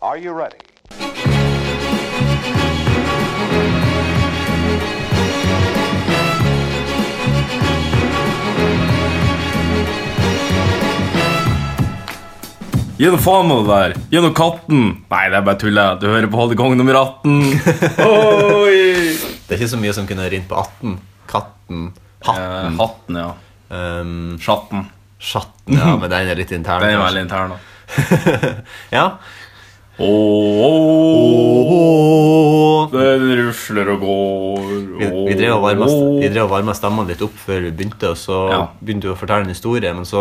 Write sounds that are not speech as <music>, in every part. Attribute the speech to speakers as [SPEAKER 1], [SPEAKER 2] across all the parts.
[SPEAKER 1] Are you ready?
[SPEAKER 2] Gjennom faen må du være! Gjennom katten! Nei, det er bare tull. jeg. Du hører på Holdekong nummer <laughs> 18. Oi!
[SPEAKER 3] Det er ikke så mye som kunne rint på 18. Katten.
[SPEAKER 2] Eh,
[SPEAKER 3] Hatten.
[SPEAKER 2] hatten, ja.
[SPEAKER 3] ehm,
[SPEAKER 2] Chatten.
[SPEAKER 3] sjatten. Ja, men den er litt intern.
[SPEAKER 2] Den er
[SPEAKER 3] kanskje.
[SPEAKER 2] veldig intern. da.
[SPEAKER 3] <laughs> Ja.
[SPEAKER 2] Ååå, den rusler og går
[SPEAKER 3] Vi, vi drev og varma vi drev og varma stemmene litt opp før vi begynte, og så
[SPEAKER 2] Ja.
[SPEAKER 3] begynte du å fortelle en historie, men så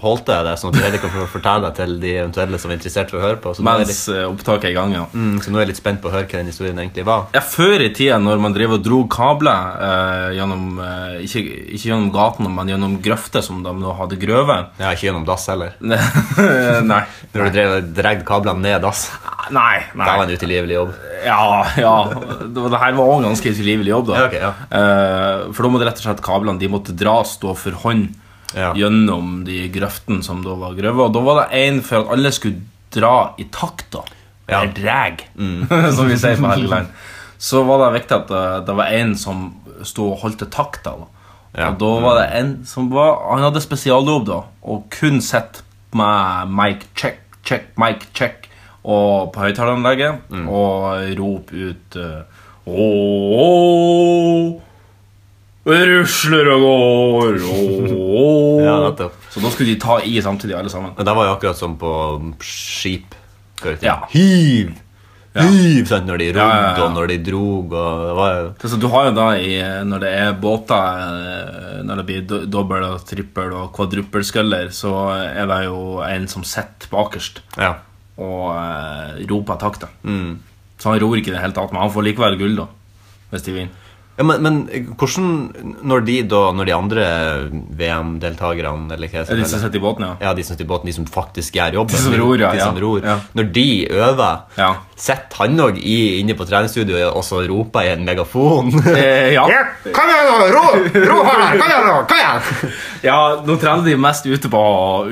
[SPEAKER 3] holdt jeg det, sånn at du heller kan få fortelle det til de eventuelle som er interessert i å høre på. Så nå er jeg litt,
[SPEAKER 2] Mens eh, opptaket er i gang, ja.
[SPEAKER 3] mm, så nå er jeg litt spent på å høre hva den historien egentlig var.
[SPEAKER 2] Ja, Før i tida, når man drev og dro kabler eh, gjennom eh, ikke, ikke gjennom gatene, men gjennom grøfter som de nå hadde grøvet <laughs>
[SPEAKER 3] Jeg har ikke gjennom dass heller.
[SPEAKER 2] Nei. Nei.
[SPEAKER 3] Når du drev og dreg kablene ned dass. <laughs>
[SPEAKER 2] Nei.
[SPEAKER 3] Det var
[SPEAKER 2] Nei.
[SPEAKER 3] en utilgivelig jobb.
[SPEAKER 2] Ja, ja. Det, var- det her var også en ganske utilgivelig jobb, da.
[SPEAKER 3] Ja, ok, ja.
[SPEAKER 2] Eh, for da måtte rett og slett kablene de måtte dras da for hånd
[SPEAKER 3] Ja.
[SPEAKER 2] gjennom de grøftene som da var grøvet. Og da var det en for at alle skulle dra i takt, da.
[SPEAKER 3] Ja.
[SPEAKER 2] Eller dreg, Mm. <laughs> som vi sier på Helgeland. Så var det viktig at eh, det var en som stod og holdt til takta. da.
[SPEAKER 3] Ja.
[SPEAKER 2] Og da var det en som var Han hadde spesialjobb, da, og kun sett med mic check, check, mic check og på høyttaleranlegget
[SPEAKER 3] Mm.
[SPEAKER 2] og rop ut eh, Ååå Rusler og går ååå».
[SPEAKER 3] <laughs> Ja, nettopp.
[SPEAKER 2] Så da skulle de ta i samtidig, alle sammen.
[SPEAKER 3] Men det var jo akkurat som på skip. før i tiden.
[SPEAKER 2] Ja.
[SPEAKER 3] Hiv! Hiv! Sant, når de rodde,
[SPEAKER 2] ja, ja.
[SPEAKER 3] og når de drog, og det var jo
[SPEAKER 2] Det er så du har jo da i, Når det er båter, eh, når det blir do- dobbel og trippel og kvadruppelsculler, så er det jo en som sitter bakerst
[SPEAKER 3] Ja.
[SPEAKER 2] og eh, roper takta.
[SPEAKER 3] Mm.
[SPEAKER 2] Så han ror ikke i det hele tatt, men han får likevel gull, da, hvis de vinner.
[SPEAKER 3] Ja, men, men hvordan Når de da, når de andre VM-deltakerne eller hva jeg
[SPEAKER 2] De som
[SPEAKER 3] skal kalle det,
[SPEAKER 2] sitter i båten, ja.
[SPEAKER 3] ja, de som sitter i båten, de som faktisk gjør jobben.
[SPEAKER 2] De som ror, ja,
[SPEAKER 3] De som
[SPEAKER 2] ja.
[SPEAKER 3] ror.
[SPEAKER 2] Ja.
[SPEAKER 3] Når de øver,
[SPEAKER 2] Ja.
[SPEAKER 3] sitter han òg inne på treningsstudioet og så roper i en megafon?
[SPEAKER 2] Eh, ja.
[SPEAKER 3] Kom igjen, nå! Ro! Ro her! Kom igjen, nå! Kom igjen!
[SPEAKER 2] ja, nå trener de mest ute på,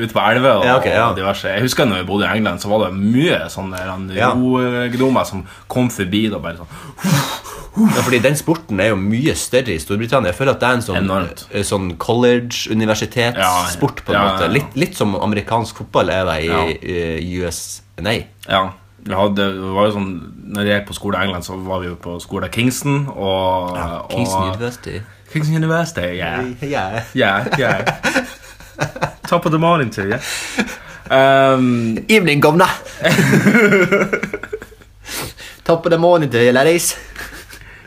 [SPEAKER 2] ute på elver og
[SPEAKER 3] Ja, ok, ja.
[SPEAKER 2] diverse. Jeg husker når jeg bodde i England, så var det mye sånne ja.
[SPEAKER 3] Ja.
[SPEAKER 2] rogdommer som kom forbi. Da, bare sånn
[SPEAKER 3] Ja, fordi Den sporten er jo mye større i Storbritannia. Jeg føler at det er en sånn,
[SPEAKER 2] Enormt.
[SPEAKER 3] eh, sånn college-universitetssport. på
[SPEAKER 2] Ja, ja,
[SPEAKER 3] en
[SPEAKER 2] ja.
[SPEAKER 3] måte Litt, litt som amerikansk fotball er det i,
[SPEAKER 2] Ja.
[SPEAKER 3] i US Nei.
[SPEAKER 2] Ja. Vi hadde, det var jo sånn, når jeg gikk på skole i England, så var vi jo på skole av Kingston. Og,
[SPEAKER 3] Kingston
[SPEAKER 2] og,
[SPEAKER 3] University.
[SPEAKER 2] Kingston University. Yeah.
[SPEAKER 3] Yeah.
[SPEAKER 2] Yeah,
[SPEAKER 3] <laughs>
[SPEAKER 2] yeah. Top of the morning to you. Um,
[SPEAKER 3] Evening,
[SPEAKER 2] <laughs>
[SPEAKER 3] governor. Top of the morning to you, ladies.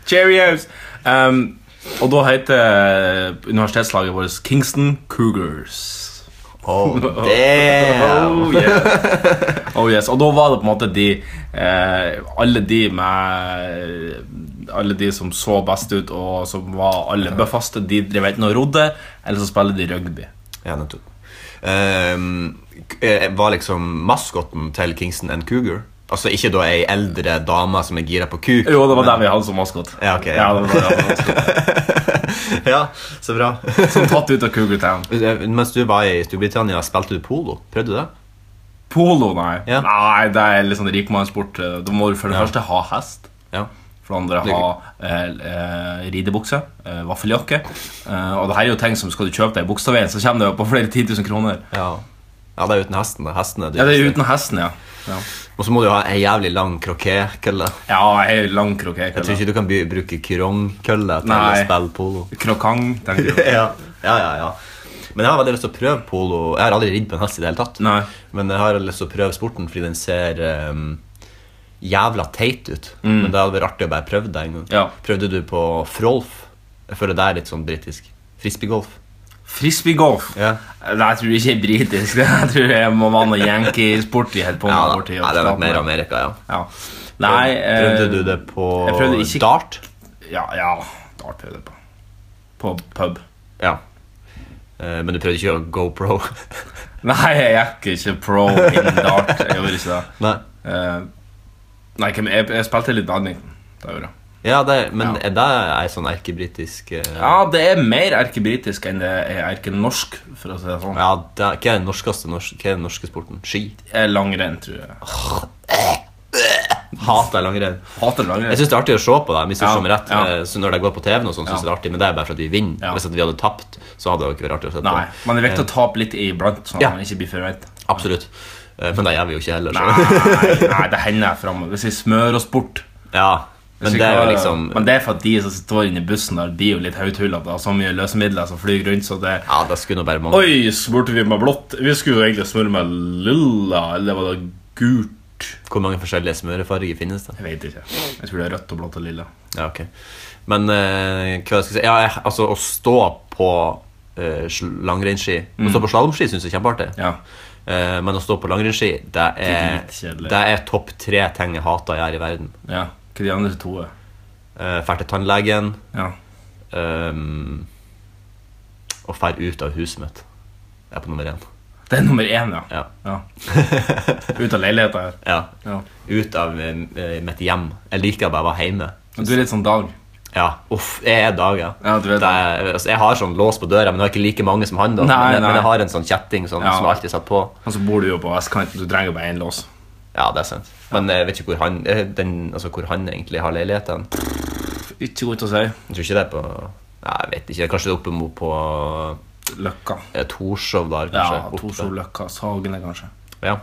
[SPEAKER 2] cheerios! Um, og da heter universitetslaget vårt Kingston Cougars.
[SPEAKER 3] Oh, damn.
[SPEAKER 2] Oh, yeah. oh yes. Og da var det på en måte de eh, Alle de med Alle de som så best ut, og som var alle bøffaste, de drev enten og rodde, eller så spiller de rugby.
[SPEAKER 3] Ja, nettopp. Ehm, k- eh, var liksom maskotten til Kingston and Cougar? Altså ikke da ei eldre dame som er gira på kuk?
[SPEAKER 2] Jo, det var
[SPEAKER 3] men-
[SPEAKER 2] der vi hadde som maskot.
[SPEAKER 3] Ja, ok, ja.
[SPEAKER 2] det var der vi hadde maskot.
[SPEAKER 3] <laughs> Ja, så bra.
[SPEAKER 2] Som tatt ut av Cougar Town.
[SPEAKER 3] Eh, Mens du var i Storbritannia, spilte du polo? Prøvde du det?
[SPEAKER 2] Polo, nei.
[SPEAKER 3] Ja.
[SPEAKER 2] Nei, Det er litt sånn rikmannssport. Da må du for det første ha hest.
[SPEAKER 3] Ja.
[SPEAKER 2] For det andre ha eh, eh, ridebukse, eh, vaffeljakke. Eh, og det her er jo ting som skal du kjøpe deg i Bogstadveien, så kommer det jo på flere 10 000 kroner.
[SPEAKER 3] Ja, ja det er uten hesten. det. Hesten er
[SPEAKER 2] Ja, det er
[SPEAKER 3] dyreste.
[SPEAKER 2] uten hesten, ja. Ja,
[SPEAKER 3] Og så må du ha ei jævlig lang krokékølle.
[SPEAKER 2] ja jeg er lang krokett.
[SPEAKER 3] Jeg tror ikke du kan by- bruke krongkølle til
[SPEAKER 2] Nei.
[SPEAKER 3] å spille
[SPEAKER 2] <laughs>
[SPEAKER 3] polo.
[SPEAKER 2] Krokang, tenker
[SPEAKER 3] <laughs>
[SPEAKER 2] du.
[SPEAKER 3] ja, ja, ja, ja. Men jeg har veldig lyst til å prøve polo. Jeg har aldri ridd på en hest i det hele tatt.
[SPEAKER 2] Nei.
[SPEAKER 3] Men jeg har lyst til å prøve sporten fordi den ser ehm, jævla teit ut. Men det hadde vært artig å bare prøve det en gang.
[SPEAKER 2] Mm. Ja.
[SPEAKER 3] Prøvde du på frolf? Jeg føler det er litt sånn britisk. Frisbeegolf.
[SPEAKER 2] Frisbeegolf. Eh,
[SPEAKER 3] Ja.
[SPEAKER 2] Nei, jeg tror ikke er britisk. <laughs> Jeg tror jeg må være noe yankee-sport de holder på med.
[SPEAKER 3] Ja, da.
[SPEAKER 2] borti
[SPEAKER 3] Nei, det er nok
[SPEAKER 2] Australia.
[SPEAKER 3] mer Amerika, ja.
[SPEAKER 2] Ja. Nei eh,
[SPEAKER 3] prøvde du det på
[SPEAKER 2] jeg prøvde ikke-
[SPEAKER 3] dart?
[SPEAKER 2] Ja, ja. Da prøvde jeg det på. På pub.
[SPEAKER 3] Ja. Eh, Men du prøvde ikke å GoPro?
[SPEAKER 2] Nei, jeg gikk ikke pro in dart. Jeg gjorde ikke det.
[SPEAKER 3] <laughs> Nei.
[SPEAKER 2] Eh, nei, hvem- jeg, jeg spilte litt badminton. Det gjorde jeg.
[SPEAKER 3] Ja, det, men
[SPEAKER 2] Ja.
[SPEAKER 3] er det ei sånn erkebritisk eh,
[SPEAKER 2] Ja, det er mer erkebritisk enn det er erkenorsk, for å si det sånn.
[SPEAKER 3] Ja, det, hva er den norskeste norsk, hva er den norske sporten? Ski?
[SPEAKER 2] er langrenn, tror jeg.
[SPEAKER 3] Hater langrenn.
[SPEAKER 2] Hater langrenn.
[SPEAKER 3] Jeg syns det er artig å se på dem. Hvis du
[SPEAKER 2] Ja,
[SPEAKER 3] skjønner rett
[SPEAKER 2] ja.
[SPEAKER 3] Eh, Så Når det går på TV, og sånt, synes jeg det er artig men det er bare for at vi vinner.
[SPEAKER 2] Ja.
[SPEAKER 3] Hvis at vi hadde tapt, så hadde det jo ikke vært artig å se på.
[SPEAKER 2] Nei, men det er viktig å tape litt iblant, sånn at
[SPEAKER 3] Ja.
[SPEAKER 2] man ikke blir
[SPEAKER 3] <laughs>
[SPEAKER 2] forvent.
[SPEAKER 3] Absolutt. Eh, Men det gjør vi jo ikke heller.
[SPEAKER 2] Nei,
[SPEAKER 3] Så.
[SPEAKER 2] nei, det hender jeg framover. Hvis vi smører oss bort
[SPEAKER 3] <laughs> Ja,
[SPEAKER 2] Hvis vi
[SPEAKER 3] men det er jo
[SPEAKER 2] klarer-
[SPEAKER 3] liksom
[SPEAKER 2] men det er for at de som står inne i bussen, der blir jo litt hauthullete av så mye løsemidler som flyr rundt, så det
[SPEAKER 3] Ja, det skulle nå bare mangle.
[SPEAKER 2] Oi, smurte vi med blått? Vi skulle jo egentlig smøre med lilla, eller var det gult?
[SPEAKER 3] Hvor mange forskjellige smørefarger finnes det?
[SPEAKER 2] Jeg vet ikke. Jeg tror det er rødt og blått og lilla.
[SPEAKER 3] Ja, ok Men eh, hva skal jeg si Ja, jeg, altså å stå på eh, sl- langrennsski Å stå på slalomski synes jeg er kjempeartig
[SPEAKER 2] Ja.
[SPEAKER 3] Eh, Men å stå på langrennsski Det er,
[SPEAKER 2] Dritkjedelig.
[SPEAKER 3] det er topp tre ting jeg hater jeg gjør i verden
[SPEAKER 2] ja. Hva de andre to er.
[SPEAKER 3] uh, Fær til tannlegen
[SPEAKER 2] Ja.
[SPEAKER 3] ehm, Og fær ut av huset mitt Det er på nummer én
[SPEAKER 2] Det er nummer én, ja.
[SPEAKER 3] Ja,
[SPEAKER 2] ja. Ut av leiligheta her.
[SPEAKER 3] ja.
[SPEAKER 2] Ja.
[SPEAKER 3] Ut av eh, mitt hjem Jeg liker bare å være hjemme
[SPEAKER 2] Men Du er litt sånn Dag.
[SPEAKER 3] Ja, uff, jeg er dager
[SPEAKER 2] Ja, du
[SPEAKER 3] Det er, altså, jeg har sånn lås på døra, men jeg har ikke like mange som han. da
[SPEAKER 2] Nei,
[SPEAKER 3] men, jeg-
[SPEAKER 2] nei.
[SPEAKER 3] men jeg har en sånn kjetting sånn,
[SPEAKER 2] Ja.
[SPEAKER 3] som jeg alltid satt på.
[SPEAKER 2] Og så bor du jo på vestkanten, du trenger jo bare én lås.
[SPEAKER 3] Ja, det er sant Men jeg vet ikke hvor han, eh, den, altså, hvor han egentlig har leiligheten.
[SPEAKER 2] Ikke godt å si.
[SPEAKER 3] Jeg tror ikke det er på Nei, jeg vet ikke, Kanskje det er oppe mot på
[SPEAKER 2] Løkka.
[SPEAKER 3] eh, Torshov der, kanskje.
[SPEAKER 2] Ja, Mm.
[SPEAKER 3] oppe.
[SPEAKER 2] Torshov, Løkka, Sagene, kanskje.
[SPEAKER 3] Ja.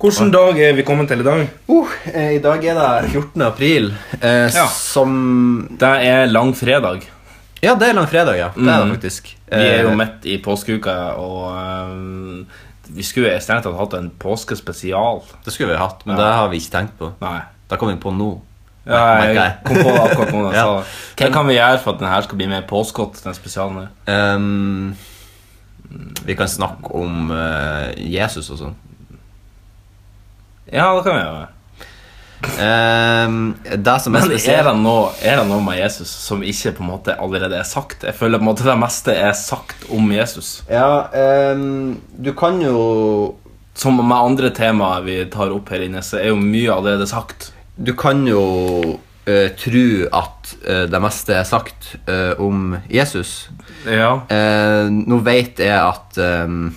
[SPEAKER 2] Hvilken dag er vi kommet til i dag?
[SPEAKER 3] Uh, eh, I dag er det 14. april, eh,
[SPEAKER 2] Ja.
[SPEAKER 3] som
[SPEAKER 2] Det er langfredag.
[SPEAKER 3] Ja, det er langfredag, ja. Det er det
[SPEAKER 2] Mhm.
[SPEAKER 3] faktisk.
[SPEAKER 2] Vi er jo
[SPEAKER 3] Eh,
[SPEAKER 2] midt i påskeuka, og øhm, vi skulle jo strengt tatt hatt en påskespesial.
[SPEAKER 3] Det skulle vi ha hatt, men det har vi ikke tenkt på.
[SPEAKER 2] Nei.
[SPEAKER 3] Det kommer vi på nå.
[SPEAKER 2] Ja, jeg
[SPEAKER 3] Merker jeg.
[SPEAKER 2] kom på det akkurat <laughs> nå. da,
[SPEAKER 3] Ja.
[SPEAKER 2] så Hva kan vi gjøre for at denne skal bli mer påskete? Den spesialen her?
[SPEAKER 3] Ehm, vi kan snakke om eh, Jesus og sånn.
[SPEAKER 2] Ja, det kan vi gjøre.
[SPEAKER 3] Ehm, det som er
[SPEAKER 2] Men er
[SPEAKER 3] spesielt
[SPEAKER 2] det, noe, er det noe med Jesus som ikke på en måte allerede er sagt? Jeg føler på en måte det meste er sagt om Jesus.
[SPEAKER 3] Ja, ehm, du kan jo
[SPEAKER 2] Som med andre temaer vi tar opp her inne, så er jo mye allerede sagt.
[SPEAKER 3] Du kan jo eh, tro at eh, det meste er sagt eh, om Jesus.
[SPEAKER 2] Ja.
[SPEAKER 3] Eh, nå vet jeg at ehm,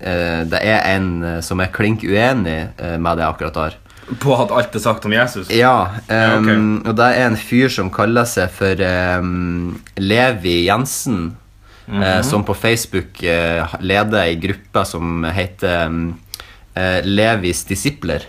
[SPEAKER 3] eh, det er en eh, som er klink uenig eh, med det akkurat der.
[SPEAKER 2] På at alt er sagt om Jesus?
[SPEAKER 3] Ja,
[SPEAKER 2] Ja, ok.
[SPEAKER 3] ehm, og det er en fyr som kaller seg for ehm, Levi Jensen,
[SPEAKER 2] Mhm.
[SPEAKER 3] eh, som på Facebook eh, leder ei gruppe som heter ehm, eh, Levis disipler.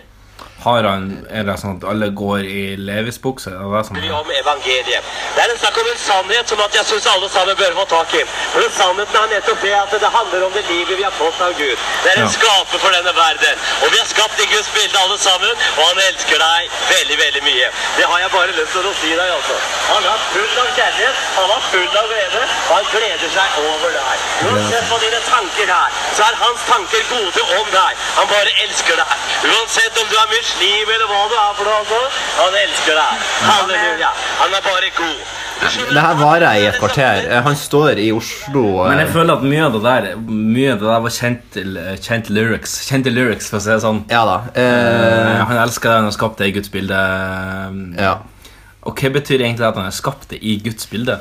[SPEAKER 2] Har han, Er det sånn at alle går i Levis-bukse? Er det det som
[SPEAKER 1] om evangeliet. Det er en snakk om en sannhet som at jeg syns alle sammen bør få tak i. For den sannheten er nettopp det at det handler om det livet vi har fått av Gud. Det er en
[SPEAKER 2] Ja.
[SPEAKER 1] skaper for denne verden. Og vi er skapt i Guds bilde alle sammen, og han elsker deg veldig, veldig mye. Det har jeg bare lyst til å si deg, altså. Han er full av kjærlighet, han er full av glede, og han gleder seg over deg. Uansett hva dine tanker er, så er hans tanker gode om deg. Han bare elsker deg. Uansett om du er muslim eller hva du er for noe, altså, han elsker deg. Halleluja. Han er bare god.
[SPEAKER 3] Det her varer i et kvarter. Eh, Han står i Oslo
[SPEAKER 2] Men
[SPEAKER 3] eh,
[SPEAKER 2] jeg føler at mye av det der Mye av det der var kjent, kjent lyrics. Kjente lyrics, for å si det sånn.
[SPEAKER 3] Ja da. eh,
[SPEAKER 2] Eh, han elsker det, han har skapt det i Guds bilde.
[SPEAKER 3] ja.
[SPEAKER 2] Og hva betyr egentlig at han har skapt det i Guds bilde?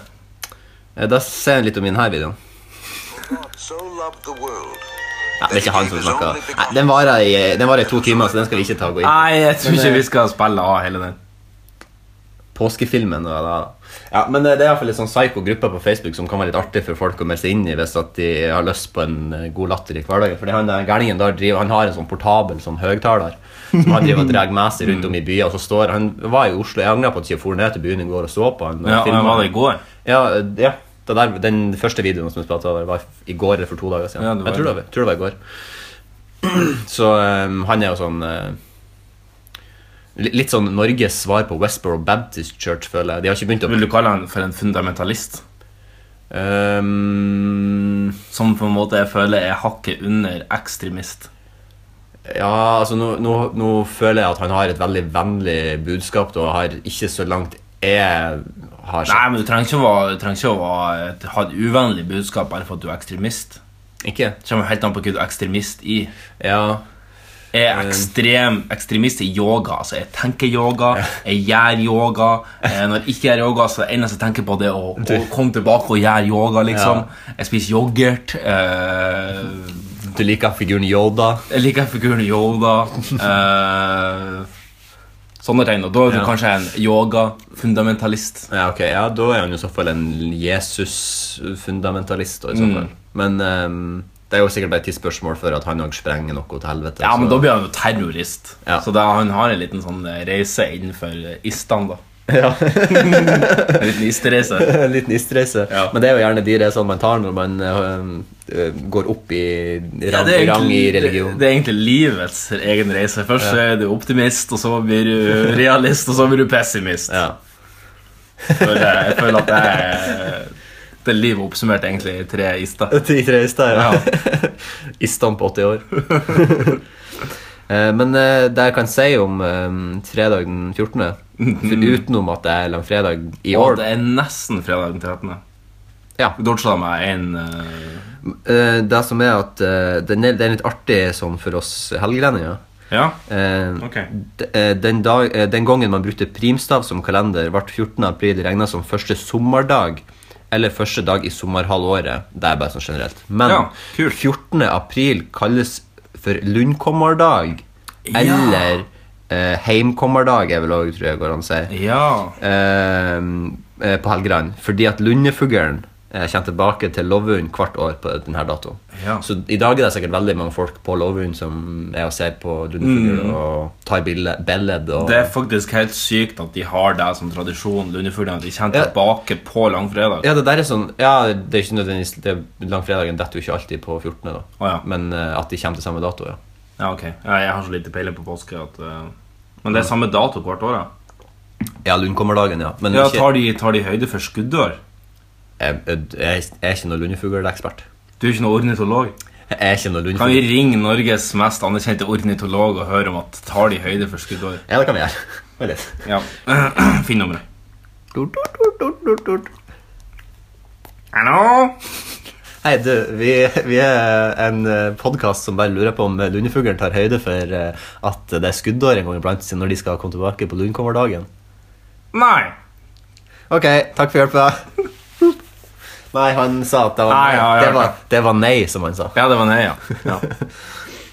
[SPEAKER 3] Eh, Da ser jeg litt om denne videoen.
[SPEAKER 4] so loved the world.
[SPEAKER 3] Nei, det er ikke han som snakker. Nei, Den varer i, den varer i to timer, så den skal vi ikke ta og gå inn på.
[SPEAKER 2] Nei, jeg tror
[SPEAKER 3] Men,
[SPEAKER 2] ikke
[SPEAKER 3] eh,
[SPEAKER 2] vi skal spille av hele den.
[SPEAKER 3] påskefilmen og det da. Ja, men eh, det er i hvert fall en sånn psyko-gruppe på Facebook som kan være litt artig for folk å melde seg inn i hvis at de har lyst på en eh, god latter i hverdagen. Fordi han eh, gærningen der driver, han har en sånn portabel sånn høgtaler som han
[SPEAKER 2] <laughs>
[SPEAKER 3] driver og drar med seg rundt om i byer. Og så står Han var i Oslo, jeg angrer på at jeg ikke for ned til byen i går og så på han. og
[SPEAKER 2] Ja,
[SPEAKER 3] filmet
[SPEAKER 2] men var det i
[SPEAKER 3] han.
[SPEAKER 2] går?
[SPEAKER 3] Ja, eh, ja. Det der, den første videoen som jeg spilte av, var i går eller for to dager siden.
[SPEAKER 2] Ja, det var-
[SPEAKER 3] jeg tror det, var, tror det var i går. <clears throat> Så eh, han er jo sånn eh, li- Litt sånn Norges svar på Westboro Baptist Church, føler jeg. De har ikke begynt å
[SPEAKER 2] Vil du kalle han for en fundamentalist?
[SPEAKER 3] Ehm,
[SPEAKER 2] Som på en måte jeg føler er hakket under ekstremist.
[SPEAKER 3] Ja, altså nå, nå, nå føler jeg at han har et veldig vennlig budskap og har ikke så langt jeg har
[SPEAKER 2] Nei,
[SPEAKER 3] sett.
[SPEAKER 2] men du trenger ikke å, være, du trenger ikke å være, et- ha et uvennlig budskap bare for at du er ekstremist.
[SPEAKER 3] Ikke?
[SPEAKER 2] Det kommer helt an på hva du er ekstremist i.
[SPEAKER 3] Ja.
[SPEAKER 2] Jeg
[SPEAKER 3] Eh.
[SPEAKER 2] er ekstrem ekstremist i yoga. Altså, jeg tenker yoga, jeg gjør yoga. Eh, Når jeg ikke gjør yoga, så er det eneste jeg tenker på, det er å, å komme tilbake og gjøre yoga, liksom. Jeg spiser yoghurt. Eh,
[SPEAKER 3] Du liker figuren Yoda.
[SPEAKER 2] <laughs> jeg liker figuren Yoda. Eh, Sånne ting. Og da er du
[SPEAKER 3] Ja.
[SPEAKER 2] kanskje en yogafundamentalist.
[SPEAKER 3] Ja, ok, ja, Da er han i så fall en Jesus-fundamentalist. da, i så fall. Men ehm, det er jo sikkert bare et tidsspørsmål før at han òg sprenger noe til helvete.
[SPEAKER 2] Ja, men
[SPEAKER 3] så-
[SPEAKER 2] da blir han jo terrorist.
[SPEAKER 3] Ja.
[SPEAKER 2] Så da, han har en liten sånn eh, reise innenfor eh, istan, da.
[SPEAKER 3] <laughs>
[SPEAKER 2] en <laughs> liten istereise.
[SPEAKER 3] En liten istreise.
[SPEAKER 2] Ja.
[SPEAKER 3] Men det er jo gjerne de reisene man tar når man eh, eh, går opp i rang,
[SPEAKER 2] Ja, det, er
[SPEAKER 3] i rang i
[SPEAKER 2] egentlig,
[SPEAKER 3] religion.
[SPEAKER 2] det er egentlig livets egen reise. Først så er du optimist, og så blir <laughs> du realist, og så blir du pessimist.
[SPEAKER 3] ja.
[SPEAKER 2] For jeg, jeg føler at det er, det er livet oppsummert egentlig i tre <laughs> ister.
[SPEAKER 3] Ti tre ister, <laughs> ja. Istan på 80 år. <laughs> Eh, Men eh, det jeg kan si om eh, fredag den 14., for utenom at det er langfredag i
[SPEAKER 2] Og
[SPEAKER 3] år
[SPEAKER 2] det er nesten fredag den 13.
[SPEAKER 3] Ja.
[SPEAKER 2] Dodga meg en eh,
[SPEAKER 3] Eh, Det som er at eh, den er, den er litt artig sånn for oss helgelendinger.
[SPEAKER 2] Ja,
[SPEAKER 3] Eh,
[SPEAKER 2] ok.
[SPEAKER 3] d- eh, Den, dag, eh, den gangen man brukte primstav som kalender, ble 14. april regna som første sommerdag. Eller første dag i sommerhalvåret. Det er bare sånn generelt. Men
[SPEAKER 2] Ja, kult.
[SPEAKER 3] 14. april kalles for lundkommerdag.
[SPEAKER 2] Ja.
[SPEAKER 3] Eller eh, heimkommerdag, er vel òg, tror jeg går an å si.
[SPEAKER 2] Ja.
[SPEAKER 3] Eh, eh, på Helgeland. Fordi at lundefuglen eh, kommer tilbake til Lovund hvert år på denne datoen.
[SPEAKER 2] Ja.
[SPEAKER 3] Så i dag er det sikkert veldig mange folk på Lovund som er og ser på lundefugl og tar bille- billed. Og...
[SPEAKER 2] Mm. Det er faktisk helt sykt at de har det som tradisjon, Lundefuglene. at De kommer
[SPEAKER 3] Ja.
[SPEAKER 2] tilbake på langfredag.
[SPEAKER 3] Ja, det der er sånn Ja, det er ikke nødvendigvis det, Langfredagen detter jo ikke alltid på 14., da.
[SPEAKER 2] Å, ja.
[SPEAKER 3] Men eh, at de kommer til samme dato, ja.
[SPEAKER 2] Ja, ok. Ja, Jeg har så lite peiling på påske at eh, Men det er samme dato hvert år, ja.
[SPEAKER 3] Ja, lundkommerdagen, ja. Men
[SPEAKER 2] Ja,
[SPEAKER 3] ikke,
[SPEAKER 2] tar de, tar de høyde for skuddår?
[SPEAKER 3] jeg, jeg, jeg er ikke noen lundefuglekspert.
[SPEAKER 2] Du er ikke noen ornitolog.
[SPEAKER 3] Jeg er ikke noen
[SPEAKER 2] Kan vi
[SPEAKER 3] lundefugl...
[SPEAKER 2] ringe Norges mest anerkjente ornitolog og høre om at tar de høyde for skuddår?
[SPEAKER 3] Ja, det kan vi gjøre. <laughs> Vent litt.
[SPEAKER 2] Ja. <clears throat> Finn nummeret.
[SPEAKER 3] Dut, dut, dut, dut, dut, dut.
[SPEAKER 2] Hallo?
[SPEAKER 3] Hei, du, vi, vi er en podkast som bare lurer på om lundefuglen tar høyde for eh, at det er skuddår en gang iblant siden når de skal komme tilbake på lundkommerdagen.
[SPEAKER 2] Nei.
[SPEAKER 3] Ok, takk for hjelpa. Nei, han sa at det var
[SPEAKER 2] Nei,
[SPEAKER 3] nei.
[SPEAKER 2] ja, ja,
[SPEAKER 3] det,
[SPEAKER 2] ja.
[SPEAKER 3] var, det var nei, som han sa.
[SPEAKER 2] Ja, det var nei, ja. ja.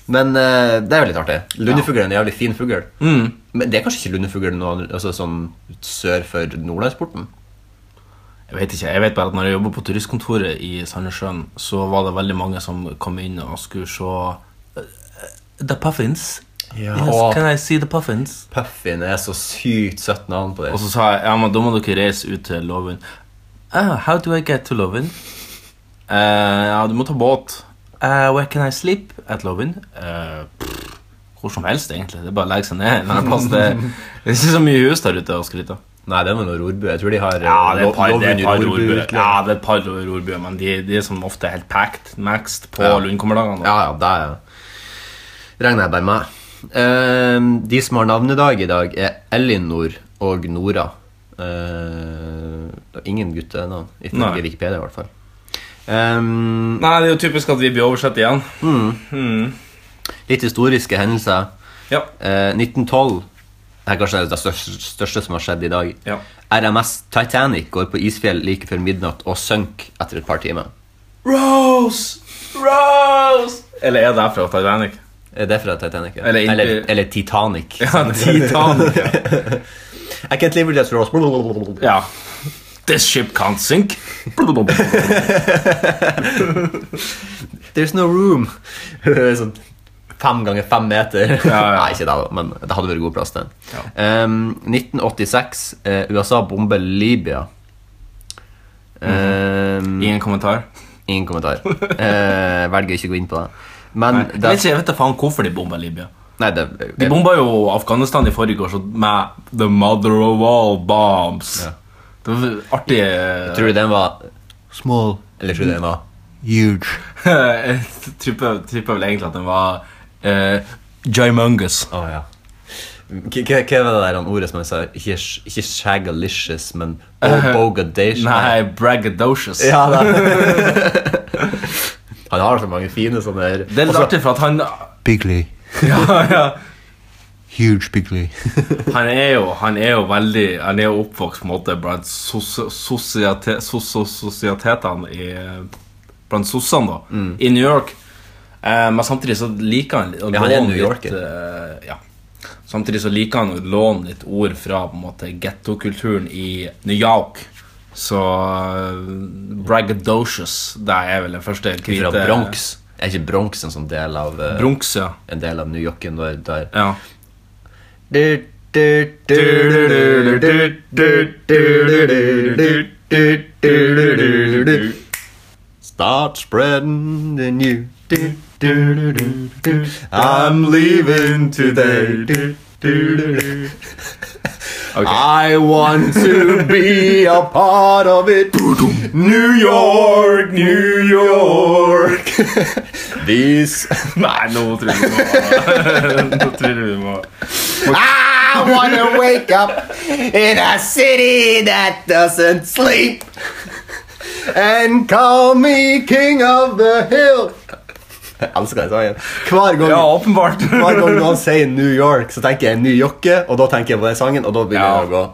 [SPEAKER 3] Men eh, det er jo litt artig. Lundefuglen er en jævlig fin fugl.
[SPEAKER 2] Mm.
[SPEAKER 3] Men det er kanskje ikke lundefugl noe annet- altså, sånn sør for Nordlandsporten?
[SPEAKER 2] Jeg vet ikke, jeg vet bare at når jeg jobbet på turistkontoret i Sandnessjøen, så var det veldig mange som kom inn og skulle se eh, The Puffins.
[SPEAKER 3] Ja.
[SPEAKER 2] Yes, can I see the Puffins?
[SPEAKER 3] Puffin er så sykt søtt navn på det.
[SPEAKER 2] Og så sa jeg, ja, men da må dere reise ut til Lovund. Ah, how do I get to Lovund? Eh, ja, du må ta båt. Eh, where can I sleep at Lovund? Eh, pff, hvor som helst, egentlig. Det er bare å legge seg ned. en eller annen plass. Det, det er ikke så mye hus der ute å skryte av.
[SPEAKER 3] Nei, det er noe Rorbu. Jeg tror de har eh, Lo- Lovund
[SPEAKER 2] rorbyer.
[SPEAKER 3] Rorbu-utlegg.
[SPEAKER 2] Ja, det er et par rorbyer, men de, de er som ofte helt packed, maxed på
[SPEAKER 3] Ja.
[SPEAKER 2] Lundkommerdagene. da.
[SPEAKER 3] Ja, ja, det regner jeg bare med. Ehm, de som har navnedag i dag, er Elinor og Nora. Ehm, det er ingen guttenavn,
[SPEAKER 2] Nei.
[SPEAKER 3] ifølge Wikipedia i hvert fall. Ehm,
[SPEAKER 2] Nei, det er jo typisk at vi blir oversett igjen.
[SPEAKER 3] litt historiske hendelser.
[SPEAKER 2] Ja.
[SPEAKER 3] Eh, 1912 Det er kanskje det største, største som har skjedd i dag.
[SPEAKER 2] Ja.
[SPEAKER 3] RMS Titanic går på isfjell like før midnatt og synker etter et par timer.
[SPEAKER 2] Rose! Rose! Eller er det fra Titanic?
[SPEAKER 3] Er det fra Titanic? ja?
[SPEAKER 2] Eller-
[SPEAKER 3] eller, eller Titanic.
[SPEAKER 2] <laughs> Ja, Titanic. ja.
[SPEAKER 3] I can't live with that rose.
[SPEAKER 2] Ja. This ship can't sink.
[SPEAKER 3] There's no room. <laughs> sånn fem ganger fem meter.
[SPEAKER 2] ja, ja.
[SPEAKER 3] <laughs> Nei, ikke det, da, men det hadde vært god plass til den.
[SPEAKER 2] Ja.
[SPEAKER 3] Ehm, 1986. eh, USA bomber Libya. Ehm,
[SPEAKER 2] Ingen kommentar.
[SPEAKER 3] ingen kommentar. Eh, velger ikke å gå inn på det. Men
[SPEAKER 2] Jeg vet
[SPEAKER 3] det,
[SPEAKER 2] ikke jeg vet da faen hvorfor de bomba Libya.
[SPEAKER 3] nei, det,
[SPEAKER 2] De bomba jo Afghanistan i forrige år så med The Mother of All Bombs.
[SPEAKER 3] Ja.
[SPEAKER 2] Det var artig
[SPEAKER 3] Tror du den var small? Eller tror du den var huge?
[SPEAKER 2] <laughs> Jeg tripper tripper vel egentlig at den var uh, Jimungus.
[SPEAKER 3] Å ja. K- k- Hva var det der han ordet som han sa? Ikke, sh- ikke shagalicious, men
[SPEAKER 2] <laughs>
[SPEAKER 3] bo bogadation?
[SPEAKER 2] Nei, braggadocious. <laughs>
[SPEAKER 3] Ja, da. <laughs> han har så mange fine sånne her.
[SPEAKER 2] Det er litt artig, for at han <laughs>
[SPEAKER 5] Bigley.
[SPEAKER 2] ja, ja.
[SPEAKER 5] Huge Bigley.
[SPEAKER 2] Han er jo, han er jo veldig Han er jo oppvokst på en måte blant sos- sosiete- sos- sos- sosietetene i Blant sossene, da.
[SPEAKER 3] Mm.
[SPEAKER 2] I New York. Eh, men samtidig så liker han å
[SPEAKER 3] Ja, han er
[SPEAKER 2] låne
[SPEAKER 3] New Yorker.
[SPEAKER 2] eh, ja. Samtidig så liker han å låne litt ord fra på en måte gettokulturen i New York. Så eh, braggadocious, det er vel den første hvite
[SPEAKER 3] Fra Bronx. Er ikke Bronx en sånn del av eh,
[SPEAKER 2] Bronx, ja.
[SPEAKER 3] En del av New Yorken der, der.
[SPEAKER 2] ja.
[SPEAKER 3] Du, du, du, du, du, du, du, du, du, du, du, du, du. Start spreading the news. Du, du, du, du, du. I'm leaving today. Du, du, du, du. I want to be a part of it. New York, New York. These.
[SPEAKER 2] Nei, nå tror jeg vi må <laughs> Nå tror jeg vi må
[SPEAKER 3] I wanna wake up in a city that doesn't sleep and call me king of the hill. Jeg elsker den sangen. Hver gang,
[SPEAKER 2] Ja, åpenbart.
[SPEAKER 3] hver gang noen sier New York, så tenker jeg New Yorke, og da tenker jeg på den sangen, og da begynner
[SPEAKER 2] Ja.
[SPEAKER 3] jeg å gå.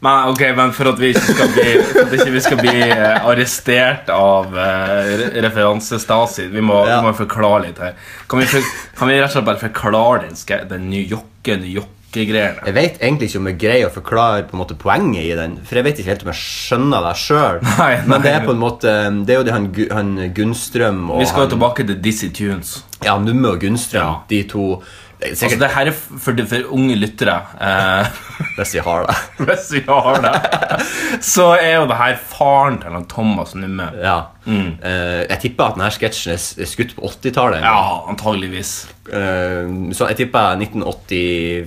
[SPEAKER 2] Men ok, men for at vi ikke skal bli, for at ikke vi skal bli eh, arrestert av eh, re- referanse-Stasi Vi må,
[SPEAKER 3] Ja.
[SPEAKER 2] vi må forklare litt her. Kan vi, for, kan vi rett og slett bare forklare den, ska- den New York-New York-greiene?
[SPEAKER 3] Jeg vet egentlig ikke om jeg greier å forklare på en måte poenget i den, for jeg vet ikke helt om jeg skjønner det sjøl.
[SPEAKER 2] <laughs> Nei, nei.
[SPEAKER 3] Men det er på en måte Det er jo det han, Gu- han Gunnstrøm og
[SPEAKER 2] Vi skal jo
[SPEAKER 3] han,
[SPEAKER 2] tilbake til Dizzie Tunes.
[SPEAKER 3] Ja, Numme og Gunnstrøm,
[SPEAKER 2] Ja.
[SPEAKER 3] de to det er
[SPEAKER 2] Altså,
[SPEAKER 3] Sikkert
[SPEAKER 2] det her er f- for, for unge lyttere. Eh, <laughs>
[SPEAKER 3] hvis vi har det.
[SPEAKER 2] hvis vi har
[SPEAKER 3] <laughs>
[SPEAKER 2] det. Så er jo det her faren til han Thomas Numme.
[SPEAKER 3] Ja.
[SPEAKER 2] Mm.
[SPEAKER 3] Eh, jeg tipper at denne sketsjen er s- er skutt på 80-tallet.
[SPEAKER 2] Ja, antageligvis.
[SPEAKER 3] Eh, så jeg tipper 1980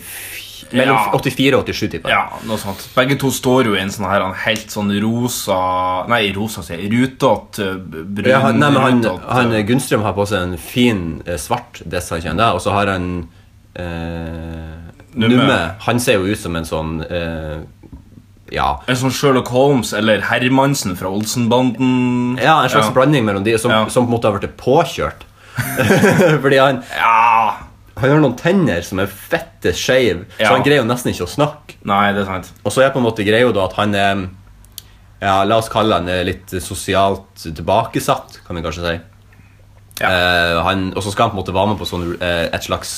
[SPEAKER 3] Mellom
[SPEAKER 2] Ja.
[SPEAKER 3] 84 og 87, tipper jeg.
[SPEAKER 2] Ja, noe sånt. Begge to står jo i en sånn her en helt sånn rosa Nei, rosa, sier jeg. Rutete, eh, b- brun
[SPEAKER 3] Ja, han, nei, men han,
[SPEAKER 2] rutete.
[SPEAKER 3] han eh, Gunnstrøm har på seg en fin eh, svart design, og så har han eh,
[SPEAKER 2] Numme.
[SPEAKER 3] Numme. Han ser jo ut som en sånn eh, Ja.
[SPEAKER 2] En sånn Sherlock Holmes eller Hermansen fra Olsenbanden.
[SPEAKER 3] Ja, En slags blanding mellom de som,
[SPEAKER 2] Ja.
[SPEAKER 3] som på en måte har blitt påkjørt. <laughs> Fordi han,
[SPEAKER 2] Ja.
[SPEAKER 3] han har noen tenner som er fette skeive,
[SPEAKER 2] Ja.
[SPEAKER 3] så han greier jo nesten ikke å snakke.
[SPEAKER 2] Nei, det er sant.
[SPEAKER 3] Og så er på en måte greia da at han er ja, La oss kalle han er litt sosialt tilbakesatt, kan vi kanskje si.
[SPEAKER 2] Ja.
[SPEAKER 3] Eh, han, og så skal han på en måte være med på sånn, eh, et slags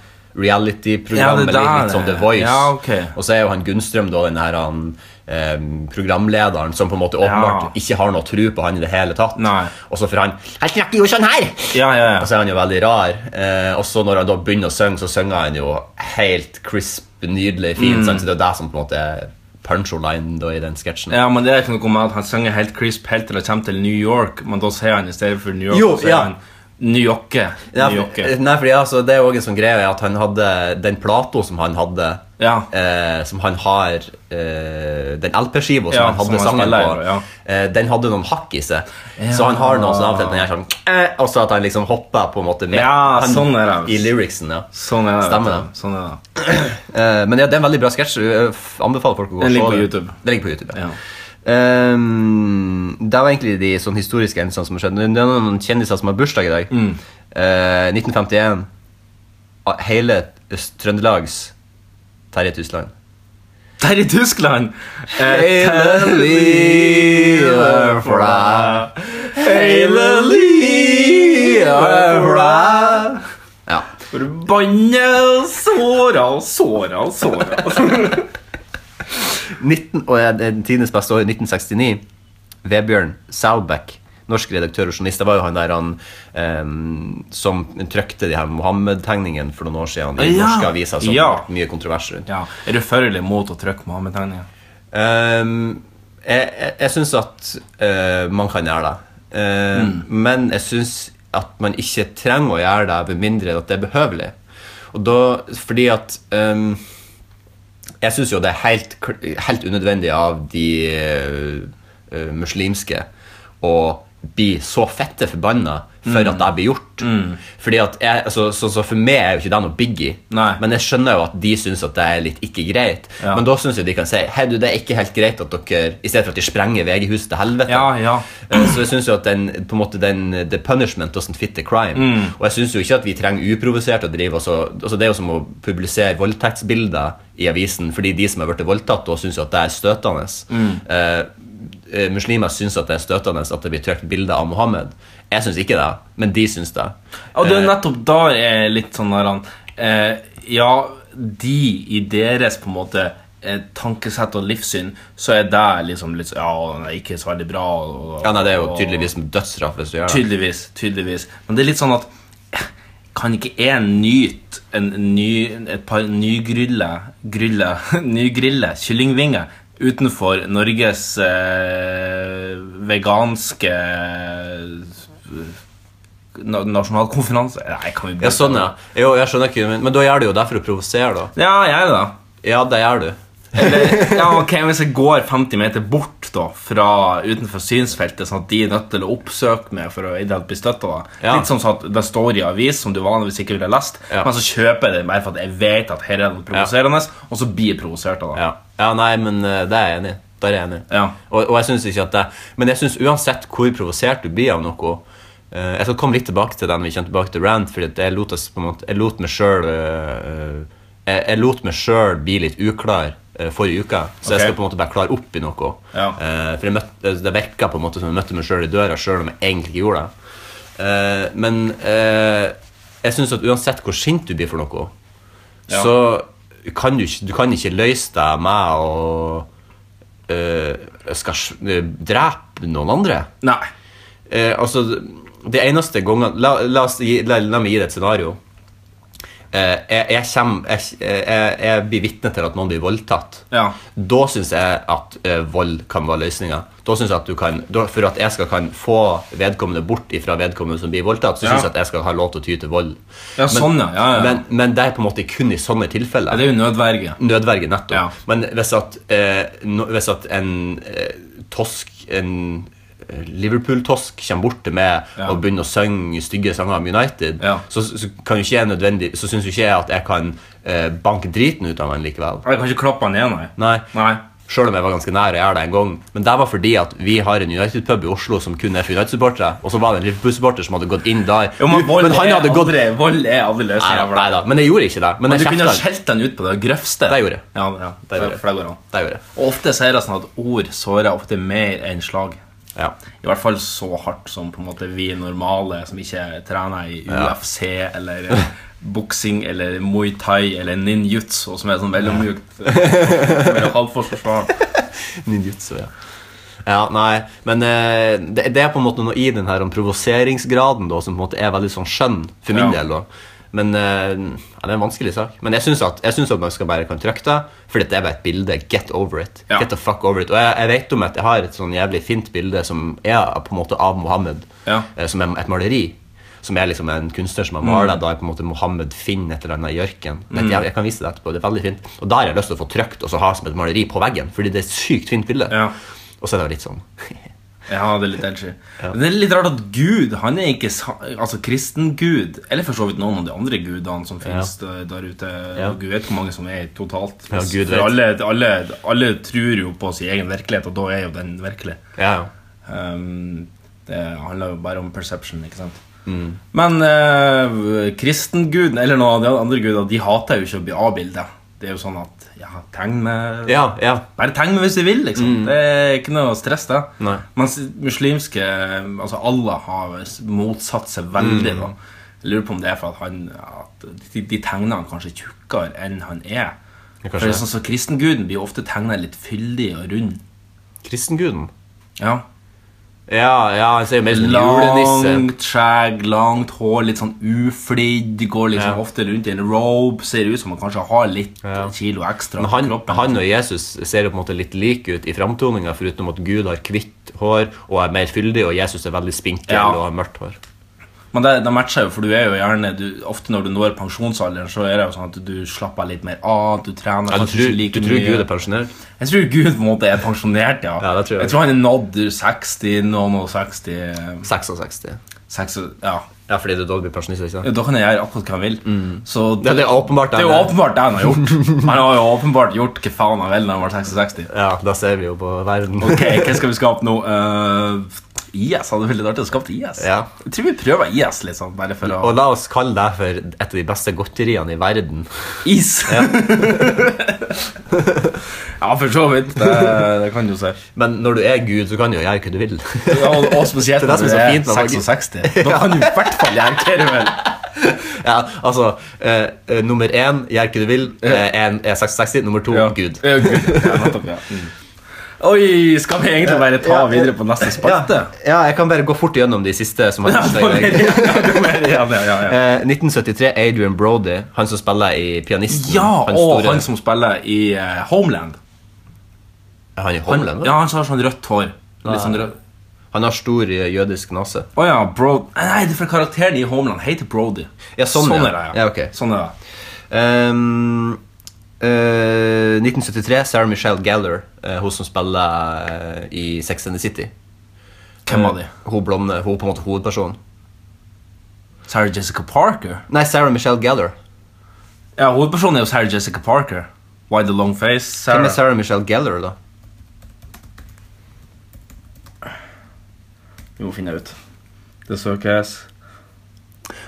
[SPEAKER 2] Ja,
[SPEAKER 3] synge-reality-program,
[SPEAKER 2] det der,
[SPEAKER 3] eller litt sånn The Voice.
[SPEAKER 2] ja, ok.
[SPEAKER 3] Og så er jo han Gunnstrøm da den her han, eh, programlederen som på en måte åpenbart ikke har noe tro på han i det hele tatt.
[SPEAKER 2] Nei.
[SPEAKER 3] Og så får han Han snakker jo sånn her!
[SPEAKER 2] Ja, ja,
[SPEAKER 3] Og
[SPEAKER 2] ja.
[SPEAKER 3] så er han jo veldig rar. Eh, og så når han da begynner å synge, så synger han jo helt crisp, nydelig, fint. sant? Så det er det som på en måte er puncholine da, i den sketsjen.
[SPEAKER 2] Ja, men det er ikke noe med at Han synger helt crisp helt til han kommer til New York, men da sier han i stedet for New York
[SPEAKER 3] Jo,
[SPEAKER 2] så sier
[SPEAKER 3] ja.
[SPEAKER 2] han New Yorke.
[SPEAKER 3] Nei,
[SPEAKER 2] New
[SPEAKER 3] for-
[SPEAKER 2] Yorke.
[SPEAKER 3] nei, fordi altså, det er jo også en sånn greie at han hadde den plato som han hadde
[SPEAKER 2] Ja.
[SPEAKER 3] eh, Som han har eh, Den LP-skiva som
[SPEAKER 2] Ja,
[SPEAKER 3] han
[SPEAKER 2] som
[SPEAKER 3] hadde
[SPEAKER 2] han
[SPEAKER 3] sangen på,
[SPEAKER 2] spiller, ja.
[SPEAKER 3] eh, den hadde noen hakk i seg. Så han har noe sånn av og til at han gjør sånn eh, Og så at han liksom hopper på en måte med
[SPEAKER 2] Ja,
[SPEAKER 3] han,
[SPEAKER 2] sånn er det.
[SPEAKER 3] i lyricsen. ja
[SPEAKER 2] Sånn er det. vet
[SPEAKER 3] Stemmer
[SPEAKER 2] du. Sånn er det.
[SPEAKER 3] Eh, men ja, det er en veldig bra sketsj. Jeg f- Anbefaler folk å gå og
[SPEAKER 2] Den
[SPEAKER 3] se
[SPEAKER 2] ligger på YouTube.
[SPEAKER 3] Den ligger på YouTube, ja.
[SPEAKER 2] Ja.
[SPEAKER 3] Ehm, det var egentlig de sånn historiske hendelsene som har skjedd. Det er noen kjendiser som har bursdag i dag.
[SPEAKER 2] Mm.
[SPEAKER 3] Eh, 1951. Ah, Hele Øst- Trøndelags Terje Tusland.
[SPEAKER 2] Der i Tyskland! Eh,
[SPEAKER 3] Hele livet for deg. Hele livet for deg. Ja.
[SPEAKER 2] Forbanna såra, såra, såra.
[SPEAKER 3] 19, og eh, det er tidenes beste år, 1969. Vebjørn Selbekk, norsk redaktør og journalist. Det var jo han der han ehm, som trykte de her Mohammed-tegningene for noen år siden i
[SPEAKER 2] Ja.
[SPEAKER 3] norske aviser. Som
[SPEAKER 2] Ja.
[SPEAKER 3] ble mye kontrovers rundt.
[SPEAKER 2] ja, er du for eller imot å trykke Mohammed-tegninga?
[SPEAKER 3] Ehm, jeg jeg, jeg syns at eh, man kan gjøre det. Eh, Men jeg syns at man ikke trenger å gjøre det med mindre at det er behøvelig. Og da, fordi at ehm, Jeg syns jo det er helt, kl- helt unødvendig av de eh, eh, muslimske å bli så fette forbanna for at det blir gjort. Fordi at jeg, altså, så, så For meg er jo ikke det noe biggie,
[SPEAKER 2] Nei.
[SPEAKER 3] men jeg skjønner jo at de syns at det er litt ikke greit.
[SPEAKER 2] Ja.
[SPEAKER 3] Men da syns jeg de kan si Hei du, det er ikke helt greit at dere I stedet for at de sprenger VG-huset til helvete.
[SPEAKER 2] Ja, ja.
[SPEAKER 3] Eh, Så jeg synes jo at den, på en måte den The punishment doesn't fit the crime.
[SPEAKER 2] Mm.
[SPEAKER 3] Og jeg syns jo ikke at vi trenger uprovosert å drive og så, altså Det er jo som å publisere voldtektsbilder i avisen, fordi de som har blitt voldtatt, da syns jo at det er støtende.
[SPEAKER 2] Mm.
[SPEAKER 3] Eh, eh, muslimer syns at det er støtende at det blir trykt bilder av Mohammed. Jeg syns ikke det, men de syns det.
[SPEAKER 2] Og det er nettopp da jeg er litt sånn der han eh, Ja, de i deres på en måte eh, tankesett og livssyn, så er det liksom litt så- Ja, det er ikke så veldig bra. Og,
[SPEAKER 3] Ja, nei, Det er jo
[SPEAKER 2] og-
[SPEAKER 3] tydeligvis dødsstraff hvis du gjør det.
[SPEAKER 2] Tydeligvis. tydeligvis Men det er litt sånn at kan ikke én nyte en ny, et par nygrille grille, <laughs> nygrille kyllingvinger utenfor Norges eh, veganske eh, na, nasjonalkonferanse? Nei, kan vi
[SPEAKER 3] Ja, sånn, ja. Jo, jeg skjønner ikke, men, men da gjør du jo det for å provosere, da.
[SPEAKER 2] Ja, jeg er det. da.
[SPEAKER 3] Ja, det gjør du.
[SPEAKER 2] Eller, ja, ok, Hvis jeg går 50 meter bort da fra utenfor synsfeltet, sånn at de er nødt til å oppsøke meg for å i det hele tatt bli støtta
[SPEAKER 3] Ja.
[SPEAKER 2] Litt som sånn at det står i avis som du vanligvis ikke ville lest,
[SPEAKER 3] Ja.
[SPEAKER 2] men så kjøper jeg det bare for at jeg vet at her er det noe provoserende, og så blir jeg provosert av det.
[SPEAKER 3] Ja, ja nei, men eh, det er jeg enig i. Der er jeg enig. i.
[SPEAKER 2] Ja.
[SPEAKER 3] Og, og jeg synes ikke at det, Men jeg synes uansett hvor provosert du blir av noe eh, Jeg skal komme litt tilbake til den vi kommer tilbake til rant, fordi at jeg lot, oss, på en måte, jeg lot meg sjøl jeg, jeg lot meg selv bli litt uklar eh, forrige uke, så jeg
[SPEAKER 2] Ok.
[SPEAKER 3] skal på en måte bare klare opp i noe.
[SPEAKER 2] Ja.
[SPEAKER 3] Eh, for jeg møtte, det virka på en måte som jeg møtte meg sjøl i døra, sjøl om jeg egentlig ikke gjorde det. Eh, men eh, jeg syns at uansett hvor sint du blir for noe,
[SPEAKER 2] Ja.
[SPEAKER 3] så kan du, ikke- du kan ikke løse deg med å eh, skal s- eh, drepe noen andre.
[SPEAKER 2] Nei.
[SPEAKER 3] Eh, altså, det eneste gangen La, la, oss gi, la, la meg gi deg et scenario. Eh, jeg, jeg, kommer- jeg, jeg, jeg blir vitne til at noen blir voldtatt.
[SPEAKER 2] Ja.
[SPEAKER 3] Da syns jeg at eh, vold kan være løsninga. Da synes jeg at du kan, da, For at jeg skal kan få vedkommende bort ifra vedkommende som blir voldtatt, så
[SPEAKER 2] Ja.
[SPEAKER 3] syns jeg at jeg skal ha lov til å ty til vold.
[SPEAKER 2] Ja, sånn, ja. Ja, ja.
[SPEAKER 3] Men, men det er på en måte kun i sånne tilfeller
[SPEAKER 2] Ja, det er jo nødverge.
[SPEAKER 3] nødverge nettopp.
[SPEAKER 2] Ja.
[SPEAKER 3] Men hvis at, eh, no, hvis at en eh, tosk, en eh, Liverpool-tosk kommer bort til meg
[SPEAKER 2] Ja.
[SPEAKER 3] og begynner å synge stygge sanger om United,
[SPEAKER 2] Ja.
[SPEAKER 3] så, så, kan jo ikke jeg nødvendig, så syns jo ikke jeg at jeg kan eh, banke driten ut av han likevel.
[SPEAKER 2] Jeg kan ikke klappe han ned, nei.
[SPEAKER 3] Nei.
[SPEAKER 2] Nei.
[SPEAKER 3] Selv om jeg var ganske nær å gjøre det en gang. Men det var fordi at vi har en United-pub i Oslo som kun er for United-supportere. Og så var det en Liverpool-supporter som hadde gått inn der.
[SPEAKER 2] Jo, men
[SPEAKER 3] Du,
[SPEAKER 2] vold,
[SPEAKER 3] men han hadde
[SPEAKER 2] er
[SPEAKER 3] gått
[SPEAKER 2] aldri, vold er aldri
[SPEAKER 3] Neida,
[SPEAKER 2] løsninga for deg.
[SPEAKER 3] neida, Men jeg gjorde ikke det. Men
[SPEAKER 2] Du
[SPEAKER 3] jeg
[SPEAKER 2] kunne ha
[SPEAKER 3] kjefta.
[SPEAKER 2] skjelt den ut på det grøvste.
[SPEAKER 3] Det gjorde jeg.
[SPEAKER 2] Ja, ja,
[SPEAKER 3] Det gjorde jeg.
[SPEAKER 2] for det går an.
[SPEAKER 3] Det gjorde jeg.
[SPEAKER 2] Og ofte sier det sånn at ord sårer ofte mer enn slag.
[SPEAKER 3] <laughs> Ja.
[SPEAKER 2] I hvert fall så hardt som på en måte vi normale som ikke trener i UFC eller eh, boksing eller muay thai eller ninjutsu, som er sånn veldig
[SPEAKER 3] <laughs>
[SPEAKER 2] mjukt. Mellom halvforsvar.
[SPEAKER 3] Ninjutsu, ja. Ja, nei, men eh, det, det er på en måte noe i den her om provoseringsgraden da, som på en måte er veldig sånn skjønn, for min
[SPEAKER 2] Ja.
[SPEAKER 3] del. da. Men eh, ja, Det er en vanskelig sak. Men jeg syns at, jeg synes at man skal bare kan trykke det, for dette er bare et bilde. Get over it.
[SPEAKER 2] Ja.
[SPEAKER 3] Get the fuck over it. Og jeg, jeg vet om at jeg har et sånn jævlig fint bilde som er på en måte av Mohammed,
[SPEAKER 2] Ja.
[SPEAKER 3] eh, som er et maleri. Som er liksom en kunstner som har malt
[SPEAKER 2] Mm.
[SPEAKER 3] da er på en måte Mohammed finner et eller annet i ørken. Men Jeg, jeg kan vise det etterpå, det er veldig fint Og der har jeg lyst til å få trykt og så ha som et maleri på veggen, fordi det er et sykt fint bilde.
[SPEAKER 2] Ja.
[SPEAKER 3] Og så er det jo litt sånn <laughs>
[SPEAKER 2] Ja, det er litt edgy. Men Det er litt rart at Gud, han er ikke sa- altså kristen Gud, eller for så vidt noen av de andre gudene som finnes der- der ute.
[SPEAKER 3] Ja.
[SPEAKER 2] Gud vet hvor mange som er totalt.
[SPEAKER 3] Ja, Gud
[SPEAKER 2] for
[SPEAKER 3] vet.
[SPEAKER 2] alle, alle, alle tror jo på sin egen virkelighet, og da er jo den virkelig.
[SPEAKER 3] Ja, ja.
[SPEAKER 2] Um, det handler jo bare om perception, ikke sant?
[SPEAKER 3] Mm.
[SPEAKER 2] Men eh, kristenguden, eller noen av de andre gudene, de hater jo ikke å bli avbildet. Det er jo sånn at ja, tegn med
[SPEAKER 3] Ja, ja.
[SPEAKER 2] Bare tegn med hvis du vil, liksom. Det er ikke noe stress, det.
[SPEAKER 3] Nei.
[SPEAKER 2] Mens muslimske Altså, alle har s- motsatt seg veldig,
[SPEAKER 3] Mm.
[SPEAKER 2] da. Jeg lurer på om det er for at han at de, de tegner han kanskje tjukkere enn han er.
[SPEAKER 3] Ja, kanskje
[SPEAKER 2] For det
[SPEAKER 3] det.
[SPEAKER 2] er sånn, så Kristenguden blir jo ofte tegnet litt fyldig og rund. sånn-
[SPEAKER 3] Kristenguden.
[SPEAKER 2] Ja
[SPEAKER 3] Ja, ja, han ser jo mer ut som en julenisse.
[SPEAKER 2] Langt skjegg, langt hår, litt sånn uflidd. Går liksom
[SPEAKER 3] Ja.
[SPEAKER 2] ofte rundt i en robe. Ser ut som han kanskje har litt
[SPEAKER 3] Ja.
[SPEAKER 2] kilo ekstra
[SPEAKER 3] Men
[SPEAKER 2] på
[SPEAKER 3] han,
[SPEAKER 2] kroppen.
[SPEAKER 3] han og Jesus ser jo på en måte litt like ut i framtoninga, foruten at Gud har hvitt hår og er mer fyldig, og Jesus er veldig spinkel
[SPEAKER 2] Ja.
[SPEAKER 3] og har mørkt hår.
[SPEAKER 2] Men det, det matcher jo, for du er jo gjerne du, Ofte når du når pensjonsalderen, så er det jo sånn at du slapper litt mer av. Du trener
[SPEAKER 3] Ja, du
[SPEAKER 2] kanskje
[SPEAKER 3] tror,
[SPEAKER 2] ikke like
[SPEAKER 3] du tror
[SPEAKER 2] mye.
[SPEAKER 3] Gud er pensjonert?
[SPEAKER 2] Jeg tror Gud på en måte er pensjonert, ja.
[SPEAKER 3] <laughs> Ja, det tror jeg.
[SPEAKER 2] jeg tror han er nådd 60, noen og 60
[SPEAKER 3] 66.
[SPEAKER 2] 6, Ja.
[SPEAKER 3] Ja, fordi du da blir pensjonist, ikke sant?
[SPEAKER 2] Da kan jeg gjøre akkurat hva han vil. Så
[SPEAKER 3] Mm. Ja, det er åpenbart.
[SPEAKER 2] Det er jo åpenbart det han har gjort.
[SPEAKER 3] <laughs>
[SPEAKER 2] Han har jo åpenbart gjort hva faen han vil når han var 66.
[SPEAKER 3] Ja, da ser vi jo på verden.
[SPEAKER 2] Ok, hva skal vi skape nå? Eh, IS hadde vært litt artig å skape IS.
[SPEAKER 3] Ja.
[SPEAKER 2] Jeg tror vi prøver IS, liksom. Bare for å
[SPEAKER 3] <laughs> Og la oss kalle deg for et av de beste godteriene i verden.
[SPEAKER 2] Is! <laughs> Ja, for så vidt. Det, det kan du se.
[SPEAKER 3] Men når du er Gud, så kan du jo gjøre hva du vil.
[SPEAKER 2] Ja, og, og spesielt
[SPEAKER 3] <laughs> Det er det
[SPEAKER 2] når
[SPEAKER 3] som er
[SPEAKER 2] du
[SPEAKER 3] så
[SPEAKER 2] er
[SPEAKER 3] <laughs> fint med Norge.
[SPEAKER 2] 66. Da kan du i hvert fall gjøre hva du vil.
[SPEAKER 3] ja, altså eh, eh, Nummer én, gjør hva du vil, eh, en er 66. Nummer to, Oh, Gud.
[SPEAKER 2] Ja, Gud. Ja, nettopp, ja. Mm. Oi, skal vi egentlig bare ta
[SPEAKER 3] Ja, ja.
[SPEAKER 2] videre på neste spalte?
[SPEAKER 3] Ja, ja, jeg kan bare gå fort gjennom de siste. som
[SPEAKER 2] <laughs>
[SPEAKER 3] har
[SPEAKER 2] Ja,
[SPEAKER 3] bursdag
[SPEAKER 2] da
[SPEAKER 3] i dag.
[SPEAKER 2] er det- ja, da er det- ja, ja, ja, ja.
[SPEAKER 3] Eh, 1973, Adrian Brody, han som spiller i Pianisten.
[SPEAKER 2] Ja,
[SPEAKER 3] han
[SPEAKER 2] og
[SPEAKER 3] store-
[SPEAKER 2] han som spiller i eh, Homeland.
[SPEAKER 3] Er han i
[SPEAKER 2] Han,
[SPEAKER 3] Homeland?
[SPEAKER 2] ja, han som har sånn rødt hår. Litt sånn
[SPEAKER 3] Nei.
[SPEAKER 2] rødt.
[SPEAKER 3] Han har stor eh, jødisk nase.
[SPEAKER 2] Å ja, Bro... Nei, det er for karakteren i Homeland heter Brody.
[SPEAKER 3] Ja, sånn, ja.
[SPEAKER 2] er det, ja.
[SPEAKER 3] Ja, ok.
[SPEAKER 2] Sånn er det.
[SPEAKER 3] Ehm, eh, 1973, Sarah Michelle Geller, eh, hun som spiller eh, i Sex and the City. Eh,
[SPEAKER 2] Hvem var de?
[SPEAKER 3] Hun blonde, hun er på en måte hovedpersonen.
[SPEAKER 2] Sarah Jessica Parker?
[SPEAKER 3] Nei, Sarah Michelle Geller.
[SPEAKER 2] Ja, hovedpersonen er jo Sarah Jessica Parker. Why the long face? Sarah.
[SPEAKER 3] Hvem er Sarah Michelle Geller, da?
[SPEAKER 2] Vi må finne ut. Det søkes.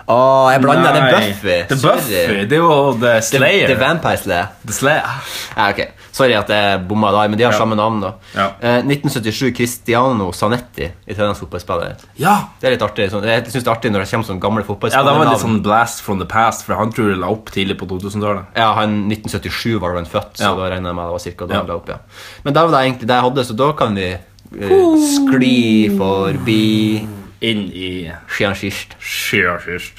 [SPEAKER 3] Å, jeg blanda. Det er Buffy.
[SPEAKER 2] Det er
[SPEAKER 3] Sorry.
[SPEAKER 2] Buffy. Det er jo The
[SPEAKER 3] Det,
[SPEAKER 2] Slayer.
[SPEAKER 3] det er Vampire Slayer.
[SPEAKER 2] The Slayer.
[SPEAKER 3] Ja, ok. Sorry at jeg bomma der, men de har
[SPEAKER 2] Ja.
[SPEAKER 3] samme navn, da.
[SPEAKER 2] Ja.
[SPEAKER 3] Eh, 1977, Cristiano Zanetti, italiensk fotballspiller.
[SPEAKER 2] Ja!
[SPEAKER 3] Det er litt artig, sånn, jeg synes det er artig når det kommer sånne gamle
[SPEAKER 2] Ja, det
[SPEAKER 3] fotballspillernavn.
[SPEAKER 2] var litt sånn blast from the past, for han tror jeg la opp tidlig på 2000-tallet.
[SPEAKER 3] Ja, han 1977 var han født, så
[SPEAKER 2] Ja.
[SPEAKER 3] da regner jeg med det var cirka da
[SPEAKER 2] Ja.
[SPEAKER 3] han la opp, ja. Men det var det egentlig det jeg hadde, så da kan vi eh, skli forbi
[SPEAKER 2] Inn i
[SPEAKER 3] Skian Skist.
[SPEAKER 2] Skjer først.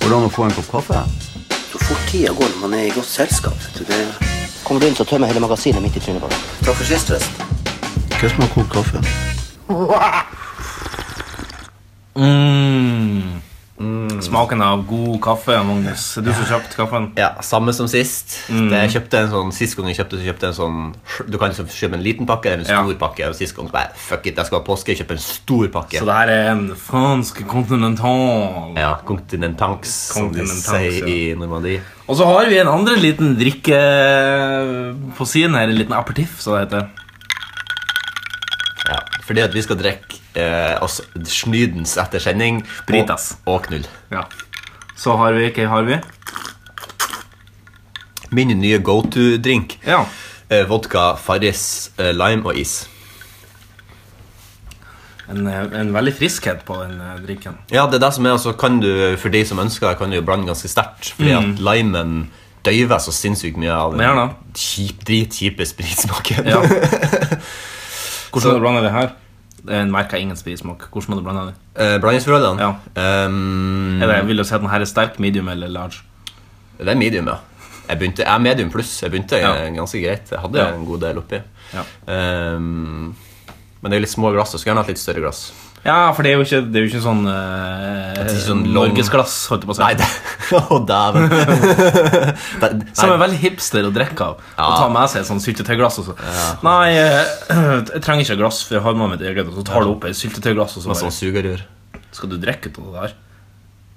[SPEAKER 5] Hvordan å få en kopp kaffe?
[SPEAKER 6] Så fort tida går når man er i godt selskap. vet du, Det... Kommer du inn, så tømmer hele magasinet midt i trynet på deg. Takk for sist, forresten.
[SPEAKER 5] Hva som har kokt kaffe?
[SPEAKER 2] Mm. Smaken av god kaffe, Magnus. Er Du som kjøpte kaffen.
[SPEAKER 3] Ja, samme som sist. Det jeg kjøpte en sånn, Sist gang jeg kjøpte, så kjøpte jeg en sånn Du kan liksom kjøpe en liten pakke eller en
[SPEAKER 2] Ja.
[SPEAKER 3] stor pakke. Og sist gang så bare Fuck it, jeg skal ha påske, jeg kjøper en stor pakke.
[SPEAKER 2] Så det her er en fransk continental.
[SPEAKER 3] Ja, Continentanks, som de
[SPEAKER 2] Continentals,
[SPEAKER 3] sier i Normandie.
[SPEAKER 2] Og så har vi en andre liten drikke eh, på siden her. En liten aperitiff, som det heter.
[SPEAKER 3] Ja, fordi at vi skal drikke eh, oss snydens etter sending. og-
[SPEAKER 2] Britas.
[SPEAKER 3] Og knull.
[SPEAKER 2] Ja. Så har vi Hva har vi?
[SPEAKER 3] Min nye go to-drink.
[SPEAKER 2] Ja.
[SPEAKER 3] Eh, vodka, Farris, eh, lime og is.
[SPEAKER 2] En, eh, en veldig friskhet på den eh, drinken.
[SPEAKER 3] Ja, det er det som er, altså kan du, For de som ønsker det, kan du jo blande ganske sterkt. Fordi
[SPEAKER 2] Mm.
[SPEAKER 3] at limen døyver så sinnssykt mye av
[SPEAKER 2] Mer da.
[SPEAKER 3] den kjip, dritkjipe spritsmaken.
[SPEAKER 2] Ja. <laughs> Hvordan har du blanda det her? Den merker ingen spritsmak. Hvordan har du blanda det?
[SPEAKER 3] <laughs> eh, Blandingsforholdene?
[SPEAKER 2] Ja.
[SPEAKER 3] Ehm,
[SPEAKER 2] Er det, vil du si at den her er sterk, medium eller large?
[SPEAKER 3] Det er medium, ja. Jeg begynte, jeg er medium pluss. Jeg begynte eh,
[SPEAKER 2] Ja.
[SPEAKER 3] ganske greit. Jeg hadde
[SPEAKER 2] Ja.
[SPEAKER 3] en god del oppi.
[SPEAKER 2] Ja.
[SPEAKER 3] Ehm, men det er jo litt små glass, så skulle jeg gjerne hatt litt større glass.
[SPEAKER 2] Ja, for det er jo ikke, det er jo ikke sånn, eh,
[SPEAKER 3] er ikke sånn lang-
[SPEAKER 2] Norgesglass, holdt jeg på å si.
[SPEAKER 3] Nei, det <laughs> Å,
[SPEAKER 2] <laughs>
[SPEAKER 3] dæven! Det- nei.
[SPEAKER 2] Som er veldig hipster å drikke av. Å
[SPEAKER 3] Ja.
[SPEAKER 2] ta med seg et sånt syltetøyglass. og så Nei, eh, jeg trenger ikke glass, for jeg har med mitt eget. Og så tar du opp et syltetøyglass, og så
[SPEAKER 3] Med sånn
[SPEAKER 2] bare
[SPEAKER 3] sugerør.
[SPEAKER 2] Skal du drikke ut av det der?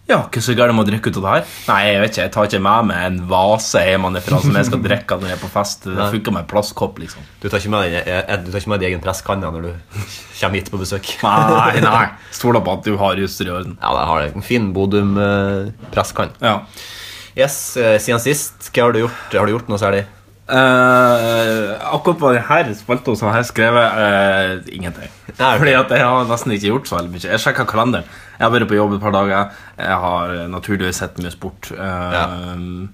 [SPEAKER 2] Ja, hva er så gærent med å drikke ut av det her? Nei, jeg vet ikke, jeg tar ikke med meg en vase hjemmefra som jeg skal drikke av når jeg er på fest. Det funker med en plastkopp, liksom.
[SPEAKER 3] Du tar ikke med din, eh, eh, du tar ikke med din egen presskanne når du <laughs> kommer hit på besøk.
[SPEAKER 2] Nei, nei. Stoler på at du har juster i orden.
[SPEAKER 3] <laughs> Ja, jeg har jeg. en fin eh, Bodum-presskann.
[SPEAKER 2] Ja.
[SPEAKER 3] Yes, eh, siden sist, hva har du gjort? Har du gjort noe særlig?
[SPEAKER 2] Eh, akkurat på denne spalta så har jeg skrevet eh, ingenting.
[SPEAKER 3] Nei, ok.
[SPEAKER 2] Fordi at jeg har nesten ikke gjort så veldig mye. Jeg sjekka kalenderen. Jeg har vært på jobb et par dager. Jeg har eh, naturligvis sett mye sport. Eh,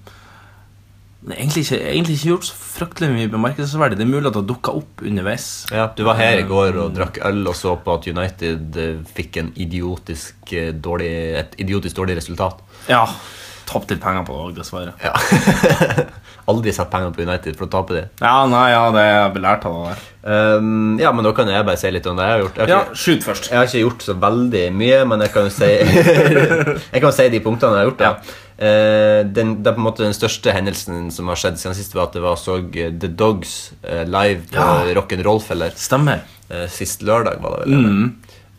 [SPEAKER 2] men egentlig, ikke, egentlig ikke gjort så fryktelig mye bemerkelsesverdig. Det er mulig at det har dukka opp underveis.
[SPEAKER 3] Ja, du var her i går og drakk øl og så på at United eh, fikk en idiotisk eh, dårlig, et idiotisk dårlig resultat.
[SPEAKER 2] Ja. Tapt litt penger på det òg, dessverre.
[SPEAKER 3] Ja. <laughs> Aldri sett penger på United for å tape det.
[SPEAKER 2] Ja, nei, ja, det er jeg belært av det der.
[SPEAKER 3] Ehm, ja, men da kan jeg bare si litt om det jeg har gjort. Jeg
[SPEAKER 2] Ja,
[SPEAKER 3] har, ikke,
[SPEAKER 2] Skyt først.
[SPEAKER 3] jeg har ikke gjort så veldig mye, men jeg kan jo si, jeg kan jo si de punktene jeg har gjort. Da. Eh, den, det er på en måte den største hendelsen som har skjedd siden sist, var at jeg var og så eh, The Dogs eh, live på
[SPEAKER 2] Ja.
[SPEAKER 3] Rock'n'Roll-feller.
[SPEAKER 2] Stemmer.
[SPEAKER 3] Eh, Sist lørdag var det vel
[SPEAKER 2] Mm.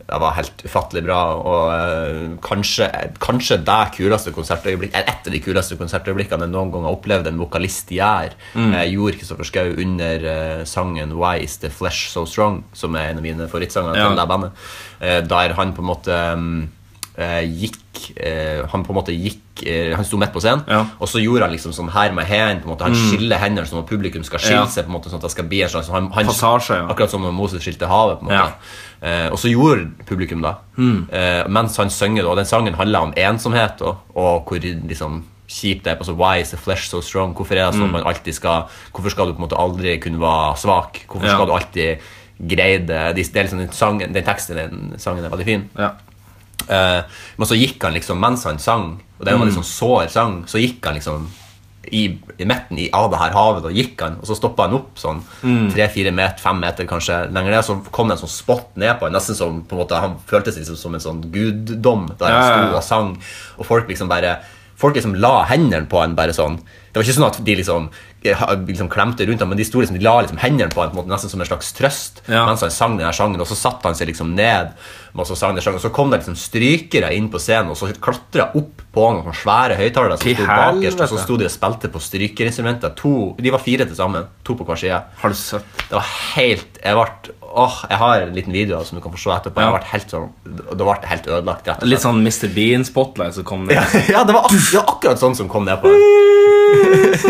[SPEAKER 3] Det var helt ufattelig bra Og eh, kanskje, kanskje det kuleste konsertøyeblikk Eller et av de kuleste konsertøyeblikkene Jeg noen gang har opplevd en vokalist gjør
[SPEAKER 2] Mm.
[SPEAKER 3] Jeg gjorde Kristoffer Schau under eh, sangen Why is the flesh so strong Som er en av mine favorittsanger
[SPEAKER 2] Ja.
[SPEAKER 3] til det bandet Eh, Der han på en måte mm, eh, gikk eh, Han på en måte gikk eh, Han sto midt på scenen,
[SPEAKER 2] Ja. Mm.
[SPEAKER 3] og så gjorde han liksom sånn her med hendene. på en måte Han skiller hendene sånn at publikum skal skille
[SPEAKER 2] Ja.
[SPEAKER 3] seg. på en måte Sånn at det skal bli en slags han, han,
[SPEAKER 2] Passasje, ja.
[SPEAKER 3] Akkurat som når Moses skilte havet. på en måte
[SPEAKER 2] Ja. Hmm.
[SPEAKER 3] Eh, og så gjorde publikum det. Eh, mens han synger, da, og den sangen handler om ensomhet og, og hvor liksom, kjipt det er. på så Why is the flesh so strong? Hvorfor er det sånn
[SPEAKER 2] Hmm.
[SPEAKER 3] man alltid skal Hvorfor skal du på en måte aldri kunne være svak? Hvorfor
[SPEAKER 2] Ja.
[SPEAKER 3] skal du alltid greie det? De- Det er liksom den, sangen, den teksten i den sangen er veldig fin.
[SPEAKER 2] Ja.
[SPEAKER 3] Eh, men så gikk han liksom mens han sang, og det var
[SPEAKER 2] Mm.
[SPEAKER 3] en litt sånn sår sang, så gikk han liksom i, i midten i- av det her havet, og gikk han, og så stoppa han opp sånn
[SPEAKER 2] Mm.
[SPEAKER 3] tre-fire meter, fem meter kanskje lenger ned, så kom det en sånn spott ned på han, nesten som på en måte, han følte seg liksom som en sånn guddom der han
[SPEAKER 2] Ja, ja, ja.
[SPEAKER 3] sto og sang, og folk liksom bare Folk liksom la hendene på han bare sånn. Det var ikke sånn at de liksom, eh, ha- liksom klemte rundt ham, men de, sto liksom, de la liksom hendene på han på en måte, nesten som en slags trøst
[SPEAKER 2] Ja.
[SPEAKER 3] mens han sang den her sangen, og så satte han seg liksom ned, og så sang den sangen, og så kom det liksom strykere inn på scenen, og så klatra opp på noen sånne svære høyttalere som
[SPEAKER 2] Til
[SPEAKER 3] sto bakerst, og så
[SPEAKER 2] helvete.
[SPEAKER 3] sto de og spilte på strykerinstrumenter. To, de var fire til sammen, to på hver side.
[SPEAKER 2] Har du sett?
[SPEAKER 3] Det var helt Jeg ble Åh, jeg har en liten video som du kan få se etterpå.
[SPEAKER 2] Ja.
[SPEAKER 3] Jeg ble helt sånn Det ble helt ødelagt, rett og
[SPEAKER 2] Litt
[SPEAKER 3] slett.
[SPEAKER 2] sånn Mr. Bean-spotlight som kom ned.
[SPEAKER 3] Ja, ja det, var ak det var akkurat sånn som kom ned på den.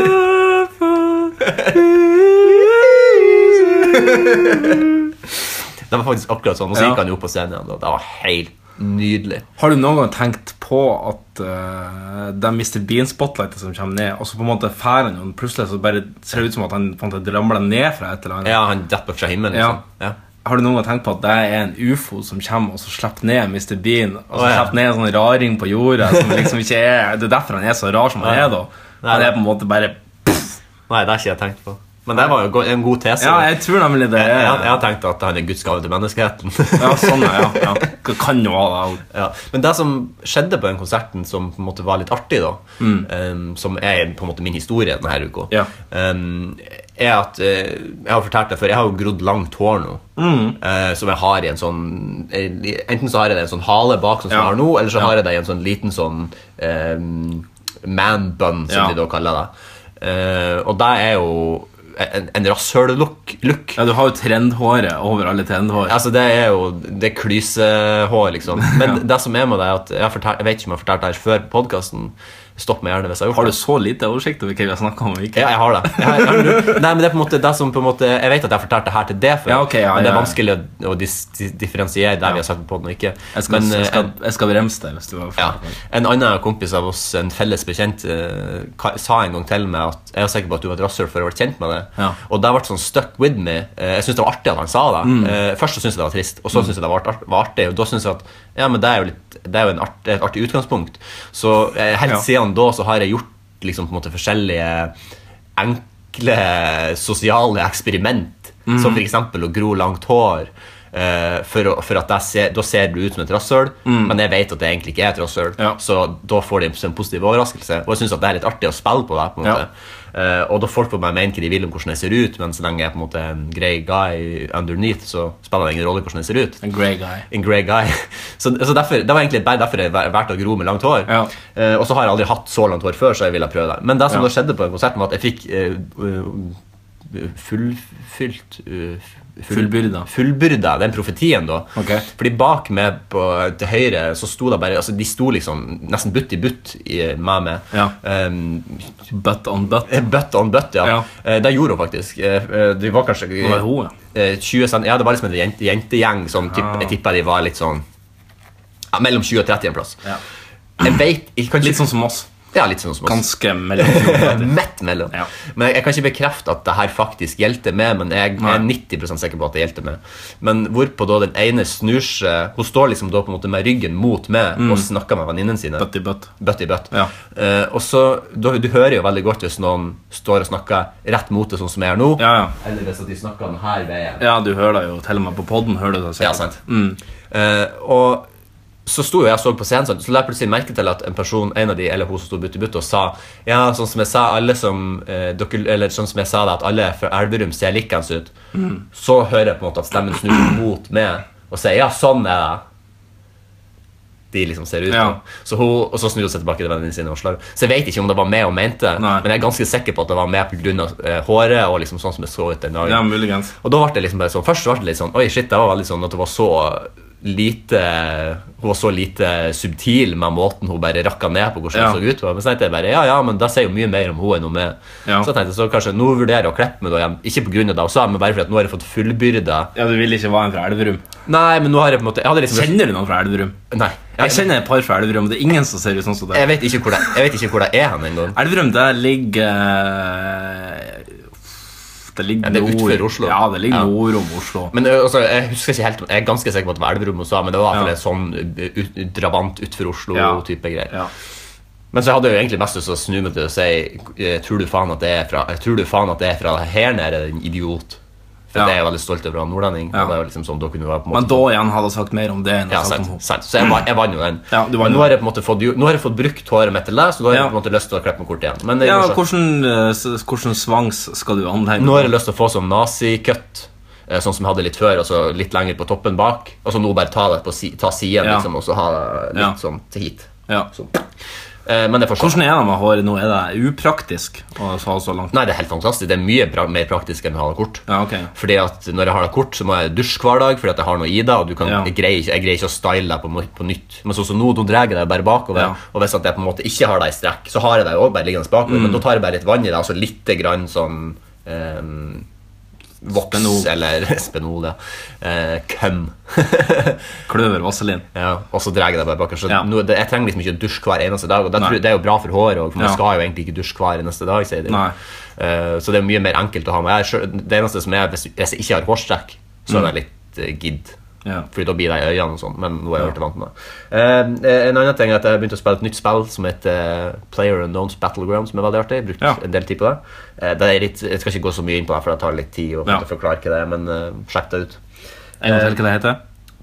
[SPEAKER 3] Det var faktisk akkurat sånn, og så
[SPEAKER 2] Ja.
[SPEAKER 3] gikk han jo opp på scenen igjen. og Det var helt nydelig.
[SPEAKER 2] Har du noen gang tenkt på at eh, det er Mr. Bean-spotlightet som kommer ned, og så på en måte færer han jo plutselig, så bare ser det ut som at han på en måte ramler ned fra et eller annet?
[SPEAKER 3] Ja, han detter fra himmelen, liksom. Ja.
[SPEAKER 2] Har du noen gang tenkt på at det er en ufo som kommer og så slipper ned Mr. Bean? Og så
[SPEAKER 3] Å, ja.
[SPEAKER 2] slipper ned en sånn raring på jorda som liksom ikke er Det er derfor han er så rar som han
[SPEAKER 3] Ja.
[SPEAKER 2] er, da.
[SPEAKER 3] Nei,
[SPEAKER 2] Han
[SPEAKER 3] nei.
[SPEAKER 2] er på en måte bare
[SPEAKER 3] Nei, det har ikke jeg tenkt på. Men det var jo go- en god tese.
[SPEAKER 2] Ja, jeg tror nemlig det
[SPEAKER 3] jeg,
[SPEAKER 2] er
[SPEAKER 3] jeg har tenkt at han er Guds gave til menneskeheten. <laughs>
[SPEAKER 2] Ja, sånn, ja. ja. Det kan jo være det.
[SPEAKER 3] Ja, Men det som skjedde på den konserten som på en måte var litt artig, da, em, som er på en måte min historie denne uka,
[SPEAKER 2] Mm. Ja.
[SPEAKER 3] em, er at eh, Jeg har fortalt det før, jeg har jo grodd langt hår nå.
[SPEAKER 2] Mm.
[SPEAKER 3] eh, som jeg har i en sånn eh, Enten så har jeg det i en sånn hale bak, sånn som
[SPEAKER 2] Ja.
[SPEAKER 3] jeg har nå, eller så
[SPEAKER 2] Ja.
[SPEAKER 3] har jeg det i en sånn liten sånn em, man bun, som
[SPEAKER 2] Ja.
[SPEAKER 3] de da kaller det. Eh, og det er jo en, en rasshøl-look. look.
[SPEAKER 2] Ja, du har jo trendhåret over alle trendhår.
[SPEAKER 3] Altså, det er jo det er klysehår, liksom.
[SPEAKER 2] <laughs>
[SPEAKER 3] Men det som er med det, er at jeg, har fortalt, jeg vet ikke om jeg har fortalt det her før på podkasten. Stopp meg gjerne hvis jeg har gjort
[SPEAKER 2] Har du
[SPEAKER 3] det.
[SPEAKER 2] så lite oversikt over hva vi har snakka om? Ikke?
[SPEAKER 3] Ja, jeg har det. Jeg, har, jeg, har null- <laughs> nei, men det er på en måte det som på en måte Jeg vet at jeg har fortalt det her til det før,
[SPEAKER 2] Ja, ok, ja,
[SPEAKER 3] men det er
[SPEAKER 2] ja.
[SPEAKER 3] vanskelig å, å dis, dis, differensiere det vi har sagt på podden og ikke.
[SPEAKER 2] Jeg skal,
[SPEAKER 3] men, eh,
[SPEAKER 2] jeg, skal,
[SPEAKER 3] en,
[SPEAKER 2] jeg skal bremse deg hvis du har
[SPEAKER 3] ja, en annen kompis av oss, en felles bekjent, eh, ka- sa en gang til meg at Jeg er sikker på at du var et rasshøl før jeg ble kjent med det.
[SPEAKER 2] Ja.
[SPEAKER 3] Og det ble sånn stuck with me. Eh, Jeg synes det var artig at han sa det.
[SPEAKER 2] Mm.
[SPEAKER 3] Eh, Først så syntes jeg det var trist, og så syntes jeg det var art- var artig. Og da synes jeg at ja, men det er jo, litt, det er jo en art, det er et artig utgangspunkt. Så eh, helt
[SPEAKER 2] Ja.
[SPEAKER 3] siden da så har jeg gjort liksom, på en måte forskjellige enkle sosiale eksperiment.
[SPEAKER 2] Mm.
[SPEAKER 3] Som for eksempel å gro langt hår. eh, for, å, for at jeg ser, Da ser du ut som et rasshøl, men jeg vet at det egentlig ikke er et rasshøl.
[SPEAKER 2] Mm. Ja.
[SPEAKER 3] Så da får de en positiv overraskelse. Og jeg synes at det er litt artig å spille på det. på en
[SPEAKER 2] Ja.
[SPEAKER 3] måte Eh, og da folk får meg mene hva de vil om hvordan jeg ser ut, men så lenge jeg er på en måte en grey guy underneath, så spiller det ingen rolle hvordan jeg ser ut.
[SPEAKER 2] En grey guy.
[SPEAKER 3] En grey guy. <laughs> Så, så derfor, Det var egentlig bare derfor jeg væ- valgte å gro med langt hår.
[SPEAKER 2] Ja.
[SPEAKER 3] Eh, og så har jeg aldri hatt så langt hår før, så jeg ville prøve det. Men det som
[SPEAKER 2] Ja.
[SPEAKER 3] da skjedde på konserten, var at jeg fikk eh, eh, fullfylt eh, full-
[SPEAKER 2] Fullbyrda.
[SPEAKER 3] Fullbyrda, den profetien, da.
[SPEAKER 2] Ok.
[SPEAKER 3] Fordi bak meg på, til høyre så sto det bare altså, De sto liksom nesten butt i butt i, med meg.
[SPEAKER 2] Ja.
[SPEAKER 3] Eh,
[SPEAKER 2] Butt on butt.
[SPEAKER 3] Eh, Butt on butt, ja.
[SPEAKER 2] Ja.
[SPEAKER 3] Eh, Det gjorde hun faktisk. Eh, eh, Det var kanskje
[SPEAKER 2] Det var hun, ja.
[SPEAKER 3] eh, 20 cent, Ja, det var liksom en jente, jentegjeng som tipp,
[SPEAKER 2] Ah.
[SPEAKER 3] jeg tippa de var litt sånn ja, Mellom 20 og 30 en plass.
[SPEAKER 2] Ja.
[SPEAKER 3] Jeg vet, jeg kan ikke,
[SPEAKER 2] Litt sånn som oss.
[SPEAKER 3] Ja, litt sånn som oss. <laughs>
[SPEAKER 2] Ganske mellom.
[SPEAKER 3] Midt mellom.
[SPEAKER 2] Ja.
[SPEAKER 3] Men jeg, jeg kan ikke bekrefte at det her faktisk gjeldte meg, men jeg, er 90 sikker på at det gjeldte meg. Men hvorpå da den ene snur seg Hun står liksom da på en måte med ryggen mot meg
[SPEAKER 2] Mm.
[SPEAKER 3] og snakker med venninnene sine.
[SPEAKER 2] <laughs> Butt i butt.
[SPEAKER 3] Bøtt i bøtt.
[SPEAKER 2] Ja.
[SPEAKER 3] Eh, og så, du, du hører jo veldig godt hvis noen står og snakker rett mot det sånn som jeg gjør nå,
[SPEAKER 2] Ja, ja.
[SPEAKER 3] eller hvis at de snakker den her veien.
[SPEAKER 2] Ja, du hører det jo til og med på Mm. podden. Hører du det sikkert.
[SPEAKER 3] Ja, sant. Eh, og så sto jo jeg og så på scenen, sånn, så la jeg plutselig merke til at en person, en av de, eller hun som sto butt i butt, og sa Ja, sånn som jeg sa, alle som eh, dere, Eller sånn som jeg sa det, at alle fra Elverum ser likens ut.
[SPEAKER 2] Mm.
[SPEAKER 3] Så hører jeg på en måte at stemmen snur seg mot meg og sier Ja, sånn er det. De liksom ser ut
[SPEAKER 2] Ja.
[SPEAKER 3] da. så hun, Og så snur hun seg tilbake til vennene sine. og slår. Så jeg vet ikke om det var meg hun mente,
[SPEAKER 2] Nei.
[SPEAKER 3] men jeg er ganske sikker på at det var meg pga. Eh, håret og liksom sånn som jeg så ut den dagen.
[SPEAKER 2] Ja, muligens.
[SPEAKER 3] Og da ble det liksom bare sånn Først så ble det litt sånn Oi, shit, det var veldig sånn at det var så lite Hun var så lite subtil med måten hun bare rakka ned på hvordan
[SPEAKER 2] Ja.
[SPEAKER 3] hun så ut. på. Men så tenkte jeg bare, ja, ja, men det sier jo mye mer om hun enn om meg.
[SPEAKER 2] Ja.
[SPEAKER 3] Så tenkte jeg så kanskje nå vurderer jeg å klippe meg da igjen. Ikke pga. det hun sa, men bare fordi at nå har jeg fått fullbyrda.
[SPEAKER 2] Ja, Du vil ikke være en fra Elverum?
[SPEAKER 3] Nei, men nå har jeg på en måte Jeg hadde liksom
[SPEAKER 2] Kjenner du noen fra Elverum?
[SPEAKER 3] Nei.
[SPEAKER 2] Jeg kjenner et par fra Elverum. Det er ingen som ser ut sånn som det.
[SPEAKER 3] Jeg vet ikke hvor det, jeg vet ikke hvor det er hen engang.
[SPEAKER 2] Elverum, det ligger eh, Det ligger
[SPEAKER 3] Ja, det er
[SPEAKER 2] nord-
[SPEAKER 3] utenfor Oslo.
[SPEAKER 2] Ja, det ligger
[SPEAKER 3] Ja.
[SPEAKER 2] nord om Oslo.
[SPEAKER 3] Men ø, altså, Jeg husker ikke helt, jeg er ganske sikker på at det var Elverum hun sa, men det var i hvert fall en sånn ø, ut- drabant utfor
[SPEAKER 2] Ja.
[SPEAKER 3] Oslo-type greier.
[SPEAKER 2] Ja.
[SPEAKER 3] Men så hadde jeg jo egentlig mest lyst til å snu meg til å si eh, Tror du faen at det er fra, eh, tror du faen at det er fra her nede, din idiot? For
[SPEAKER 2] Ja.
[SPEAKER 3] det er jeg veldig stolt over å være nordlending.
[SPEAKER 2] Ja.
[SPEAKER 3] Og det er jo liksom sånn, da kunne du være på en
[SPEAKER 2] Men
[SPEAKER 3] måte
[SPEAKER 2] da igjen hadde jeg sagt mer om det enn jeg
[SPEAKER 3] ja,
[SPEAKER 2] har sagt
[SPEAKER 3] sant,
[SPEAKER 2] om henne.
[SPEAKER 3] sant. Så jeg, va- jeg vant jo den.
[SPEAKER 2] Ja, du vant
[SPEAKER 3] Men
[SPEAKER 2] den.
[SPEAKER 3] nå har jeg på en måte fått, jo- nå har jeg fått brukt håret mitt til det, så da har jeg
[SPEAKER 2] Ja.
[SPEAKER 3] på en måte lyst til å klippe meg kort igjen. Men jeg,
[SPEAKER 2] Ja,
[SPEAKER 3] gjorde sånn-
[SPEAKER 2] hvordan, eh, s- hvordan svangs skal du anlegge?
[SPEAKER 3] nå har jeg lyst til å få sånn nazi-cut, eh, sånn som jeg hadde litt før, og så litt lenger på toppen bak. Og så nå bare ta det på si, ta siden,
[SPEAKER 2] Ja.
[SPEAKER 3] liksom, og så ha det litt
[SPEAKER 2] Ja.
[SPEAKER 3] sånn til hit.
[SPEAKER 2] ja.
[SPEAKER 3] Eh, men det får
[SPEAKER 2] Hvordan er det med håret nå? Er det upraktisk å ha så langt?
[SPEAKER 3] Nei, det er helt fantastisk. Det er mye bra, mer praktisk enn å ha det kort.
[SPEAKER 2] Ja, ok.
[SPEAKER 3] Fordi at Når jeg har det kort, så må jeg dusje hver dag fordi at jeg har noe i det. Og du kan,
[SPEAKER 2] Ja.
[SPEAKER 3] jeg, greier ikke, jeg greier ikke å style deg på, må- på nytt. Men sånn som nå, nå drar jeg deg bare bakover.
[SPEAKER 2] Ja.
[SPEAKER 3] Og hvis at jeg på en måte ikke har deg i strekk, så har jeg deg også bare liggende bakover.
[SPEAKER 2] Mm.
[SPEAKER 3] Men da tar jeg bare litt vann i deg, altså litt grann sånn ehm, Voks
[SPEAKER 2] Spenol.
[SPEAKER 3] eller <laughs> spenol, ja. Eh, køm. <laughs>
[SPEAKER 2] Kløver, vaselin.
[SPEAKER 3] ja, og så drar jeg deg bare bakover. Så
[SPEAKER 2] Ja.
[SPEAKER 3] nå, det, jeg trenger liksom ikke å dusje hver eneste dag. Og det,
[SPEAKER 2] Nei.
[SPEAKER 3] tror, jeg- det er jo bra for håret òg, for man
[SPEAKER 2] Ja.
[SPEAKER 3] skal jo egentlig ikke dusje hver eneste dag. Sier de.
[SPEAKER 2] Nei.
[SPEAKER 3] Eh, så det er mye mer enkelt å ha med. Jeg, er sjøl- det eneste som er, hvis, hvis jeg ikke har hårstrekk, så er det litt eh, gidd.
[SPEAKER 2] Mm. Ja.
[SPEAKER 3] Fordi da blir det i øynene og sånn. Men nå har jeg blitt vant med det. Eh, en annen ting er at jeg begynte å spille et nytt spill som heter eh, Player Unknowns Battleground, som er veldig artig. Jeg brukte
[SPEAKER 2] Ja.
[SPEAKER 3] en del tid på det. Eh, det er litt, jeg skal ikke gå så mye inn på det, for det tar litt tid å
[SPEAKER 2] Ja.
[SPEAKER 3] forklare hva det er, men eh, sjekk det ut.
[SPEAKER 2] En gang til hva det heter?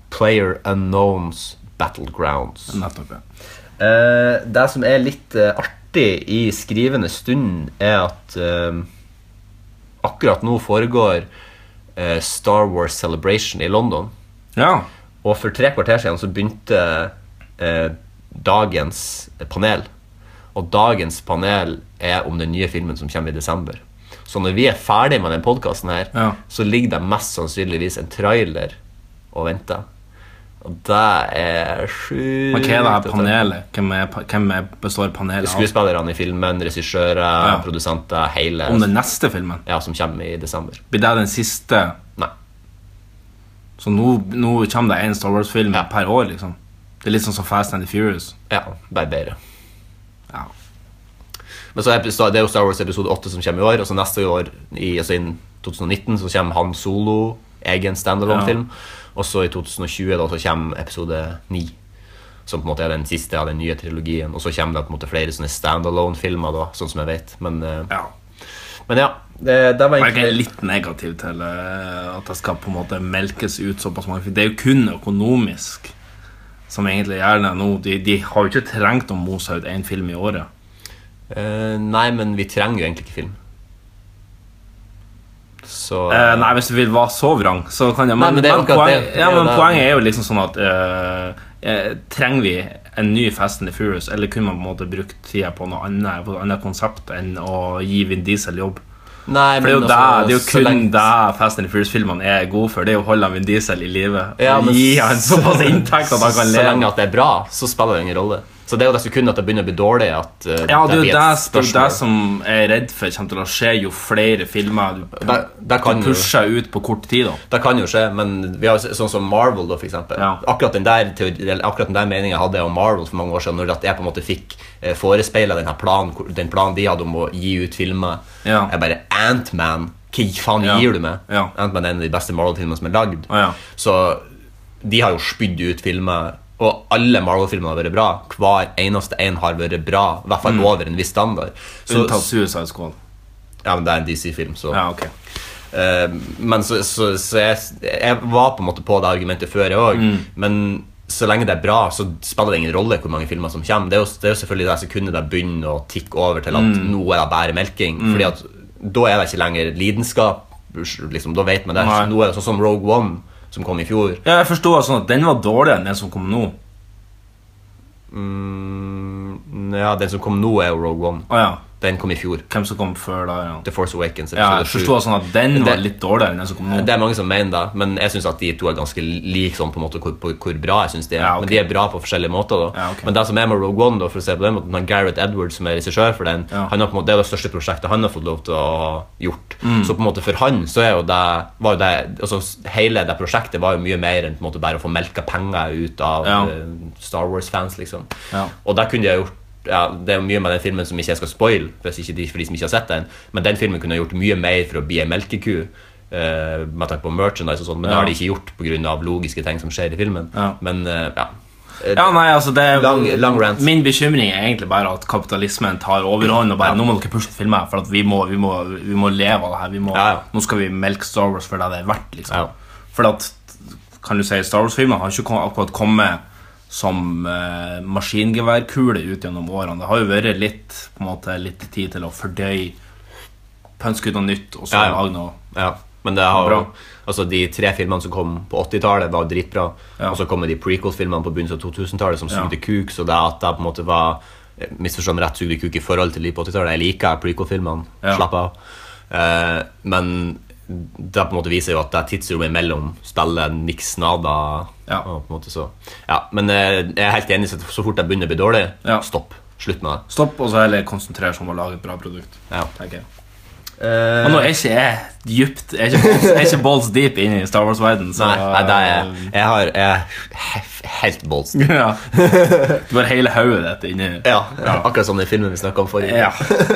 [SPEAKER 3] Player Unknowns Battlegrounds.
[SPEAKER 2] Nettopp, ja.
[SPEAKER 3] Eh, det som er litt eh, artig i skrivende stund, er at eh, akkurat nå foregår eh, Star Wars Celebration i London.
[SPEAKER 2] Ja,
[SPEAKER 3] Og for tre kvarter siden så begynte eh, dagens panel. Og dagens panel er om den nye filmen som kommer i desember. Så når vi er ferdig med den podkasten her,
[SPEAKER 2] Ja.
[SPEAKER 3] så ligger det mest sannsynligvis en trailer og venter. Og det er sjukt
[SPEAKER 2] men hva er det her
[SPEAKER 3] at-
[SPEAKER 2] panelet? Hvem, er, pa- hvem er består panelet av?
[SPEAKER 3] Skuespillerne i filmen, regissører,
[SPEAKER 2] Ja.
[SPEAKER 3] produsenter, hele
[SPEAKER 2] Om den neste filmen?
[SPEAKER 3] Ja, som kommer i desember.
[SPEAKER 2] Blir det den siste?
[SPEAKER 3] Nei.
[SPEAKER 2] Så nå, nå kommer det en Star Wars-film
[SPEAKER 3] Ja.
[SPEAKER 2] per år, liksom? Det er litt sånn som Fast and the Furious.
[SPEAKER 3] Ja, bare bedre.
[SPEAKER 2] Ja.
[SPEAKER 3] Men så er episo- det er jo Star Wars episode 8 som kommer i år, og så neste år, i, altså innen 2019, så kommer Han Solo, egen standalone-film. Og så i 2020 da, så kommer episode 9, som på en måte er den siste av den nye trilogien. Og så kommer det på en måte flere sånne standalone-filmer, da, sånn som jeg vet. Men, eh,
[SPEAKER 2] ja.
[SPEAKER 3] men ja, det, det var
[SPEAKER 2] Jeg er
[SPEAKER 3] egentlig
[SPEAKER 2] litt negativ til eh, at det skal på en måte melkes ut såpass mange for Det er jo kun økonomisk som egentlig gjør det nå. De, de har jo ikke trengt å mose ut én film i året.
[SPEAKER 3] Eh, Nei, men vi trenger jo egentlig ikke film. Så
[SPEAKER 2] Eh, nei, hvis du vil være så vrang, så kan jeg Men,
[SPEAKER 3] Nei, men det er jo akkurat
[SPEAKER 2] poeng-
[SPEAKER 3] det.
[SPEAKER 2] ja,
[SPEAKER 3] Det er
[SPEAKER 2] men
[SPEAKER 3] det.
[SPEAKER 2] poenget er jo liksom sånn at eh, eh, Trenger vi en ny Fast and the Furious, eller kunne man på en måte brukt tida på noe annet, på et annet konsept enn å gi Vin Diesel jobb?
[SPEAKER 3] Nei,
[SPEAKER 2] For det er jo,
[SPEAKER 3] men altså,
[SPEAKER 2] det, det er jo
[SPEAKER 3] så
[SPEAKER 2] kun
[SPEAKER 3] lenge-
[SPEAKER 2] det Fast and the Furious-filmene er gode for. Det er å holde Vin Diesel i live.
[SPEAKER 3] Ja,
[SPEAKER 2] og
[SPEAKER 3] men
[SPEAKER 2] gi han såpass inntekt at han kan
[SPEAKER 3] Så lenge
[SPEAKER 2] leve.
[SPEAKER 3] at det er bra, så spiller det ingen rolle. Så det er jo det sekundet at det begynner å bli dårlig, at eh,
[SPEAKER 2] Ja, det er jo
[SPEAKER 3] blir
[SPEAKER 2] det,
[SPEAKER 3] et
[SPEAKER 2] det, er jo
[SPEAKER 3] spørsmål.
[SPEAKER 2] det som jeg er redd for kommer til å skje jo flere filmer du,
[SPEAKER 3] Det- det kan
[SPEAKER 2] du pusher ut på kort tid. da
[SPEAKER 3] Det kan jo skje, men vi har jo sånn som Marvel, da, for eksempel.
[SPEAKER 2] Ja.
[SPEAKER 3] Akkurat den der, teori- eller akkurat den der meningen hadde jeg om Marvel for mange år siden, når at jeg på en måte fikk eh, forespeila den her planen, hvor- den planen de hadde om å gi ut filmer.
[SPEAKER 2] Ja.
[SPEAKER 3] Jeg bare Ant-Man, hva faen
[SPEAKER 2] Ja.
[SPEAKER 3] gir du meg?
[SPEAKER 2] Ja.
[SPEAKER 3] Ant-Man er en av de beste Marvel-filmene som er lagd.
[SPEAKER 2] Ja, ja.
[SPEAKER 3] Så de har jo spydd ut filmer, og alle Marvel-filmene har vært bra. Hver eneste en har vært bra, i hvert fall over en viss standard. Så,
[SPEAKER 2] Mm. Unntatt Suicide Squad.
[SPEAKER 3] ja, men det er en DC-film, så
[SPEAKER 2] Ja, ok
[SPEAKER 3] Eh, men så, så, så jeg, jeg var på en måte på det argumentet før, jeg òg.
[SPEAKER 2] Mm.
[SPEAKER 3] Men så lenge det er bra, så spiller det ingen rolle hvor mange filmer som kommer. Det er jo, det er jo selvfølgelig det sekundet det begynner å tikke over til at
[SPEAKER 2] Mm.
[SPEAKER 3] nå er det bare melking. Fordi at da er det ikke lenger lidenskap. Liksom, da vet man det.
[SPEAKER 2] Nei.
[SPEAKER 3] Nå er det sånn som Rogue One, som kom i fjor.
[SPEAKER 2] Ja, jeg forstod at sånn at den var dårligere enn den som kom nå.
[SPEAKER 3] Mm, ja, den som kom nå, er jo Rogue One.
[SPEAKER 2] Å ja.
[SPEAKER 3] Den kom i fjor.
[SPEAKER 2] Hvem som kom før da? Ja.
[SPEAKER 3] The Force Awakens.
[SPEAKER 2] Ja,
[SPEAKER 3] episode
[SPEAKER 2] jeg
[SPEAKER 3] sju.
[SPEAKER 2] forstår sånn at den var
[SPEAKER 3] Det-
[SPEAKER 2] litt dårligere enn den som kom nå.
[SPEAKER 3] Det er mange som mener det, men jeg syns at de to er ganske like sånn på en måte hvor, på, hvor bra jeg synes de er.
[SPEAKER 2] Ja, ok.
[SPEAKER 3] Men de er bra på forskjellige måter. da
[SPEAKER 2] Ja, ok.
[SPEAKER 3] Men det som er med Rogue One, da, for å se på den måten, han Gareth Edwards, som er regissør for den,
[SPEAKER 2] Ja.
[SPEAKER 3] han har på en måte, det er det største prosjektet han har fått lov til å ha gjort.
[SPEAKER 2] Mm.
[SPEAKER 3] Så på en måte for han så er jo det, var jo det altså, Hele det prosjektet var jo mye mer enn på en måte bare å få melka penger ut av
[SPEAKER 2] Ja.
[SPEAKER 3] eh, Star Wars-fans, liksom.
[SPEAKER 2] Ja.
[SPEAKER 3] Og det kunne de ha gjort ja, Det er jo mye med den filmen som ikke jeg skal spoil hvis ikke de, for de som ikke har sett den, men den filmen kunne ha gjort mye mer for å bli en melkeku. eh, med tanke på merchandise og sånn, men det
[SPEAKER 2] Ja.
[SPEAKER 3] har de ikke gjort pga. logiske ting som skjer i filmen.
[SPEAKER 2] Ja.
[SPEAKER 3] Men eh, ja. Eh,
[SPEAKER 2] Ja, nei, altså det er,
[SPEAKER 3] Lang- lang rant.
[SPEAKER 2] Min bekymring er egentlig bare at kapitalismen tar overhånd. Og bare, Nå må dere pushe filmer, for at vi, må, vi, må, vi må leve av det her. Vi må,
[SPEAKER 3] Ja, ja.
[SPEAKER 2] Nå skal vi melke Star Wars for det det er verdt. liksom
[SPEAKER 3] Ja.
[SPEAKER 2] For at, kan du si, Star Wars-filmer har ikke kom- akkurat kommet som eh, maskingeværkule ut gjennom årene. Det har jo vært litt, på en måte, litt tid til å fordøye pønske ut noe nytt og så
[SPEAKER 3] Ja, ja.
[SPEAKER 2] lage noe
[SPEAKER 3] Ja, men det har
[SPEAKER 2] Bra.
[SPEAKER 3] jo Altså De tre filmene som kom på 80-tallet, var dritbra.
[SPEAKER 2] Ja.
[SPEAKER 3] Og så kommer de prequel-filmene på begynnelsen av 2000-tallet som
[SPEAKER 2] Ja.
[SPEAKER 3] sugde kuk. Så det at jeg på en måte var eh, misforstå meg rett, sugde kuk i forhold til de på 80-tallet. Jeg liker prequel-filmene.
[SPEAKER 2] Ja.
[SPEAKER 3] Slapp av. Eh, men det på en måte viser jo at det tidsrommet imellom spiller niks nada.
[SPEAKER 2] Ja.
[SPEAKER 3] Og på en måte så Ja, Men eh, jeg er helt enig i at så fort jeg begynner å bli dårlig,
[SPEAKER 2] Ja.
[SPEAKER 3] stopp. Slutt med det.
[SPEAKER 2] Stopp, og så heller konsentrere seg om å lage et bra produkt.
[SPEAKER 3] Ja.
[SPEAKER 2] tenker jeg Og nå er ikke jeg dypt Jeg er ikke balls, jeg er ikke balls deep inn i Star Wars-verden. så-
[SPEAKER 3] Nei, nei, det er Jeg har Jeg er helt bolst.
[SPEAKER 2] <laughs> ja. Du har hele hodet ditt inni
[SPEAKER 3] Ja, akkurat som den filmen vi snakka om forrige <laughs>
[SPEAKER 2] Ja,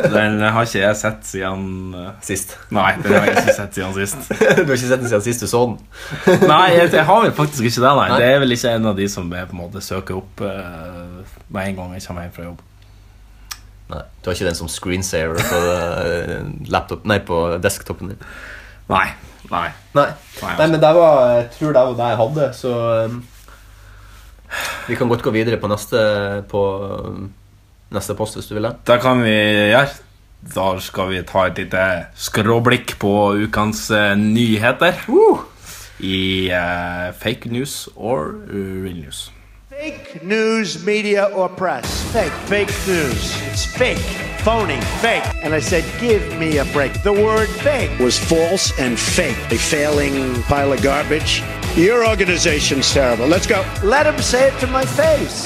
[SPEAKER 2] Den har ikke jeg sett siden eh,
[SPEAKER 3] sist.
[SPEAKER 2] Nei, den har jeg ikke sett siden sist.
[SPEAKER 3] du har ikke sett den siden sånn. sist du så den?
[SPEAKER 2] Nei, jeg, jeg har vel faktisk ikke det. Nei.
[SPEAKER 3] Nei.
[SPEAKER 2] Det er vel ikke en av de som jeg på en måte søker opp eh, med en gang jeg kommer hjem fra jobb.
[SPEAKER 3] Nei, Du har ikke den som screensaver på eh, laptop, nei, på desktopen din?
[SPEAKER 2] Nei. Nei.
[SPEAKER 3] Nei,
[SPEAKER 2] Nei, altså.
[SPEAKER 3] nei men det var, jeg tror det var det jeg hadde, så um, Vi kan godt gå videre på neste, på, um, neste post, hvis du vil det.
[SPEAKER 2] Da kan vi gjøre. Da skal vi ta et lite skråblikk på ukens eh, nyheter. I eh, fake news or real news.
[SPEAKER 7] Fake news, media, or press. Fake. Fake news. It's fake. Phony. Fake. And I said, give me a break. The word fake was false and fake. A failing pile of garbage. Your organization's terrible. Let's go. Let them say it to my face.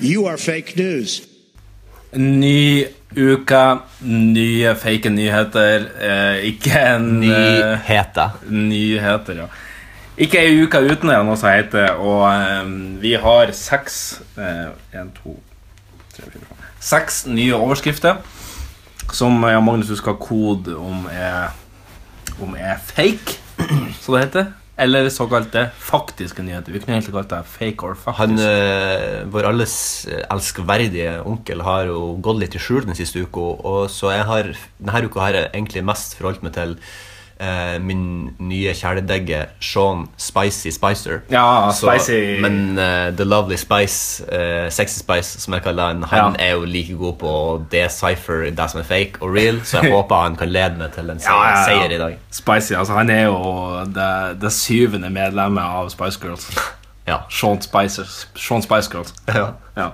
[SPEAKER 7] You are fake news.
[SPEAKER 2] Ny uke, nye fake nyheter. Eh, ikke en eh,
[SPEAKER 3] Nyheter.
[SPEAKER 2] Nyheter, ja. Ikke ei uke uten det, noe som heter, og eh, vi har seks eh, En, to, tre, fire, fem Seks nye overskrifter som ja, Magnus husker kode om er, om er fake, som det heter. Eller såkalte faktiske nyheter. Vi kunne egentlig kalt det fake or faktisk.
[SPEAKER 3] Han, eh, vår alles eh, elskverdige onkel har jo gått litt i skjul den siste uka, og så jeg har, denne uka har jeg egentlig mest forholdt meg til eh, min nye kjæledegge Sean Spicy Spicer.
[SPEAKER 2] Ja,
[SPEAKER 3] Så-
[SPEAKER 2] Spicy.
[SPEAKER 3] Men eh, The Lovely Spice, eh, Sexy Spice, som jeg kaller han, han
[SPEAKER 2] Ja.
[SPEAKER 3] er jo like god på å decipher det som er fake og real,
[SPEAKER 2] <laughs>
[SPEAKER 3] så jeg håper han kan lede meg til en seier, seier i dag.
[SPEAKER 2] Spicy, altså. Han er jo det, det syvende medlemmet av Spice Girls.
[SPEAKER 3] Ja.
[SPEAKER 2] Sean, Spicer, Sean Spice Girls.
[SPEAKER 3] Ja.
[SPEAKER 2] Ja.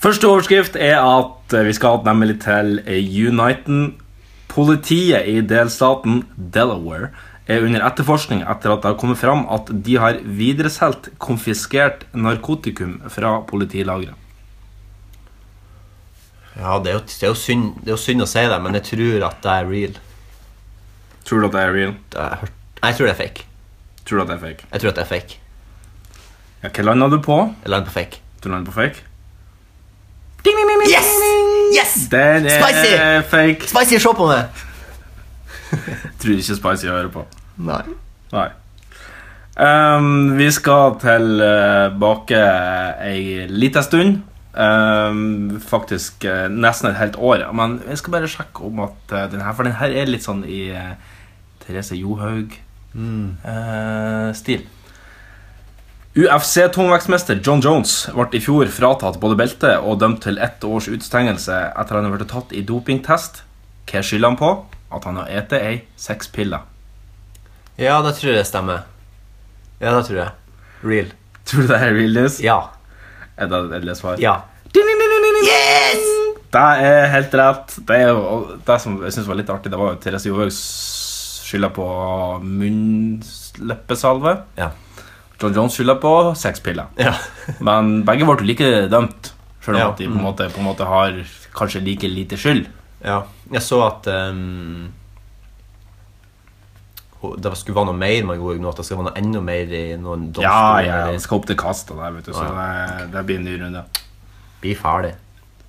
[SPEAKER 2] Første overskrift er at eh, vi skal nemlig til eh, Uniten. Politiet i delstaten Delaware er under etterforskning etter at det har kommet fram at de har videresolgt konfiskert narkotikum fra politilageret.
[SPEAKER 3] Ja, det er, jo, det, er jo synd, det er jo synd å si det, men jeg tror at det er real.
[SPEAKER 2] Tror du at det er real?
[SPEAKER 3] Det har jeg hørt. Nei, jeg tror det er fake.
[SPEAKER 2] Tror du at det er fake?
[SPEAKER 3] Jeg tror at det er fake.
[SPEAKER 2] Ja, hva landa du på?
[SPEAKER 3] Jeg lander på fake.
[SPEAKER 2] Du lander på fake?
[SPEAKER 3] Yes! Yes!
[SPEAKER 2] Den er
[SPEAKER 3] Spicy!
[SPEAKER 2] fake.
[SPEAKER 3] Spicy, se på meg!
[SPEAKER 2] Tror ikke Spicy hører på.
[SPEAKER 3] Nei.
[SPEAKER 2] Nei. Ehm, vi skal tilbake ei lita stund. Ehm, faktisk eh, nesten et helt år. Men jeg skal bare sjekke om at eh, den her For den her er litt sånn i eh, Therese eh, Johaug-stil. UFC tungvektsmester John Jones ble i fjor fratatt både belte og dømt til ett års utestengelse etter han har blitt tatt i dopingtest. Hva skylder han på? At han har spist ei sekspille.
[SPEAKER 3] Ja, det tror jeg stemmer. Ja, det tror jeg. Real.
[SPEAKER 2] Tror du det er real news?
[SPEAKER 3] Ja.
[SPEAKER 2] Er det et svar?
[SPEAKER 3] Ja.
[SPEAKER 2] Yes! Det er helt rett. Det, er, jo- det som jeg synes var litt artig, det var jo Therese Johaug skylda på munnleppesalve.
[SPEAKER 3] Ja.
[SPEAKER 2] John Jones skylda på sexpiller.
[SPEAKER 3] <laughs> Ja.
[SPEAKER 2] Men begge ble jo like dømt, selv om
[SPEAKER 3] Ja.
[SPEAKER 2] at de på en, måte, på en måte har kanskje like lite skyld.
[SPEAKER 3] Ja, jeg så at ehm, ho- det skulle være noe mer med Goeg nå, at det skal være noe enda mer i noen domstol.
[SPEAKER 2] Ja, ja,
[SPEAKER 3] eller-
[SPEAKER 2] han skal opp til kast og der, vet du, så
[SPEAKER 3] Å,
[SPEAKER 2] det, det blir en ny runde.
[SPEAKER 3] Bli ferdig.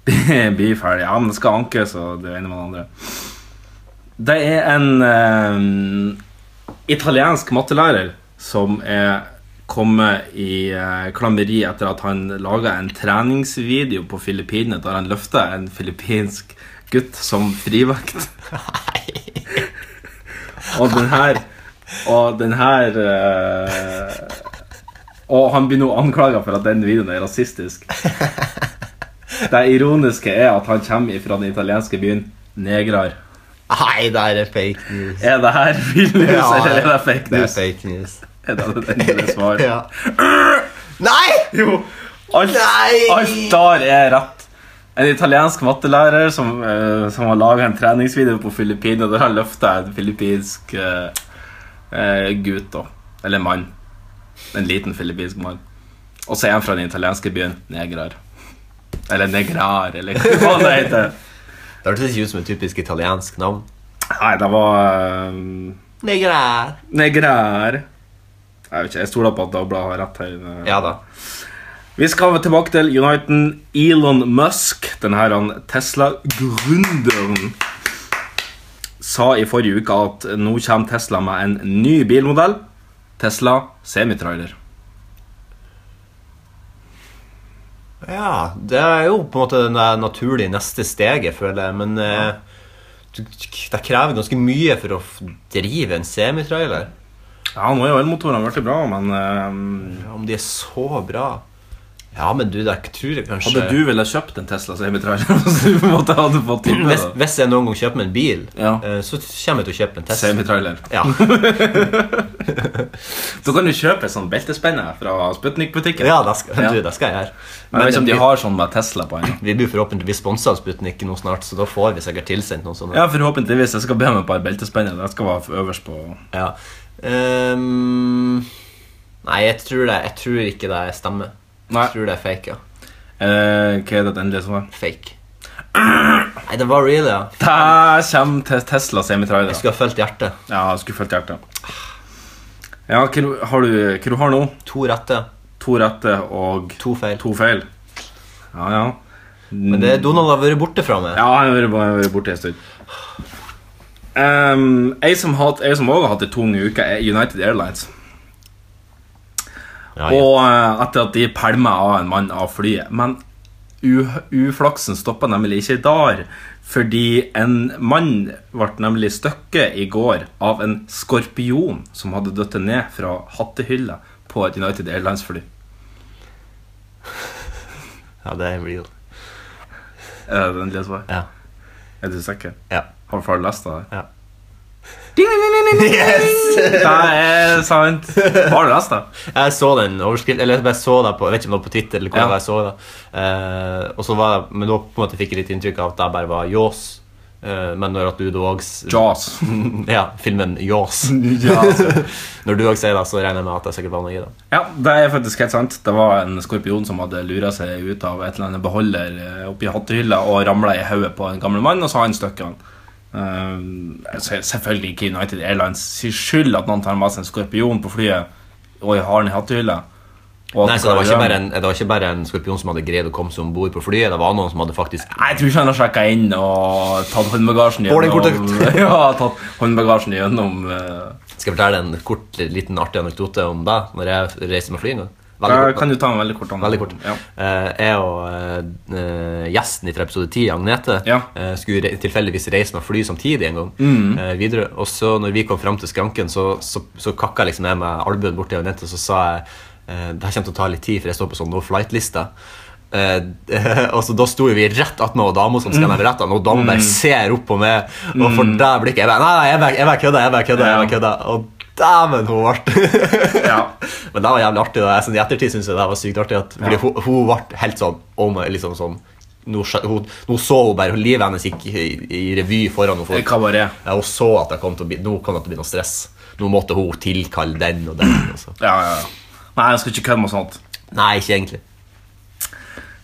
[SPEAKER 2] <laughs> blir ferdig. Ja, men det skal ankes, og det ene med det andre. Det er en eh, italiensk mattelærer som er kommet i eh, klammeri etter at han laga en treningsvideo på Filippinene der han løfta en filippinsk gutt som frivekt. og den her Og den her eh, Og han blir nå anklaga for at den videoen er rasistisk. Det ironiske er at han kommer fra den italienske byen Negrar.
[SPEAKER 3] Nei, det her er fake news.
[SPEAKER 2] Er det her real news,
[SPEAKER 3] Ja,
[SPEAKER 2] eller er det fake
[SPEAKER 3] <laughs> Det er
[SPEAKER 2] news?
[SPEAKER 3] fake news.
[SPEAKER 2] Er det det endelige svaret?
[SPEAKER 3] <laughs> Ja. Nei!
[SPEAKER 2] Jo, alt,
[SPEAKER 3] Nei!
[SPEAKER 2] alt der er rett. En italiensk mattelærer som, eh, som har laga en treningsvideo på Filippinene, der han løfta en filippinsk eh, eh, gutt, da. Eller mann. En liten filippinsk mann. Og så er han fra den italienske byen Negrar. Eller Negrar, eller hva det heter.
[SPEAKER 3] Det hørtes ikke ut som et typisk italiensk navn.
[SPEAKER 2] Nei, det var eh,
[SPEAKER 3] Negrer.
[SPEAKER 2] Negrer. Jeg vet ikke, jeg stoler på at Dagbladet har rett her.
[SPEAKER 3] Ja da.
[SPEAKER 2] Vi skal tilbake til Uniten. Elon Musk, den her han Tesla-gründeren, sa i forrige uke at nå kommer Tesla med en ny bilmodell. Tesla semitrailer.
[SPEAKER 3] Ja, det er jo på en måte det naturlige neste steget, føler jeg. Men eh, du- det krever ganske mye for å f- drive en semitrailer.
[SPEAKER 2] Ja, nå er jo elmotorene blitt bra, men eh,
[SPEAKER 3] Ja, Om de er så bra Ja, men du, det tror jeg kanskje
[SPEAKER 2] hadde <clears throat> du ville kjøpt en Tesla semitrailer <laughs> hvis du på en måte hadde fått time,
[SPEAKER 3] hvis,
[SPEAKER 2] da?
[SPEAKER 3] hvis jeg noen gang kjøper meg en bil,
[SPEAKER 2] Ja.
[SPEAKER 3] eh, så kommer jeg til å kjøpe en Tesla.
[SPEAKER 2] Semitrailer.
[SPEAKER 3] Ja.
[SPEAKER 2] Da kan du kjøpe en sånn beltespenner fra Sputnik-butikken.
[SPEAKER 3] ja, det skal,
[SPEAKER 2] Ja.
[SPEAKER 3] Du, det skal jeg gjøre.
[SPEAKER 2] Men jeg vet ikke om de
[SPEAKER 3] vi-
[SPEAKER 2] har sånn med Tesla på ennå.
[SPEAKER 3] vi blir forhåpentligvis sponsa av Sputnik nå snart, så da får vi sikkert tilsendt noen sånne.
[SPEAKER 2] Ja, forhåpentligvis. Jeg skal be om et par beltespenner. Det skal være øverst på
[SPEAKER 3] Ja. Ehm, nei, jeg tror, det, jeg tror ikke det stemmer.
[SPEAKER 2] Nei.
[SPEAKER 3] Jeg tror det er fake, ja.
[SPEAKER 2] eh, Hva er det endelige svaret?
[SPEAKER 3] Fake. Nei, det var real, ja.
[SPEAKER 2] Der kommer Te- Tesla semitrailer.
[SPEAKER 3] Jeg skulle ha fulgt hjertet.
[SPEAKER 2] Ja, jeg skulle fulgt hjertet. Ja, hva du har du hva du har nå?
[SPEAKER 3] To rette,
[SPEAKER 2] To rette og
[SPEAKER 3] to feil.
[SPEAKER 2] to feil. Ja, ja.
[SPEAKER 3] Men det, Donald har vært borte fra meg.
[SPEAKER 2] Ja, jeg har vært- jeg har vært borte en stund. Um, jeg som hatt- jeg som også har hatt en tung uke, er United Airlines.
[SPEAKER 3] Ja, ja.
[SPEAKER 2] Og eh, etter at de pælma av en mann av flyet. Men u uflaksen stoppa nemlig ikke der. Fordi en mann ble nemlig støkket i går av en skorpion som hadde dødd ned fra hattehylla på et United Airlines-fly.
[SPEAKER 3] ja, det er real.
[SPEAKER 2] Er det det endelige svar?
[SPEAKER 3] Ja.
[SPEAKER 2] Er du sikker?
[SPEAKER 3] Ja.
[SPEAKER 2] Har far lest det?
[SPEAKER 3] Ja.
[SPEAKER 2] Yes! Det er sant. Har du
[SPEAKER 3] <laughs>
[SPEAKER 2] lest det?
[SPEAKER 3] Jeg så den overskrift, eller jeg bare så det på, jeg vet ikke om det var på Twitter eller hvor
[SPEAKER 2] Ja.
[SPEAKER 3] jeg så det. Eh, og så var det, men da på en måte fikk jeg litt inntrykk av at det bare var Jaws. Eh, men når at du da også
[SPEAKER 2] Jaws.
[SPEAKER 3] Ja, filmen Jaws. <laughs> Når du òg sier det, så regner jeg med at det sikkert var noe i det.
[SPEAKER 2] Ja, det er faktisk helt sant. Det var en skorpion som hadde lura seg ut av et eller annet beholder eh, oppi hattehylla og ramla i hodet på en gammel mann, og så har han stukket han. Eh, så er det selvfølgelig ikke United Airlines sin skyld at noen tar med seg en skorpion på flyet og har den i hattehylla. Og at
[SPEAKER 3] Nei,
[SPEAKER 2] du
[SPEAKER 3] så det
[SPEAKER 2] klarer å
[SPEAKER 3] var, ikke bare
[SPEAKER 2] rømme.
[SPEAKER 3] en, det var ikke bare en skorpion som hadde greid å komme seg om bord på flyet. Det var noen som hadde faktisk
[SPEAKER 2] Nei, Jeg tror ikke han har sjekka inn og tatt håndbagasjen
[SPEAKER 3] Boardingkortet.
[SPEAKER 2] <laughs> ja, tatt håndbagasjen gjennom eh,
[SPEAKER 3] Skal jeg fortelle en kort, liten artig anekdote om deg når jeg reiser med fly nå?
[SPEAKER 2] Der
[SPEAKER 3] Veldig kort.
[SPEAKER 2] kan du ta en veldig kort an-
[SPEAKER 3] Veldig kort.
[SPEAKER 2] Ja.
[SPEAKER 3] Eh, jeg og eh, gjesten fra episode 10, Agnete,
[SPEAKER 2] Ja. Mm.
[SPEAKER 3] eh, skulle re tilfeldigvis reise med fly samtidig en gang. eh, videre. Og så når vi kom fram til skranken, så, så, så kakka liksom jeg med albuen bort til Agnete, og så sa jeg eh, det her kommer til å ta litt tid, for jeg står på sånn no flight-lista. Eh, <laughs> og så Da sto jo vi rett attmed og dama som
[SPEAKER 2] Mm.
[SPEAKER 3] skanna billettene, og dama bare ser opp på meg. Og for det blikket Jeg bare Nei, nei, jeg bare- jeg bare kødder. Jeg bare kødder. jeg bare kødder." Og dæven, hun ble <laughs>
[SPEAKER 2] Ja.
[SPEAKER 3] Men det var jævlig artig. da. Jeg, sånn, I ettertid syns jeg det var sykt artig. At, fordi hun, hun ble helt sånn, oh my, liksom sånn nå, skj- hun, nå så hun bare Livet hennes gikk i, i revy foran henne.
[SPEAKER 2] I kabaret.
[SPEAKER 3] Ja, hun så at det kom til å bli, nå kom det til å bli noe stress. Nå måtte hun tilkalle den og den. og så.
[SPEAKER 2] Ja, ja, ja. Nei, jeg skal ikke kødde med sånt.
[SPEAKER 3] Nei, ikke egentlig.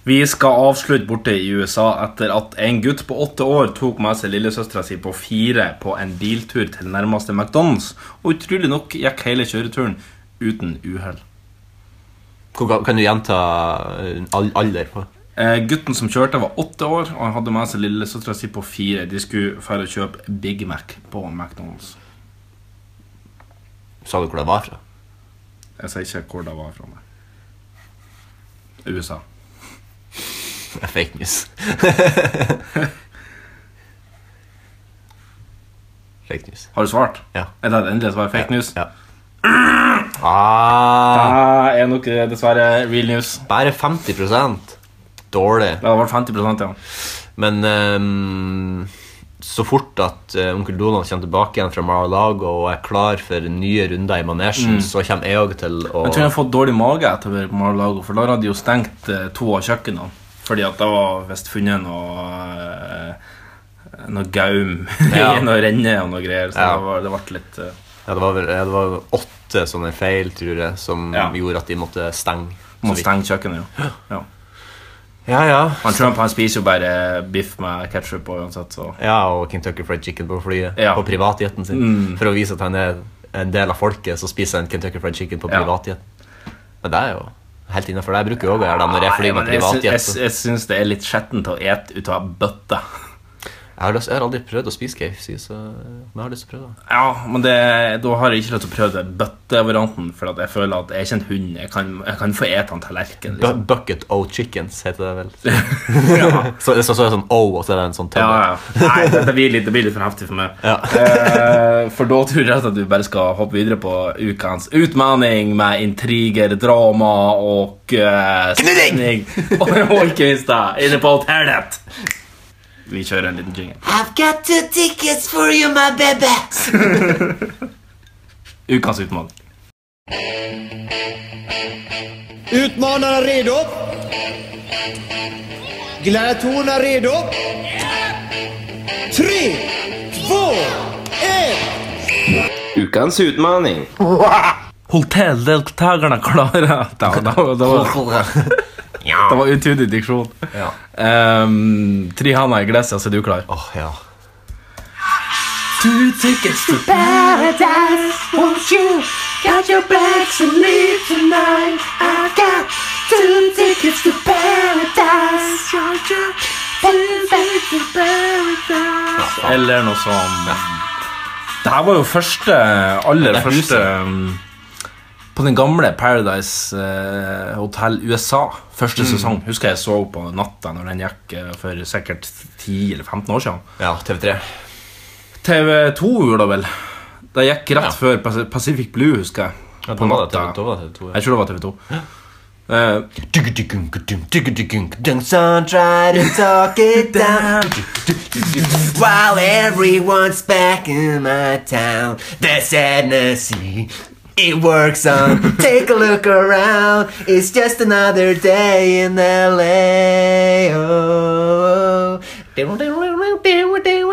[SPEAKER 2] Vi skal avslutte borte i USA etter at en gutt på åtte år tok med seg lillesøstera si på fire på en biltur til nærmeste McDonald's, og utrolig nok gikk hele kjøreturen uten uhell.
[SPEAKER 3] Hvor ga- Kan du gjenta eh, al- alder? på?
[SPEAKER 2] Eh, gutten som kjørte, var åtte år, og han hadde med seg lillesøstera si på fire. De skulle dra og kjøpe Big Mac på McDonald's.
[SPEAKER 3] Sa du hvor det var fra? <laughs>
[SPEAKER 2] Jeg sier ikke hvor det var fra. meg. USA.
[SPEAKER 3] Fake news. <laughs> Fake news.
[SPEAKER 2] Har du svart?
[SPEAKER 3] Ja.
[SPEAKER 2] Er det et endelig svar? Fake news?
[SPEAKER 3] Ja. Ah,
[SPEAKER 2] Det er nok eh, dessverre real news.
[SPEAKER 3] bare 50 Dårlig.
[SPEAKER 2] Det hadde vært 50 ja.
[SPEAKER 3] Men ehm, så fort at eh, onkel Donald kommer tilbake igjen fra Mar-a-Lago og er klar for nye runder i manesjen, så kommer jeg òg til å
[SPEAKER 2] Jeg Mm. tror jeg har fått dårlig mage etter å være på Mar-a-Lago, for da hadde de jo stengt eh, to av kjøkkenene. Fordi at da var visst funnet noe eh, noe gaum <laughs>
[SPEAKER 3] Ja.
[SPEAKER 2] i noe renne og noe greier. Så
[SPEAKER 3] Ja.
[SPEAKER 2] det, var, det ble litt eh,
[SPEAKER 3] ja, det, var vel, ja, det var vel åtte sånne feil, tror jeg, som
[SPEAKER 2] Ja.
[SPEAKER 3] gjorde at de måtte stenge. så
[SPEAKER 2] Må
[SPEAKER 3] vidt.
[SPEAKER 2] stenge kjøkkenet, jo. Ja.
[SPEAKER 3] Ja, ja.
[SPEAKER 2] Han Trump han spiser jo bare biff med ketsjup uansett, så
[SPEAKER 3] ja, og Kentucky Fried Chicken på flyet.
[SPEAKER 2] Ja. Mm.
[SPEAKER 3] På privatjeten sin. For å vise at han er en del av folket, så spiser han Kentucky Fried Chicken på
[SPEAKER 2] Ja.
[SPEAKER 3] privatjeten. Men det er jo helt innafor. Jeg bruker jo òg å gjøre det når jeg
[SPEAKER 2] Nei,
[SPEAKER 3] flyr
[SPEAKER 2] men
[SPEAKER 3] med
[SPEAKER 2] jeg, sy- jeg,
[SPEAKER 3] privatjet.
[SPEAKER 2] sy-
[SPEAKER 3] så-
[SPEAKER 2] jeg syns det er litt skjettent å ete ut av bøtta.
[SPEAKER 3] Jeg har, lyst, jeg har aldri prøvd å spise KFC, så men jeg har lyst til å prøve. det.
[SPEAKER 2] <laughs> Ja, men det, da har jeg ikke lyst til å prøve det bøttevarianten, for at jeg føler at jeg er ikke en hund. Jeg kan, jeg kan få ete en tallerken.
[SPEAKER 3] Bu
[SPEAKER 2] Liksom.
[SPEAKER 3] bucket O' Chickens heter det <laughs> vel. så, så, så er det sånn O, og så er det en sånn tønne.
[SPEAKER 2] Ja, ja. Nei, dette blir litt, det blir litt for heftig for meg.
[SPEAKER 3] Ja.
[SPEAKER 2] <laughs> Eh, for da tror jeg at du bare skal hoppe videre på ukens utmelding med intriger, drama og uh, Knurring! <laughs> Og ikke minst da, inne på hotellet. Vi kjører en liten jingle.
[SPEAKER 8] I've got two tickets for you, my baby.
[SPEAKER 2] <laughs> Ukens utmelding.
[SPEAKER 9] Utmanarna redo? Gladiatorerna redo? Tre, två, ett!
[SPEAKER 10] Ukens utmaning.
[SPEAKER 2] Hotelldeltakerne klarer Da, da, da,
[SPEAKER 3] <laughs>
[SPEAKER 2] var- Det var utidig diksjon.
[SPEAKER 3] Ja.
[SPEAKER 2] Um, tre haner i glasset, så er du klar.
[SPEAKER 3] Åh, ja.
[SPEAKER 2] Two tickets to
[SPEAKER 8] Paradise, won't you? Got your bags and leave tonight. I've got two tickets to paradise, won't you? Two tickets to paradise.
[SPEAKER 2] Eller noe sånn Det her var jo første Aller
[SPEAKER 3] det er
[SPEAKER 2] første um, På den gamle Paradise eh, Hotel USA Første
[SPEAKER 3] Mm.
[SPEAKER 2] sesong Husker jeg så på natta når den gikk eh, For sikkert 10 eller 15 år siden
[SPEAKER 3] ja, TV3.
[SPEAKER 2] TV2 gjorde det vel Det gikk rett
[SPEAKER 3] Ja.
[SPEAKER 2] før Pas- Pacific Blue husker jeg
[SPEAKER 3] Ja,
[SPEAKER 2] På
[SPEAKER 3] da var det
[SPEAKER 2] natta
[SPEAKER 3] TV2, da var det TV2, ja.
[SPEAKER 2] Jeg tror det var TV2 Eh,
[SPEAKER 3] Dunk sun, try to
[SPEAKER 2] <laughs>
[SPEAKER 3] talk it down. While everyone's back in my town, the sadness it works on. Take a look around, it's just another day in LA. Oh. Jeg
[SPEAKER 2] jeg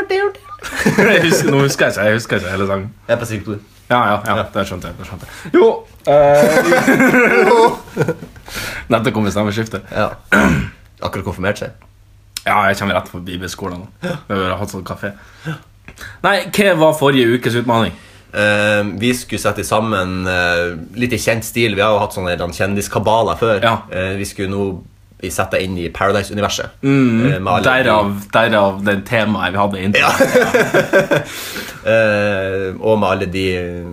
[SPEAKER 2] husker, Nå husker jeg ikke Jeg husker ikke hele sangen
[SPEAKER 3] er på sykt
[SPEAKER 2] Ja, ja, ja, det skjønte jeg. Det skjønte jeg. Jo eh, <laughs> Dette kom i stemmeskiftet.
[SPEAKER 3] Ja. Akkurat konfirmert seg.
[SPEAKER 2] Ja, jeg kommer rett fra bibelskolen nå. Vi har hatt sånn kafé. Nei, hva var forrige ukes utfordring?
[SPEAKER 3] Eh, vi skulle sette sammen eh, litt i kjent stil. Vi har jo hatt sånne der kjendiskabaler før.
[SPEAKER 2] Ja.
[SPEAKER 3] Eh, vi skulle nå vi sette inn i Paradise-universet. Eh, med alle de-
[SPEAKER 2] Mm, Derav, derav det temaet vi hadde inntil.
[SPEAKER 3] Eh, og med alle de eh,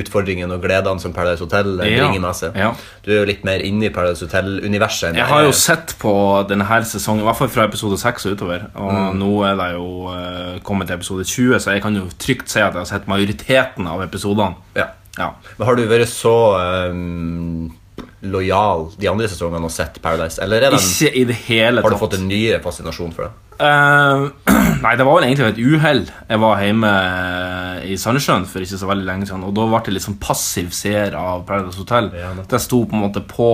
[SPEAKER 3] utfordringene og gledene som Paradise Hotel eh,
[SPEAKER 2] Ja.
[SPEAKER 3] bringer med seg.
[SPEAKER 2] Ja.
[SPEAKER 3] Du er jo litt mer inne i Paradise Hotel-universet. enn
[SPEAKER 2] Jeg har
[SPEAKER 3] er.
[SPEAKER 2] jo sett på denne her sesongen, i hvert fall fra episode 6 og utover. Og
[SPEAKER 3] Mm.
[SPEAKER 2] nå er det jo eh, kommet til episode 20, så jeg kan jo trygt si at jeg har sett majoriteten av episodene.
[SPEAKER 3] Ja.
[SPEAKER 2] Ja.
[SPEAKER 3] Men har du vært så eh, lojal de andre sesongene og sett Paradise? Eller er den,
[SPEAKER 2] Ikke i det hele
[SPEAKER 3] har du fått en nyere fascinasjon for det?
[SPEAKER 2] Eh, <clears throat> nei, det var vel egentlig et uhell. Jeg var hjemme eh, i Sandnessjøen for ikke så veldig lenge siden, og da ble jeg litt sånn passiv seer av Paradise Hotel.
[SPEAKER 3] Ja, nettopp.
[SPEAKER 2] det sto på en måte på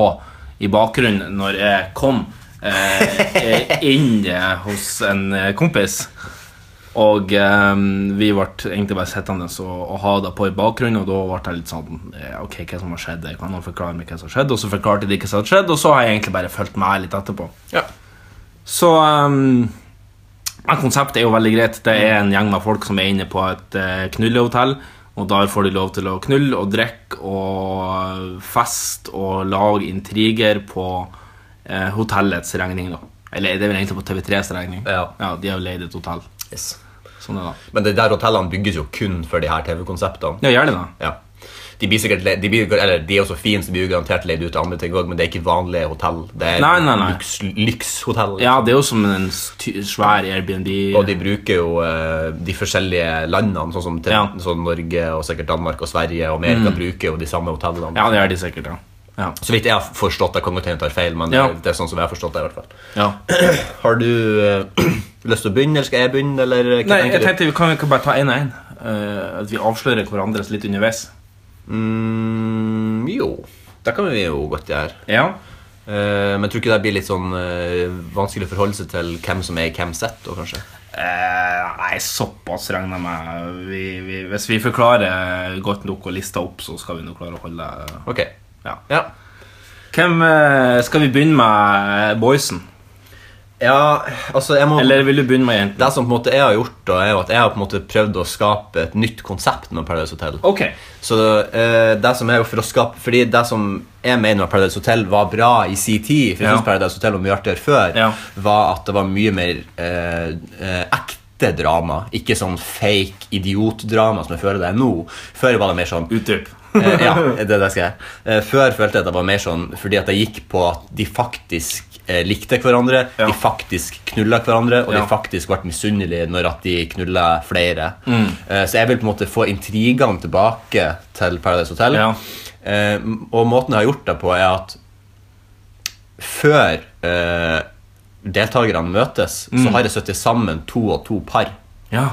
[SPEAKER 2] i bakgrunnen når jeg kom. Eh,
[SPEAKER 3] <laughs>
[SPEAKER 2] eh, inne hos en eh, kompis. Og eh, vi ble egentlig bare sittende og, og ha det på i bakgrunnen, og da ble jeg litt sånn eh, Ok, hva som har skjedd? Kan noen forklare meg hva som har skjedd? Og så forklarte de hva som hadde skjedd, og så har jeg egentlig bare fulgt med litt etterpå. Så ehm, men konseptet er jo veldig greit. Det er en gjeng med folk som er inne på et eh, knullehotell. Og der får de lov til å knulle og drikke og fest og lage intriger på eh, hotellets regning. da Eller det er vel egentlig på TV3s regning. Ja, De har jo leid et hotell. Sånn er det.
[SPEAKER 3] Men de der hotellene bygges jo kun for de her TV-konseptene.
[SPEAKER 2] Ja, gjør de det?
[SPEAKER 3] Ja. De blir sikkert le- de blir, eller, de er jo så fine, så de blir jo garantert leid ut til andre ting òg, men det er ikke vanlige hotell. Det er
[SPEAKER 2] Nei, nei, nei.
[SPEAKER 3] lyks- lykshotell.
[SPEAKER 2] Ja, det er jo som en sty- svær Airbnb.
[SPEAKER 3] Og de bruker jo eh, de forskjellige landene, sånn som til,
[SPEAKER 2] Ja.
[SPEAKER 3] sånn Norge og sikkert Danmark og Sverige og Amerika
[SPEAKER 2] Mm.
[SPEAKER 3] bruker jo de samme hotellene.
[SPEAKER 2] Ja, det gjør de sikkert, ja. ja.
[SPEAKER 3] Så vidt jeg har forstått, jeg kan godt hende jeg tar feil, men
[SPEAKER 2] Ja.
[SPEAKER 3] det, det er sånn som jeg har forstått det. i hvert fall.
[SPEAKER 2] ja.
[SPEAKER 3] Har du eh, <clears throat> lyst til å begynne, eller skal jeg begynne? Eller, eh, hva
[SPEAKER 2] Nei,
[SPEAKER 3] tenker
[SPEAKER 2] jeg
[SPEAKER 3] du?
[SPEAKER 2] tenkte vi kan, vi kan bare ta én og én. at vi avslører hverandres litt underveis.
[SPEAKER 3] Mm, jo, det kan vi jo godt gjøre.
[SPEAKER 2] Ja.
[SPEAKER 3] men tror ikke det blir litt sånn eh, vanskelig å forholde seg til hvem som er i hvem sitt, da, kanskje?
[SPEAKER 2] Eh, nei, såpass regner jeg med. Vi, vi, hvis vi forklarer godt nok og lister opp, så skal vi nå klare å holde
[SPEAKER 3] Ok.
[SPEAKER 2] Ja.
[SPEAKER 3] Ja.
[SPEAKER 2] Hvem eh, Skal vi begynne med boysen?
[SPEAKER 3] Ja, altså jeg må
[SPEAKER 2] Eller vil du begynne med jentene?
[SPEAKER 3] Det som på en måte jeg har gjort, da, er jo at jeg har på en måte prøvd å skape et nytt konsept med Paradise Hotel.
[SPEAKER 2] Ok.
[SPEAKER 3] Så eh, det som er jo for å skape Fordi det som jeg mener med Paradise Hotel var bra i sin tid, for jeg
[SPEAKER 2] Ja.
[SPEAKER 3] synes Paradise Hotel var mye artigere før, var at det var mye mer eh, eh, ekte drama. Ikke sånn fake idiotdrama som jeg føler det er nå. Før var det mer sånn
[SPEAKER 2] Utdyp.
[SPEAKER 3] Eh,
[SPEAKER 2] <laughs>
[SPEAKER 3] ja, det, det skal jeg. Eh, Før følte jeg at det var mer sånn fordi at jeg gikk på at de faktisk eh, likte hverandre, de faktisk knulla hverandre, og
[SPEAKER 2] Ja.
[SPEAKER 3] de faktisk ble misunnelige når at de knulla flere.
[SPEAKER 2] Mm.
[SPEAKER 3] Eh, Så jeg vil på en måte få intrigene tilbake til Paradise Hotel. Eh, Og måten jeg har gjort det på, er at før eh, deltakerne møtes,
[SPEAKER 2] Mm.
[SPEAKER 3] så har jeg satt sammen to og to par.
[SPEAKER 2] Ja.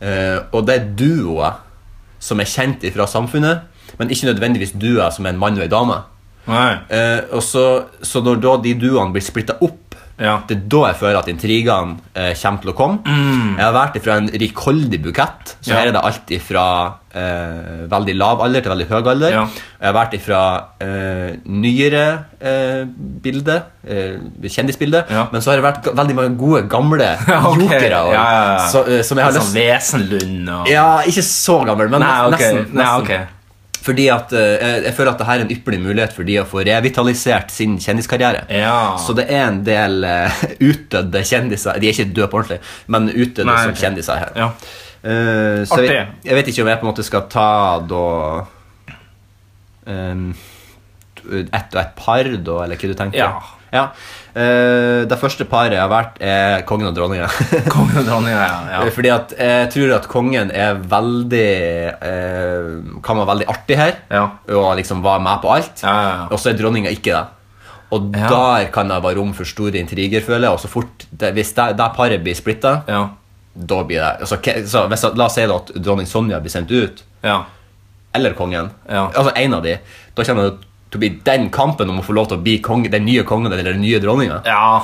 [SPEAKER 3] Eh, og det er duoer som er kjent fra samfunnet, men ikke nødvendigvis duoer som er en mann og en dame. Eh, og så, så når da de duoene blir splitta opp, det er da jeg føler at intrigene eh, kommer til å komme.
[SPEAKER 2] Mm.
[SPEAKER 3] Jeg har vært ifra en rikholdig bukett, så
[SPEAKER 2] Ja.
[SPEAKER 3] her er det alt ifra eh, veldig lav alder til veldig høy alder. Jeg har vært ifra eh, nyere eh, bilde, eh, kjendisbilde, men så har det vært ga- veldig mange gode, gamle
[SPEAKER 2] <laughs> Ok,
[SPEAKER 3] jokere.
[SPEAKER 2] ja,
[SPEAKER 3] og-
[SPEAKER 2] ja, ja.
[SPEAKER 3] Så, eh, som jeg har
[SPEAKER 2] Sånn
[SPEAKER 3] lyst
[SPEAKER 2] Vesenlund og
[SPEAKER 3] ja, ikke så gammel, men
[SPEAKER 2] Nei, ok.
[SPEAKER 3] nesten. nesten.
[SPEAKER 2] Nei, ok.
[SPEAKER 3] Fordi at eh, jeg- Jeg føler at dette er en ypperlig mulighet for de å få revitalisert sin kjendiskarriere. Så det er en del eh, utdødde kjendiser De er ikke døde på ordentlig, men utdødde
[SPEAKER 2] Nei,
[SPEAKER 3] som
[SPEAKER 2] ok.
[SPEAKER 3] kjendiser her. Eh, så
[SPEAKER 2] Artig.
[SPEAKER 3] jeg, vet- jeg vet ikke om jeg på en måte skal ta da um, Ett og ett par, da, eller hva du tenker?
[SPEAKER 2] Ja.
[SPEAKER 3] Eh, det første paret jeg har vært, er kongen og <laughs> dronninga.
[SPEAKER 2] Kongen og dronninga, ja. ja.
[SPEAKER 3] Eh, Fordi at jeg tror at kongen er veldig eh, Kan være veldig artig her Og liksom var med på alt Og så er dronninga ikke det Og der kan det være rom for store intriger føler jeg Og så fort, det, hvis det, det paret blir splittet Da blir det altså, ke- så hvis, La oss si da at dronning Sonja blir sendt ut Eller kongen Altså en av de Da kommer det til å bli den kampen om å få lov til å bli kong, den nye kongen Eller den nye dronninga
[SPEAKER 2] Ja.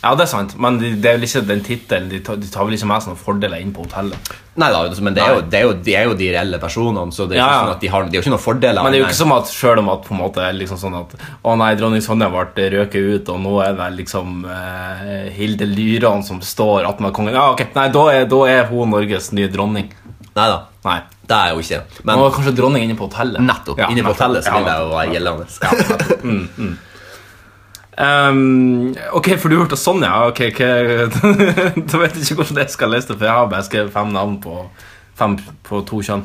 [SPEAKER 2] Ja, det er sant, men de- det er vel ikke den tittelen. De, tar- de tar vel ikke med seg noen fordeler inn på hotellet.
[SPEAKER 3] Nei da, altså, men det er, jo, det, er jo, de er jo de reelle personene Så det er jo
[SPEAKER 2] Ja, ja.
[SPEAKER 3] ikke sånn at de har, de har ikke noen fordeler
[SPEAKER 2] Men det er jo
[SPEAKER 3] Nei.
[SPEAKER 2] ikke som at selv om at på en måte er liksom sånn at Å nei, dronning Sonja ble røket ut, og nå er det liksom eh, Hilde Lyran som står attmed kongen. Ja, ok, nei, da er, da er hun Norges nye dronning.
[SPEAKER 3] Neida.
[SPEAKER 2] Nei
[SPEAKER 3] Det er jo ikke men-
[SPEAKER 2] Nå er kanskje dronning inne på hotellet.
[SPEAKER 3] Nettopp. Inne på hotellet så vil det jo være gjeldende.
[SPEAKER 2] mm, mm. Ehm, ok, for du hørte Sonja. Ok, ok <laughs> Da vet jeg ikke hvordan jeg skal lese det, for jeg har bare skrevet fem navn på, fem på to kjønn.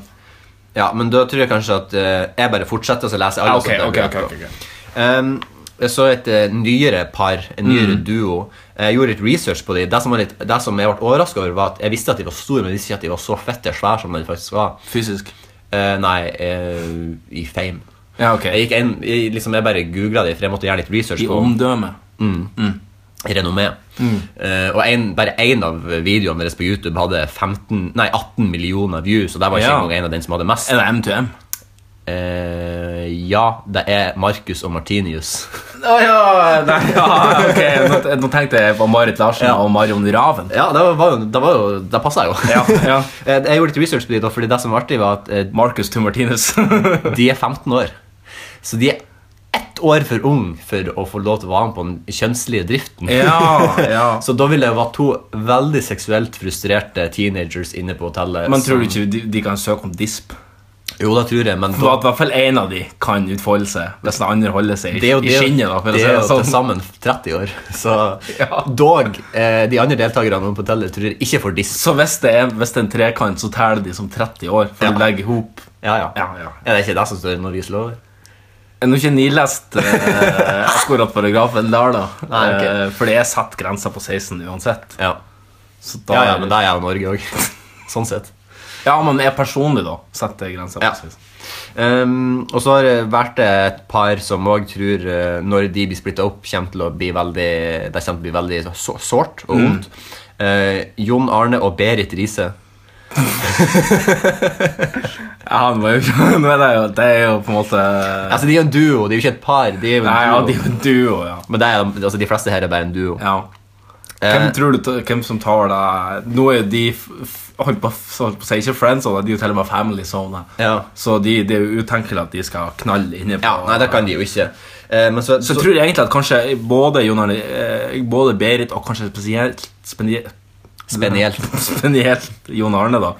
[SPEAKER 3] Ja, men da tror jeg kanskje at eh, jeg bare fortsetter, og så leser jeg
[SPEAKER 2] Ja,
[SPEAKER 3] alle.
[SPEAKER 2] ok,
[SPEAKER 3] sånn at
[SPEAKER 2] ok,
[SPEAKER 3] det
[SPEAKER 2] ok, ok,
[SPEAKER 3] blir rett. Um, jeg så et eh, nyere par, en nyere
[SPEAKER 2] Mm.
[SPEAKER 3] duo. Jeg gjorde litt research på dem. Det som, var litt, det som jeg ble overraska over, var at jeg visste at de var store, men jeg visste ikke at de var så fette svære som de faktisk var.
[SPEAKER 2] Fysisk?
[SPEAKER 3] nei, eh, i fame.
[SPEAKER 2] Ja, ok
[SPEAKER 3] Jeg, gikk inn, jeg, liksom, jeg bare googla dem, for jeg måtte gjøre litt research.
[SPEAKER 2] I
[SPEAKER 3] på-
[SPEAKER 2] omdømme.
[SPEAKER 3] Mm. Renommé.
[SPEAKER 2] Mm.
[SPEAKER 3] Eh, og en, bare én av videoene deres på YouTube hadde 15, nei, 18 millioner views, og der var ikke
[SPEAKER 2] Ja.
[SPEAKER 3] engang en av den som hadde mest.
[SPEAKER 2] Er det M2M?
[SPEAKER 3] Eh, ja, det er Markus og Martinius.
[SPEAKER 2] Å ja, nei, <laughs> ja, ok. Nå, nå tenkte jeg på Marit Larsen og Marion Raven.
[SPEAKER 3] <laughs> Ja, det var jo, det, var jo, det passet jo.
[SPEAKER 2] Ja, ja.
[SPEAKER 3] <laughs> Eh, Jeg gjorde litt research på de da, fordi det som var artig var at eh,
[SPEAKER 2] Marcus to Martinez.
[SPEAKER 3] de er 15 år. Så de er ett år for ung for å få lov til å være med på den kjønnslige
[SPEAKER 2] <laughs>
[SPEAKER 3] driften.
[SPEAKER 2] ja, ja.
[SPEAKER 3] <laughs> Så da ville det være to veldig seksuelt frustrerte teenagers inne på hotellet.
[SPEAKER 2] Men tror du
[SPEAKER 3] som-
[SPEAKER 2] ikke de, de kan søke om DISP?
[SPEAKER 3] Jo, det tror jeg, men
[SPEAKER 2] For
[SPEAKER 3] da,
[SPEAKER 2] at i hvert fall én av de kan utfolde seg, hvis den andre holder seg i,
[SPEAKER 3] det er jo,
[SPEAKER 2] i
[SPEAKER 3] det, er jo-
[SPEAKER 2] skinnet. Da, for å
[SPEAKER 3] det
[SPEAKER 2] si
[SPEAKER 3] er jo
[SPEAKER 2] det
[SPEAKER 3] til
[SPEAKER 2] sånn.
[SPEAKER 3] sammen 30 år. Så
[SPEAKER 2] <laughs> Ja.
[SPEAKER 3] dog, eh, de andre deltakerne på hotellet tror jeg ikke får diss.
[SPEAKER 2] Så hvis det, er, hvis det er en trekant, så teller de som 30 år. For
[SPEAKER 3] Ja.
[SPEAKER 2] å legge ihop
[SPEAKER 3] Ja, ja.
[SPEAKER 2] Ja, ja.
[SPEAKER 3] Er det ikke det som står i Norges lover?
[SPEAKER 2] Jeg har ikke nilest eh,
[SPEAKER 3] <laughs>
[SPEAKER 2] akkurat paragrafen der, da.
[SPEAKER 3] Nei, ok.
[SPEAKER 2] Eh, for det er satt grensa på 16 uansett.
[SPEAKER 3] Ja.
[SPEAKER 2] Så da,
[SPEAKER 3] ja, ja, men det er jo Norge òg. <laughs> sånn sett.
[SPEAKER 2] ja, men jeg personlig, da, setter grensa på
[SPEAKER 3] Ja.
[SPEAKER 2] 16.
[SPEAKER 3] Ehm, og så har det vært et par som òg tror eh, når de blir splitta opp, kommer til å bli veldig, det kommer til å bli veldig så- sårt og
[SPEAKER 2] Mm.
[SPEAKER 3] vondt. Eh, Jon Arne og Berit Riise.
[SPEAKER 2] Ja, han var jo, <laughs> nå er det, jo, det er jo på en måte
[SPEAKER 3] Altså, de er jo en duo, de er jo ikke et par. De er jo en
[SPEAKER 2] Nei, ja,
[SPEAKER 3] duo.
[SPEAKER 2] de er jo en duo, ja.
[SPEAKER 3] Men det er, altså, de fleste her er bare en duo. Eh,
[SPEAKER 2] ja. Hvem tror du ta- hvem som tar det Nå er jo de f- f- holdt på, f- holdt på å si ikke friends, og de er jo til og med family zone.
[SPEAKER 3] Ja.
[SPEAKER 2] Så de, det er jo utenkelig at de skal knalle inne på
[SPEAKER 3] Ja, Nei, det kan de jo ikke. Eh, men så,
[SPEAKER 2] Så jeg tror egentlig at kanskje både, Jon Arne, eh, både Berit og kanskje spesielt spenie-
[SPEAKER 3] Spenielt.
[SPEAKER 2] spesielt Jon Arne da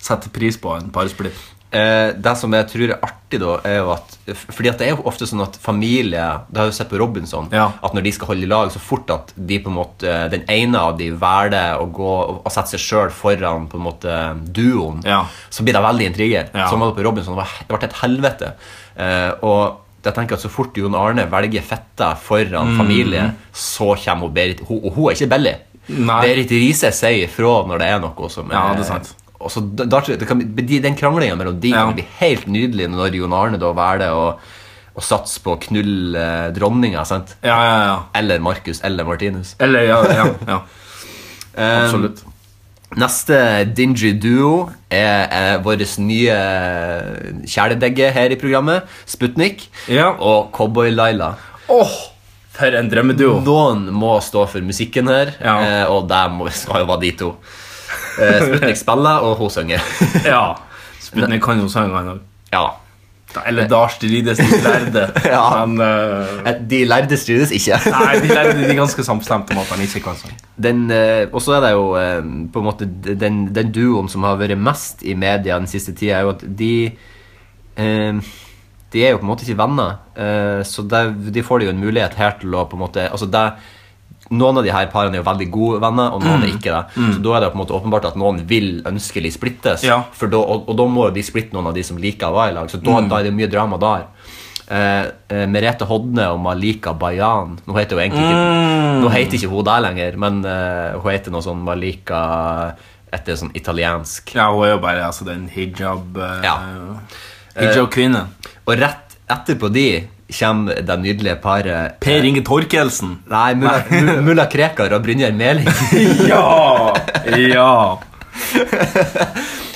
[SPEAKER 2] setter pris på en parsplitt.
[SPEAKER 3] Eh, det som jeg tror er artig, da, er jo at f- Fordi at det er jo ofte sånn at familie Det har jeg jo sett på Robinson.
[SPEAKER 2] Ja.
[SPEAKER 3] At når de skal holde i lag, så fort at de på en måte eh, den ene av de velger å gå og og sette seg sjøl foran på en måte duoen,
[SPEAKER 2] Ja.
[SPEAKER 3] så blir det veldig intriger.
[SPEAKER 2] Ja.
[SPEAKER 3] Sånn var det på Robinson. Det var he- det ble et helvete. Eh, og jeg tenker at Så fort Jon Arne velger fetta
[SPEAKER 2] Mm.
[SPEAKER 3] foran familie, så kommer hun Berit. Hun, og hun er ikke billig.
[SPEAKER 2] Nei.
[SPEAKER 3] Berit Riise sier ifra når det er noe som
[SPEAKER 2] Ja, det er sant.
[SPEAKER 3] Eh, og så da, da tror jeg, det kan, bli- de- Den kranglingen mellom de
[SPEAKER 2] Ja.
[SPEAKER 3] kan bli helt nydelig når Jon Arne da velger å, å satse på å knulle eh, dronninga. sant?
[SPEAKER 2] Ja, ja, ja.
[SPEAKER 3] Eller Markus eller Martinus.
[SPEAKER 2] Eller, ja, ja, ja.
[SPEAKER 3] <laughs> Eh,
[SPEAKER 2] Absolutt.
[SPEAKER 3] Neste dingy duo er, eh, vår nye kjæledegge her i programmet, Sputnik,
[SPEAKER 2] Ja.
[SPEAKER 3] og Cowboy-Laila.
[SPEAKER 2] Åh, for en
[SPEAKER 3] <laughs>
[SPEAKER 2] drømmeduo.
[SPEAKER 3] Noen må stå for musikken her,
[SPEAKER 2] Ja.
[SPEAKER 3] eh, og det må- skal jo være de to. Eh, Sputnik spiller, og hun synger.
[SPEAKER 2] <laughs> Ja. Sputnik kan jo sangen han òg.
[SPEAKER 3] ja.
[SPEAKER 2] Eller Lars de Lides de lærde. <laughs>
[SPEAKER 3] Ja.
[SPEAKER 2] Men eh,
[SPEAKER 3] Eh, De lærde strides ikke.
[SPEAKER 2] <laughs> Nei, de lærde de er ganske samstemte om at han ikke kan sånn. sang.
[SPEAKER 3] den, eh, og så er det jo eh, på en måte d- den, den duoen som har vært mest i media den siste tida, er jo at de eh, De er jo på en måte ikke venner, eh, så det, de får jo en mulighet her til å på en måte altså det, Noen av de her parene er jo veldig gode venner, og noen er ikke det. Så da er det på en måte åpenbart at noen vil ønskelig splittes,
[SPEAKER 2] Ja.
[SPEAKER 3] for da, og, og da må jo de splitte noen av de som liker å være i lag. Så da, da er det mye drama der. Eh, eh, Merete Hodne og Malika Bayan Nå heter hun egentlig ikke nå heter ikke hun der lenger, men eh, hun heter noe sånn Malika etter sånn italiensk.
[SPEAKER 2] Ja, hun er jo bare altså, den hijab... eh,
[SPEAKER 3] Ja.
[SPEAKER 2] Hijab-kvinnen.
[SPEAKER 3] Og rett etterpå de kommer det nydelige paret eh,
[SPEAKER 2] Per Inge Torkelsen.
[SPEAKER 3] Nei, mulla, Mu- mulla Krekar og Brynjar Meling.
[SPEAKER 2] <laughs> Ja! Ja.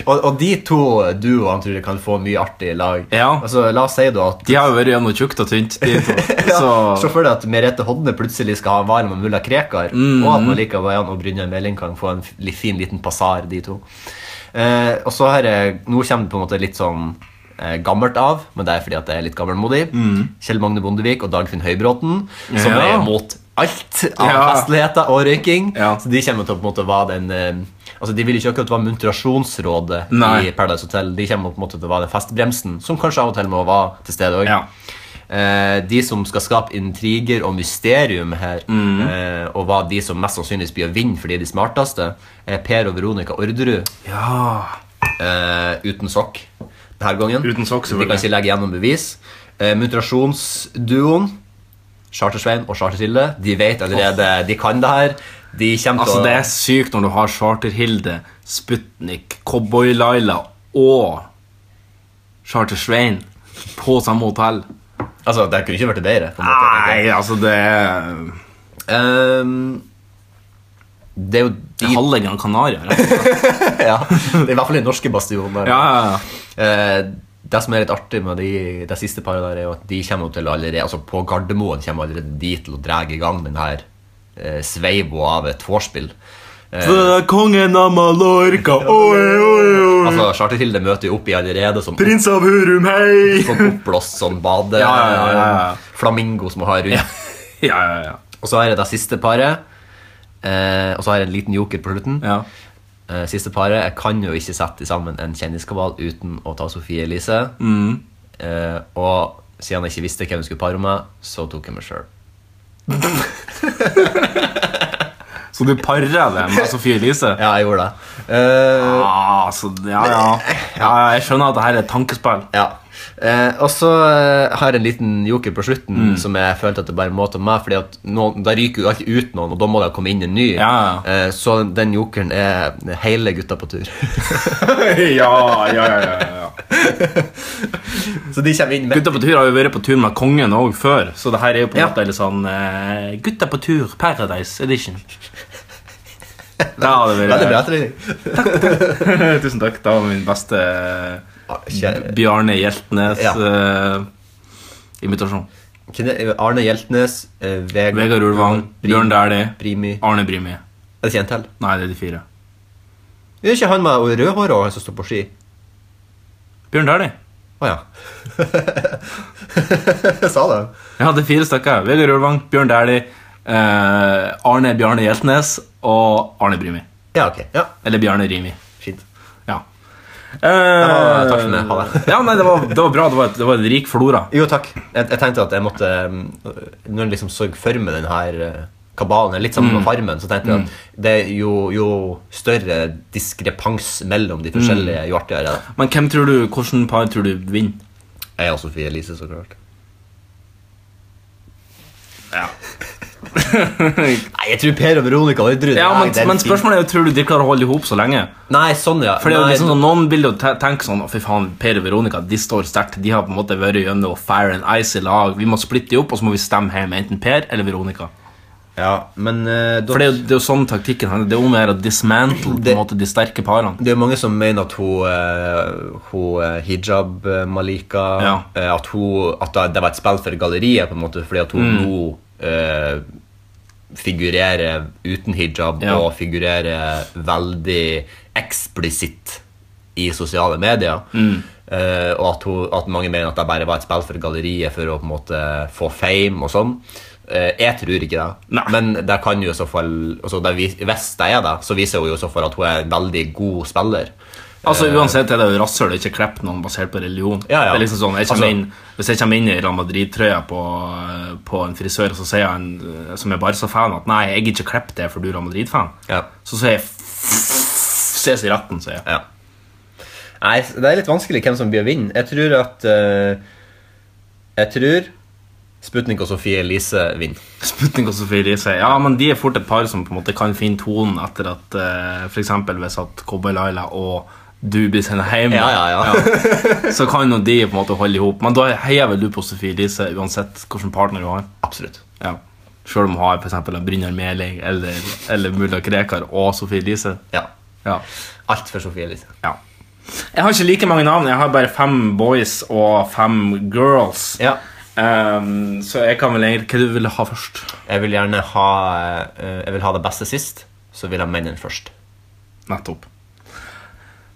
[SPEAKER 3] og, og de to duoene tror jeg kan få mye artig i lag.
[SPEAKER 2] Ja.
[SPEAKER 3] Altså, La oss si da at
[SPEAKER 2] De har jo vært gjennom tjukt og tynt, de <laughs> to.
[SPEAKER 3] ja,
[SPEAKER 2] Så
[SPEAKER 3] Se for deg at Merete Hodne plutselig skal ha en varm med mulla Krekar, og at
[SPEAKER 2] Mm.
[SPEAKER 3] Malika Bayan og Brynjar Meling kan få en f- li- fin liten passar, de to. Eh, og så har jeg, Nå kommer det på en måte litt sånn eh, gammelt av, men det er fordi at det er litt gammelmodig. Kjell Magne Bondevik og Dagfinn Høybråten, som
[SPEAKER 2] Mm. Ja.
[SPEAKER 3] er mot alt av
[SPEAKER 2] Ja.
[SPEAKER 3] festligheter og røyking.
[SPEAKER 2] Ja.
[SPEAKER 3] Så de kommer til å på en måte være den eh, Altså, De vil ikke akkurat være muntrasjonsrådet
[SPEAKER 2] Nei.
[SPEAKER 3] i Paradise Hotel. De kommer på en måte til å være den festbremsen, som kanskje av og til må være til stede òg.
[SPEAKER 2] Ja.
[SPEAKER 3] Eh, de som skal skape intriger og mysterium her,
[SPEAKER 2] Mhm.
[SPEAKER 3] eh, og var de som mest sannsynligvis blir å vinne fordi de er de smarteste, er Per og Veronica Orderud
[SPEAKER 2] Ja.
[SPEAKER 3] eh, uten sokk denne gangen.
[SPEAKER 2] Uten sokk,
[SPEAKER 3] De kan
[SPEAKER 2] selvfølgelig.
[SPEAKER 3] ikke legge gjennom bevis. Eh, Mutrasjonsduoen, Charter-Svein og Charter-Silde, de vet allerede de kan det her. De kommer
[SPEAKER 2] Altså,
[SPEAKER 3] til å
[SPEAKER 2] det er sykt når du har Charter-Hilde, Sputnik, Cowboy-Laila og Charter-Svein på samme hotell.
[SPEAKER 3] Altså, det kunne ikke vært bedre. på en måte, tenker jeg.
[SPEAKER 2] Nei, altså, det er
[SPEAKER 3] Ehm, det er jo
[SPEAKER 2] Det
[SPEAKER 3] de
[SPEAKER 2] er halve
[SPEAKER 3] <laughs>
[SPEAKER 2] Gran Canaria. rett og slett.
[SPEAKER 3] ja, Det er i hvert fall den norske bastionen. der.
[SPEAKER 2] Ja, ja, ja.
[SPEAKER 3] Eh, det som er litt artig med de, det siste paret, der er jo at de kommer jo til allerede Altså på Gardermoen kommer allerede de til å dra i gang den her eh, sveiva av et vorspiel. Eh,
[SPEAKER 2] kongen av Mallorca, Mm.
[SPEAKER 3] altså, Chartertilde møter jo opp i allerede som
[SPEAKER 2] Prins av Hurum, hei!
[SPEAKER 3] Sånn oppblåst sånn bade... eh,
[SPEAKER 2] Ja, ja, ja, ja, ja.
[SPEAKER 3] Flamingo som har rundt.
[SPEAKER 2] Ja, ja, ja.
[SPEAKER 3] Og så har jeg det siste paret. Eh, og så har jeg en liten joker på slutten. Eh, siste paret. Jeg kan jo ikke sette sammen en kjendiskabal uten å ta Sofie Elise. Eh, og siden jeg ikke visste hvem jeg skulle pare med, så tok jeg meg sjøl.
[SPEAKER 2] Så du parer det med Sofie Elise?
[SPEAKER 3] Ja, jeg gjorde det. Eh,
[SPEAKER 2] Ah, så, ja, ja. ja, ja, jeg skjønner at det her er et tankespill.
[SPEAKER 3] ja. Eh, og så eh, har jeg en liten joker på slutten som jeg følte at det bare må ta meg. Fordi at noen, da ryker jo alltid ut noen, og da må det komme inn en ny.
[SPEAKER 2] Ja,
[SPEAKER 3] Eh, så den jokeren er hele gutta på <laughs> tur.
[SPEAKER 2] <laughs> ja, ja, ja, ja, ja.
[SPEAKER 3] så de kommer inn med
[SPEAKER 2] Gutta på tur har jo vært på tur med kongen òg før, så det her er jo på en
[SPEAKER 3] Ja.
[SPEAKER 2] måte litt sånn eh, Gutta på tur, Paradise Edition. Da hadde det
[SPEAKER 3] Veldig bra
[SPEAKER 2] vært
[SPEAKER 3] trening.
[SPEAKER 2] <laughs> Tusen takk. Det var min beste
[SPEAKER 3] Ah, Kjære-
[SPEAKER 2] Bjarne Hjeltnes
[SPEAKER 3] Ja.
[SPEAKER 2] eh, imitasjon.
[SPEAKER 3] Kne- Arne Hjeltnes, eh, Veg
[SPEAKER 2] Vegard Ulvang,
[SPEAKER 3] Brim-
[SPEAKER 2] Bjørn Dæhlie,
[SPEAKER 3] Brimi Er
[SPEAKER 2] Arne Brimi.
[SPEAKER 3] det ikke en til?
[SPEAKER 2] Nei, det er de fire.
[SPEAKER 3] Det er ikke han med rødhåret og han som står på ski.
[SPEAKER 2] Bjørn Dæhlie.
[SPEAKER 3] Å ja. Jeg <laughs> sa det.
[SPEAKER 2] Jeg hadde fire stykker. Vegard Ulvang, Bjørn Dæhlie, eh, Arne Bjarne Hjeltnes og Arne Brimi.
[SPEAKER 3] Ja, ok. Ja,
[SPEAKER 2] Eller Bjarne Rimi.
[SPEAKER 3] Fint.
[SPEAKER 2] Ja. Eh,
[SPEAKER 3] var- takk for meg. Ha det.
[SPEAKER 2] ja, nei, det var, det var bra. Det var, et- det var en rik flora.
[SPEAKER 3] Jo, takk. Jeg, jeg tenkte at jeg måtte um, Når jeg liksom så for meg den her eh, kabalen, litt sammen med Farmen, så tenkte jeg at det er jo, jo større diskrepans mellom de forskjellige, jo artigere er det.
[SPEAKER 2] Men hvem tror du, hvordan par tror du vinner?
[SPEAKER 3] Jeg og Sofie Elise, så klart.
[SPEAKER 2] Ja.
[SPEAKER 3] Nei, jeg tror Per og Veronica og Audrun
[SPEAKER 2] ja,
[SPEAKER 3] nei,
[SPEAKER 2] men,
[SPEAKER 3] det er
[SPEAKER 2] men
[SPEAKER 3] fint.
[SPEAKER 2] spørsmålet er jo, tror du de klarer å holde i hop så lenge?
[SPEAKER 3] Nei, sånn, ja.
[SPEAKER 2] For det er jo
[SPEAKER 3] Nei,
[SPEAKER 2] liksom sånn, Noen vil jo te- tenke sånn Å, fy faen, Per og Veronica de står sterkt. De har på en måte vært gjennom Fire and Ice i lag. Vi må splitte de opp, og så må vi stemme hjem enten Per eller Veronica. sånn-
[SPEAKER 3] ja, men eh, da-
[SPEAKER 2] For det er jo, det er jo sånn taktikken handler Det er jo mer å dismantle på
[SPEAKER 3] Det-
[SPEAKER 2] en måte de sterke parene.
[SPEAKER 3] Det er jo mange som mener at hun, eh, hun eh, hijab eh, Malika
[SPEAKER 2] Ja.
[SPEAKER 3] eh, At, hun, at det var et spill for galleriet, på en måte, fordi at hun
[SPEAKER 2] Mm.
[SPEAKER 3] nå eh, figurerer uten hijab
[SPEAKER 2] Ja.
[SPEAKER 3] og figurerer veldig eksplisitt i sosiale medier. Eh, og at, hun, at mange mener at det bare var et spill for galleriet for å på en måte få fame og sånn. Eh, jeg tror ikke det,
[SPEAKER 2] Nei.
[SPEAKER 3] men det kan jo i så fall altså det, vis- Hvis det er det, så viser hun jo i så fall at hun er en veldig god spiller.
[SPEAKER 2] Altså Uansett er det jo rasshøl å ikke klippe noen basert på religion.
[SPEAKER 3] Ja, ja.
[SPEAKER 2] Det er liksom sånn, jeg kommer
[SPEAKER 3] Altså-
[SPEAKER 2] inn, Hvis jeg kommer inn i Real Madrid-trøya på, på en frisør, og så sier han eh, som er Barca-fan at nei, jeg gidder ikke klippe det, for du er Real Madrid-fan,
[SPEAKER 3] Ja.
[SPEAKER 2] så sier jeg f- ses i retten, sier jeg.
[SPEAKER 3] Ja. Nei, s- det er litt vanskelig hvem som blir å vinne. Jeg tror at eh, Jeg tror Sputnik og Sofie Elise vinner.
[SPEAKER 2] Sputnik og Sofie Elise. Ja, men de er fort et par som på en måte kan finne tonen etter at eh, for eksempel hvis at Cowboy Laila og du blir sendt hjem,
[SPEAKER 3] Ja, ja, ja.
[SPEAKER 2] så kan jo de på en måte holde i hop. Men da heier vel du på Sofie Elise uansett hvilken partner du har.
[SPEAKER 3] Absolutt.
[SPEAKER 2] Ja. Selv om hun har for eksempel en Brynjar Meling eller, eller Mulla Krekar og Sofie Elise.
[SPEAKER 3] Ja.
[SPEAKER 2] Ja.
[SPEAKER 3] Alt for Sofie Elise.
[SPEAKER 2] ja. Jeg har ikke like mange navn. Jeg har bare fem boys og fem girls.
[SPEAKER 3] Ja.
[SPEAKER 2] Ehm, så jeg kan vel egentlig Hva du ville ha først?
[SPEAKER 3] Jeg vil gjerne ha eh, Jeg vil ha det beste sist, så vil jeg ha mennene først.
[SPEAKER 2] Nettopp.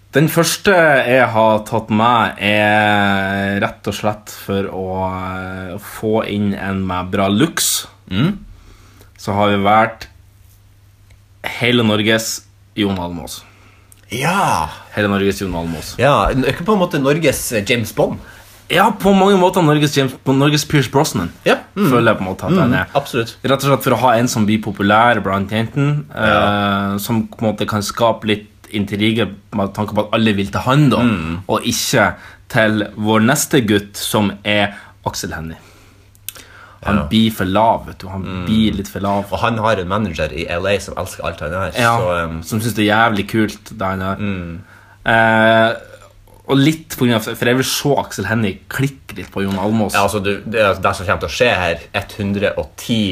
[SPEAKER 2] Den første jeg har tatt med, er rett og slett for å eh, få inn en med bra looks.
[SPEAKER 3] Mm.
[SPEAKER 2] Så har vi valgt hele Norges Jon Almaas.
[SPEAKER 3] Ja!
[SPEAKER 2] Hele Norges Jon Almaas.
[SPEAKER 3] Ja, n- Ikke på en måte Norges eh, James Bond.
[SPEAKER 2] Ja, på mange måter Norges, James, på Norges Pierce Brosnan.
[SPEAKER 3] Ja. Mm.
[SPEAKER 2] Føler jeg på en måte at han er.
[SPEAKER 3] Absolutt.
[SPEAKER 2] Rett og slett for å ha en som blir populær blant jentene, eh, som på en måte kan skape litt intriger med tanke på at alle vil til han, da, og ikke til vår neste gutt, som er Aksel Hennie. Han blir for lav, vet du. Han blir litt for lav.
[SPEAKER 3] Og han har en manager i LA som elsker alt han er.
[SPEAKER 2] Ja,
[SPEAKER 3] Så, um,
[SPEAKER 2] som syns det er jævlig kult, det han gjør. Eh, og litt på grunn av For jeg vil se Aksel Hennie klikke litt på Jon Almaas.
[SPEAKER 3] altså, ja, altså, du, det, er det som kommer til å skje her, 110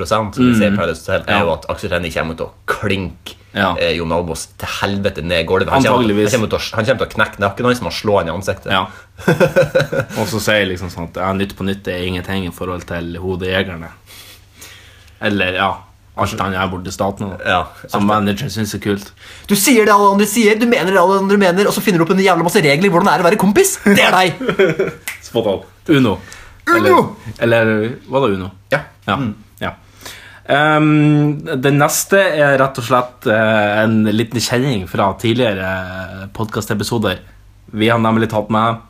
[SPEAKER 3] som vi ser
[SPEAKER 2] Mm.
[SPEAKER 3] Paradise Hotel, er jo at Aksel Hennie kommer til å klinke
[SPEAKER 2] Ja.
[SPEAKER 3] eh, Jon Almaas til helvete ned i gulvet. Han kommer, han,
[SPEAKER 2] Antageligvis.
[SPEAKER 3] kommer til å, han kommer til å knekke nakken hans med å slå han i ansiktet.
[SPEAKER 2] Ja.
[SPEAKER 11] <laughs>
[SPEAKER 2] Og så sier jeg liksom sånn at ja, Nytt på nytt er ingenting i forhold til Hodejegerne. Eller ja, alt han gjør borte i staten. da. som manageren syns er kult.
[SPEAKER 11] Du sier det alle andre sier, du mener det alle andre mener, og så finner du opp en jævla masse regler i hvordan det er å være kompis. Det er deg!
[SPEAKER 2] <laughs> Spot on. Uno. Uno! Eller, eller var det Uno? Ja. ja.
[SPEAKER 11] Mm.
[SPEAKER 2] Ehm, den neste er rett og slett eh, en liten kjenning fra tidligere podkastepisoder. Vi har nemlig tatt med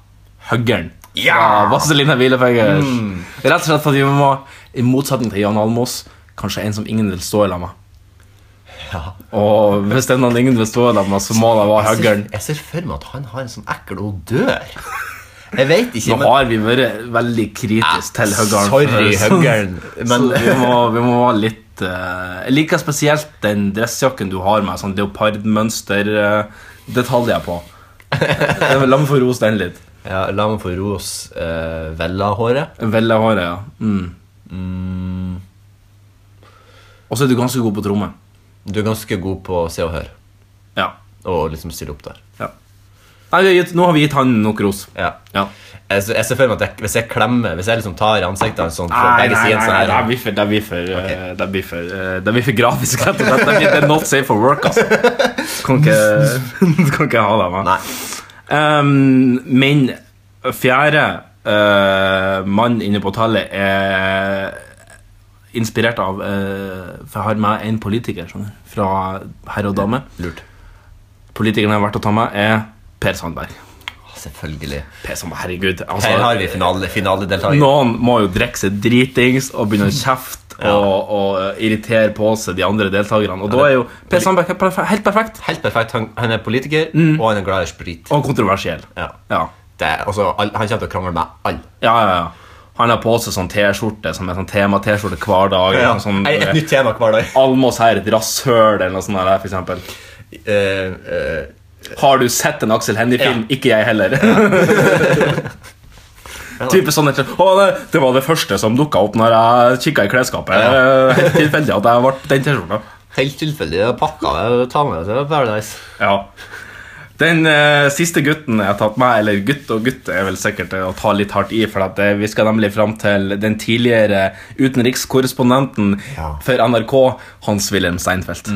[SPEAKER 2] Huggeren. Ja! Vazelina Hvilefingers.
[SPEAKER 3] Mm.
[SPEAKER 2] Rett og slett fordi vi må, i motsetning til Jan Almås, kanskje en som ingen vil stå i lag med. Og hvis det er noen ingen vil stå i lag med, så må det være
[SPEAKER 3] Jeg ser,
[SPEAKER 2] Huggeren.
[SPEAKER 3] jeg ser for meg at han har en sånn ekkel odør. Jeg vet ikke,
[SPEAKER 2] Nå har vi vært veldig kritisk til Høggern.
[SPEAKER 3] sorry,
[SPEAKER 2] <laughs> Så-
[SPEAKER 3] Høggern,
[SPEAKER 2] Så
[SPEAKER 3] men-
[SPEAKER 2] vi må, vi må være litt eh, Jeg liker spesielt den dressjakken du har med sånn leopardmønsterdetaljer på. Eh, La meg få rose den litt.
[SPEAKER 3] Ja, la meg få ros eh, Vella-håret.
[SPEAKER 2] Vellehåret, ja. Mm.
[SPEAKER 3] Mm.
[SPEAKER 2] Og så er du ganske god på tromme.
[SPEAKER 3] Du er ganske god på å se og høre.
[SPEAKER 2] Ja.
[SPEAKER 3] Og liksom stille opp der.
[SPEAKER 2] Ja. Nei, vi har gitt- Nå har vi gitt han nok ros.
[SPEAKER 3] Ja. Jeg, jeg ser for meg at jeg, hvis jeg klemmer Hvis jeg liksom tar i ansiktet hans sånn fra
[SPEAKER 2] Nei,
[SPEAKER 3] begge
[SPEAKER 2] nei,
[SPEAKER 3] sider sånn
[SPEAKER 2] nei, det
[SPEAKER 3] her
[SPEAKER 2] er vi for, det er vi for, eh, det er vi for, eh, det er vi for grafisk, rett og slett. Det er vi- Det er not safe for work, <laughs> altså. Kan ikke, <laughs> kan ikke ha det, man. Um, min fjerde eh, mann inne på tallet er inspirert av eh, For jeg har med en politiker skjønner, du, fra herre og dame.
[SPEAKER 3] Lurt.
[SPEAKER 2] Politikeren jeg har vært å ta med, er Per Sandberg.
[SPEAKER 3] Selvfølgelig.
[SPEAKER 2] Per Sandberg, herregud. altså-
[SPEAKER 3] Her har vi finale- finaledeltaker.
[SPEAKER 2] noen må jo drikke seg dritings og
[SPEAKER 3] <laughs>
[SPEAKER 2] begynne å kjefte og, og irritere på seg de andre deltakerne. Og da er jo Per Sandberg er perfe- helt perfekt.
[SPEAKER 3] Helt perfekt. Han, han er politiker,
[SPEAKER 2] Mm.
[SPEAKER 3] og han er glad i sprit.
[SPEAKER 2] Og kontroversiell.
[SPEAKER 3] Ja.
[SPEAKER 2] Ja.
[SPEAKER 3] Det er, altså, all, han kommer til å krangle med alle.
[SPEAKER 2] Ja, ja, ja. Han har på seg sånn T-skjorte som er sånn tema-T-skjorte hver dag.
[SPEAKER 3] Ja,
[SPEAKER 2] eller Sånn,
[SPEAKER 3] et- et nytt tema
[SPEAKER 2] <laughs>
[SPEAKER 3] hver dag.
[SPEAKER 2] Almås her, et rasshøl eller noe sånt der, for eksempel.
[SPEAKER 3] Eh,
[SPEAKER 2] har du sett en Aksel Hennie-film? Ikke jeg <laughs> heller. Type sånn etter, å, nei, Det var det første som dukka opp når jeg kikka i klesskapet.
[SPEAKER 3] Ja.
[SPEAKER 2] <laughs> Helt tilfeldig at jeg ble den T-skjorta.
[SPEAKER 3] Helt tilfeldig. Jeg pakka det og tar med det til Paradise.
[SPEAKER 2] Ja. Den eh, siste gutten jeg har tatt med, eller gutt og gutt, er vel sikkert å ta litt hardt i, for at, eh, vi skal nemlig fram til den tidligere utenrikskorrespondenten for NRK, Hans-Wilhelm Steinfeld.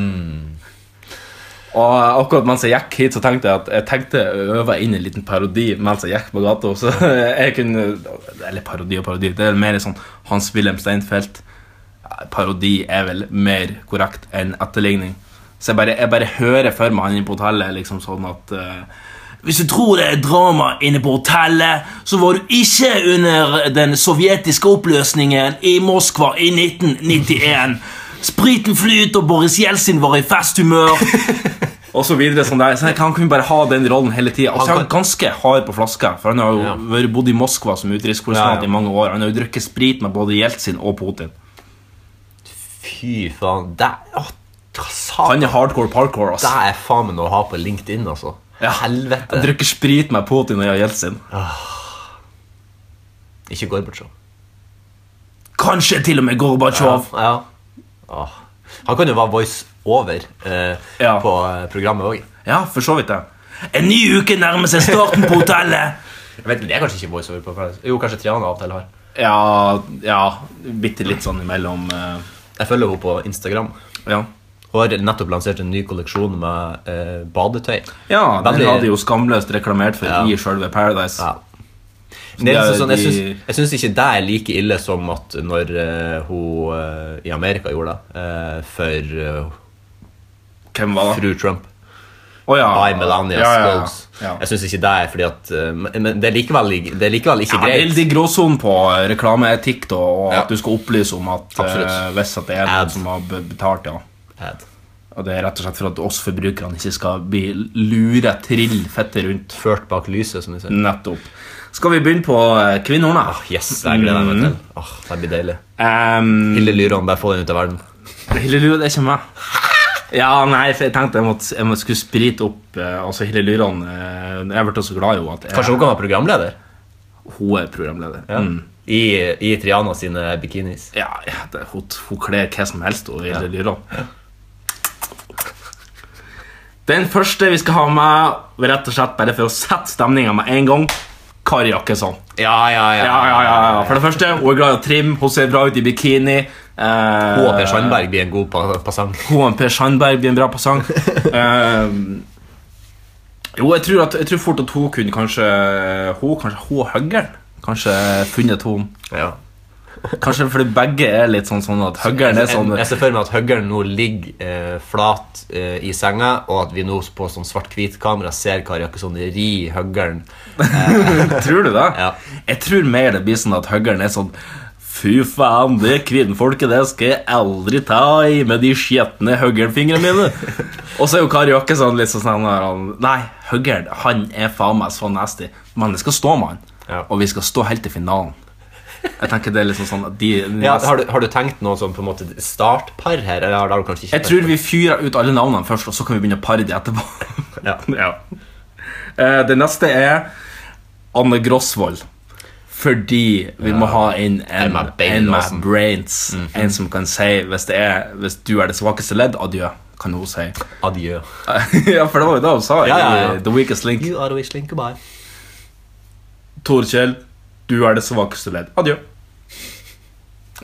[SPEAKER 2] Og eh, akkurat mens jeg gikk hit, så tenkte jeg at jeg tenkte å øve inn en liten parodi mens jeg gikk på gata. Så <laughs> jeg kunne Eller parodi og parodi. Det er mer sånn Hans-Wilhelm Steinfeld. Parodi er vel mer korrekt enn etterligning. Så jeg bare, jeg bare hører for meg han inne på hotellet liksom sånn at eh, hvis du tror det er drama inne på hotellet, så var du ikke under den sovjetiske oppløsningen i Moskva i 1991. Spriten flyter, og Boris Jeltsin var i
[SPEAKER 3] <laughs>
[SPEAKER 2] festhumør. Og så videre sånn der. Så jeg kan kunne bare ha den rollen hele tida. Og så er han ganske hard på flaska, for han har jo vært bodd i Moskva som utenrikskorrespondent
[SPEAKER 3] Ja, ja.
[SPEAKER 2] i mange år. Han har jo drukket sprit med både Jeltsin og Putin.
[SPEAKER 3] Fy faen. Det er, å, hva sa
[SPEAKER 2] Han er hardcore parkour, ass.
[SPEAKER 3] Det er faen meg noe å ha på LinkedIn, altså. Helvete.
[SPEAKER 2] Han drikker sprit med Putin og Jeltsin.
[SPEAKER 3] Ikke Gorbatsjov.
[SPEAKER 2] Kanskje til og med Gorbatsjov.
[SPEAKER 3] Ja. ja. Åh. Han kan jo være voice over eh, på eh, programmet òg.
[SPEAKER 2] Ja, for så vidt det. En ny uke nærmer seg starten på hotellet.
[SPEAKER 3] Jeg vet, det er kanskje ikke voice over på Paradise. Jo, kanskje Triana av og til har.
[SPEAKER 2] <laughs> Ja, ja bitte litt sånn imellom. eh.
[SPEAKER 3] Jeg følger henne på Instagram. Hun har nettopp lansert en ny kolleksjon med eh, badetøy.
[SPEAKER 2] Ja, den
[SPEAKER 3] Veldig-
[SPEAKER 2] hadde jo skamløst reklamert for i selve Paradise.
[SPEAKER 3] Det er liksom sånn, jeg,
[SPEAKER 2] de-
[SPEAKER 3] syns, jeg syns ikke det er like ille som at når eh, hun eh, i Amerika gjorde det eh, for eh,
[SPEAKER 2] Hvem var det?
[SPEAKER 3] fru Trump.
[SPEAKER 2] Å ja.
[SPEAKER 3] I Melania
[SPEAKER 2] Ah, Ja, ja, ja.
[SPEAKER 3] Scopes. Jeg syns ikke det er fordi at eh, Men men det er likevel, det er likevel ikke
[SPEAKER 2] Ja, det er
[SPEAKER 3] greit.
[SPEAKER 2] litt gråsonen på eh, reklameetikk da, og at du skal opplyse om at
[SPEAKER 3] Absolutt.
[SPEAKER 2] eh, hvis at det er noen som har be- betalt, ja.
[SPEAKER 3] Ad.
[SPEAKER 2] Og det er rett og slett for at oss forbrukerne ikke skal bli lure trill fette rundt.
[SPEAKER 3] Ført bak lyset, som de
[SPEAKER 2] Mm.
[SPEAKER 3] sier.
[SPEAKER 2] Nettopp. Skal vi begynne på eh, kvinnorna?
[SPEAKER 3] Yes, jeg gleder jeg meg til.
[SPEAKER 2] Mm.
[SPEAKER 3] Åh, det blir deilig. Hille Lyron, bare få den ut av verden.
[SPEAKER 2] Hille Lyron, det er ikke meg. Ja, nei, for jeg tenkte jeg måtte, jeg måtte skulle sprite opp eh, altså Hille Lyron. eh, jeg ble så glad i henne at jeg,
[SPEAKER 3] Kanskje hun kan være programleder?
[SPEAKER 2] hun er programleder.
[SPEAKER 3] Ja.
[SPEAKER 2] Mm.
[SPEAKER 3] i, i Triana sine bikinis.
[SPEAKER 2] Ja, ja det, hun, hun kler hva som helst og ville dyra. Den første vi skal ha med, rett og slett bare for å sette stemninga med en gang, Kari Jakkesson.
[SPEAKER 3] Ja, ja, ja.
[SPEAKER 2] Ja, ja, ja, ja. For det første, hun er glad i å trimme, hun ser bra ut i bikini. Eh,
[SPEAKER 3] Hun og Per Sandberg blir en god pa- passant.
[SPEAKER 2] Hun og Per Sandberg blir en bra passant.
[SPEAKER 3] <laughs>
[SPEAKER 2] Eh, jo, jeg tror, at, jeg tror fort at hun kunne kanskje Hun kanskje hun og Høggern kanskje funnet hun. Kanskje fordi begge er litt sånn, sånn at Høggern er sånn
[SPEAKER 3] Jeg- Jeg ser for meg at høggeren nå ligger eh, flat eh, i senga, og at vi nå på sånn svart-hvit-kamera ser Kari Jakkesson ri høggeren.
[SPEAKER 2] <laughs> Tror du det? Jeg tror mer det blir sånn at Høggern er sånn Fy faen, det kvinnfolket det skal jeg aldri ta i med de skjetne høggernfingrene mine.
[SPEAKER 3] <laughs>
[SPEAKER 2] Og så er jo Kari Jakkesson litt sånn sånn her han, Nei, Høggern han er faen meg så nasty. Men det skal stå med han. Og vi skal stå helt til finalen. Jeg tenker det er liksom sånn at de
[SPEAKER 3] Ja, har, du, har du tenkt noe sånn på en måte startpar her? Eller har du kanskje ikke
[SPEAKER 2] Jeg tror vi fyrer ut alle navnene først, og så kan vi begynne å pare de etterpå. <laughs>
[SPEAKER 3] Ja.
[SPEAKER 2] Eh, Det neste er Anne Grosvold. Fordi vi må ha inn en,
[SPEAKER 3] med
[SPEAKER 2] en,
[SPEAKER 3] bein også.
[SPEAKER 2] med brains. En som kan si hvis, det er, 'hvis du er det svakeste ledd, adjø', kan hun <laughs> si.
[SPEAKER 3] Adjø.
[SPEAKER 2] ja, for det var jo det hun sa
[SPEAKER 3] Ja, ja, ja.
[SPEAKER 2] i The Weakest Link.
[SPEAKER 3] You are a wish link, goodbye.
[SPEAKER 2] Torkjell, du er det svakeste ledd. Adjø.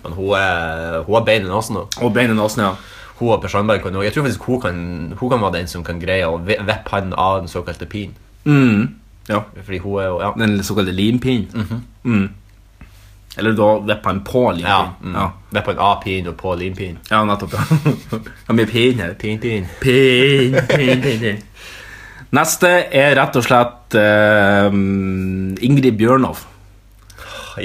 [SPEAKER 3] Men hun er, hun er bein i nesen nå.
[SPEAKER 2] Og bein i nesen, ja.
[SPEAKER 3] Hun og Per Sandberg kan jo Jeg tror faktisk hun kan, hun kan være den som kan greie å vi- vippe han av den såkalte pinen.
[SPEAKER 2] Mm, ja.
[SPEAKER 3] Fordi hun er jo ja.
[SPEAKER 2] Den såkalte limpinnen. mm. Eller da vipper han på limpinnen.
[SPEAKER 3] Ja, mm.
[SPEAKER 2] ja.
[SPEAKER 3] Vippe han av pinen og på limpinen.
[SPEAKER 2] Ja, nettopp. ja. <laughs> Det er mye pin her.
[SPEAKER 3] Pin, pin.
[SPEAKER 2] Pin, pin, pin, pin. Neste er rett og slett eh, Ingrid Bjørnov.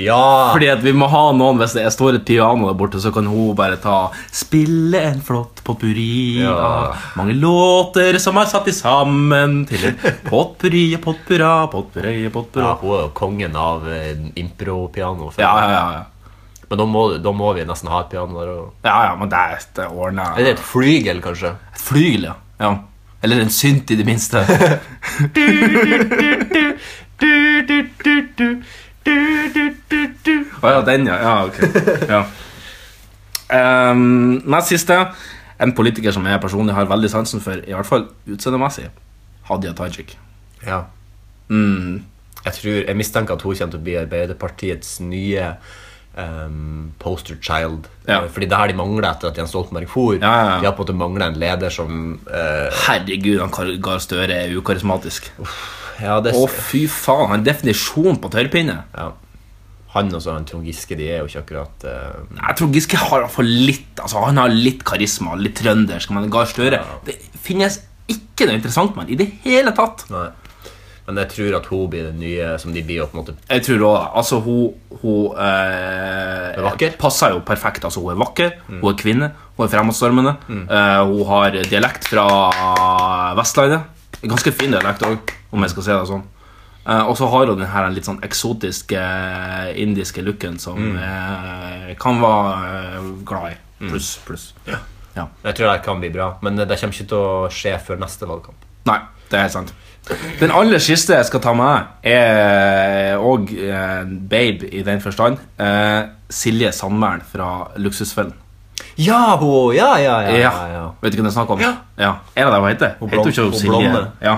[SPEAKER 3] Ja!
[SPEAKER 2] Fordi at vi må ha noen Hvis det står et piano der borte, så kan hun bare ta Spille en flott potpurri
[SPEAKER 3] Ja.
[SPEAKER 2] av mange låter som er satt i sammen til en potpurri, potpurra, potpurri, potpurra.
[SPEAKER 3] Ja, hun er jo kongen av eh, impro-piano. føler
[SPEAKER 2] Ja,
[SPEAKER 3] jeg.
[SPEAKER 2] ja, ja. ja.
[SPEAKER 3] Men da må, da må vi nesten ha et piano der òg.
[SPEAKER 2] Ja, ja, men det er det ordner
[SPEAKER 3] Eller et flygel, kanskje.
[SPEAKER 2] Et flygel, ja. ja. Eller en synt, i det minste. Å ja, den, ja. Ja, ok. Ja. Ehm, nest siste. En politiker som jeg personlig har veldig sansen for, i hvert fall utseendemessig, Hadia Tajik.
[SPEAKER 3] Ja.
[SPEAKER 2] Mm.
[SPEAKER 3] Jeg, tror, jeg mistenker at hun kommer til å bli Arbeiderpartiets nye ehm, poster child.
[SPEAKER 2] Ja.
[SPEAKER 3] Eh, Fordi det her de mangler etter at Jens Stoltenberg for.
[SPEAKER 2] ja, ja.
[SPEAKER 3] De har på en måte manglet en leder som eh,
[SPEAKER 2] Herregud, han Kar- Gahr Støre er ukarismatisk.
[SPEAKER 3] Ja, det
[SPEAKER 2] Å, fy faen, han er definisjon på tørrpinne.
[SPEAKER 3] ja. Han og så han Trond Giske de er jo ikke akkurat eh,
[SPEAKER 2] Jeg tror Giske har i hvert fall litt altså Han har litt karisma, litt trøndersk, men Gahr Støre Det finnes ikke noe interessant med han i det hele tatt.
[SPEAKER 3] Nei. Men jeg tror at hun blir den nye som de blir. og på en måte
[SPEAKER 2] Jeg tror også, altså Hun, hun eh,
[SPEAKER 3] Er vakker? Mm.
[SPEAKER 2] passer jo perfekt. altså Hun er vakker, hun er kvinne, hun er fremadstormende. Eh, hun har dialekt fra Vestlandet. Ganske fin dialekt òg, om jeg skal si det sånn. Eh, og så har hun den her litt sånn eksotiske eh, indiske looken som
[SPEAKER 3] Mm.
[SPEAKER 2] eh, kan være eh, glad i. Pluss, pluss.
[SPEAKER 3] Jeg tror det kan bli bra, men det kommer ikke til å skje før neste valgkamp.
[SPEAKER 2] Nei, det er helt sant. Den aller siste jeg skal ta med, er òg en babe i den forstand. Eh, Silje Sandmæl fra Luksusfellen.
[SPEAKER 3] Ja, hun, ja, ja, ja, ja, ja.
[SPEAKER 2] Vet du hva jeg snakker om?
[SPEAKER 3] Ja.
[SPEAKER 2] Er det det hun heter? Hun
[SPEAKER 3] blom-
[SPEAKER 2] heter jo
[SPEAKER 3] hun
[SPEAKER 2] ikke Silje.
[SPEAKER 3] blonde.
[SPEAKER 2] Ja.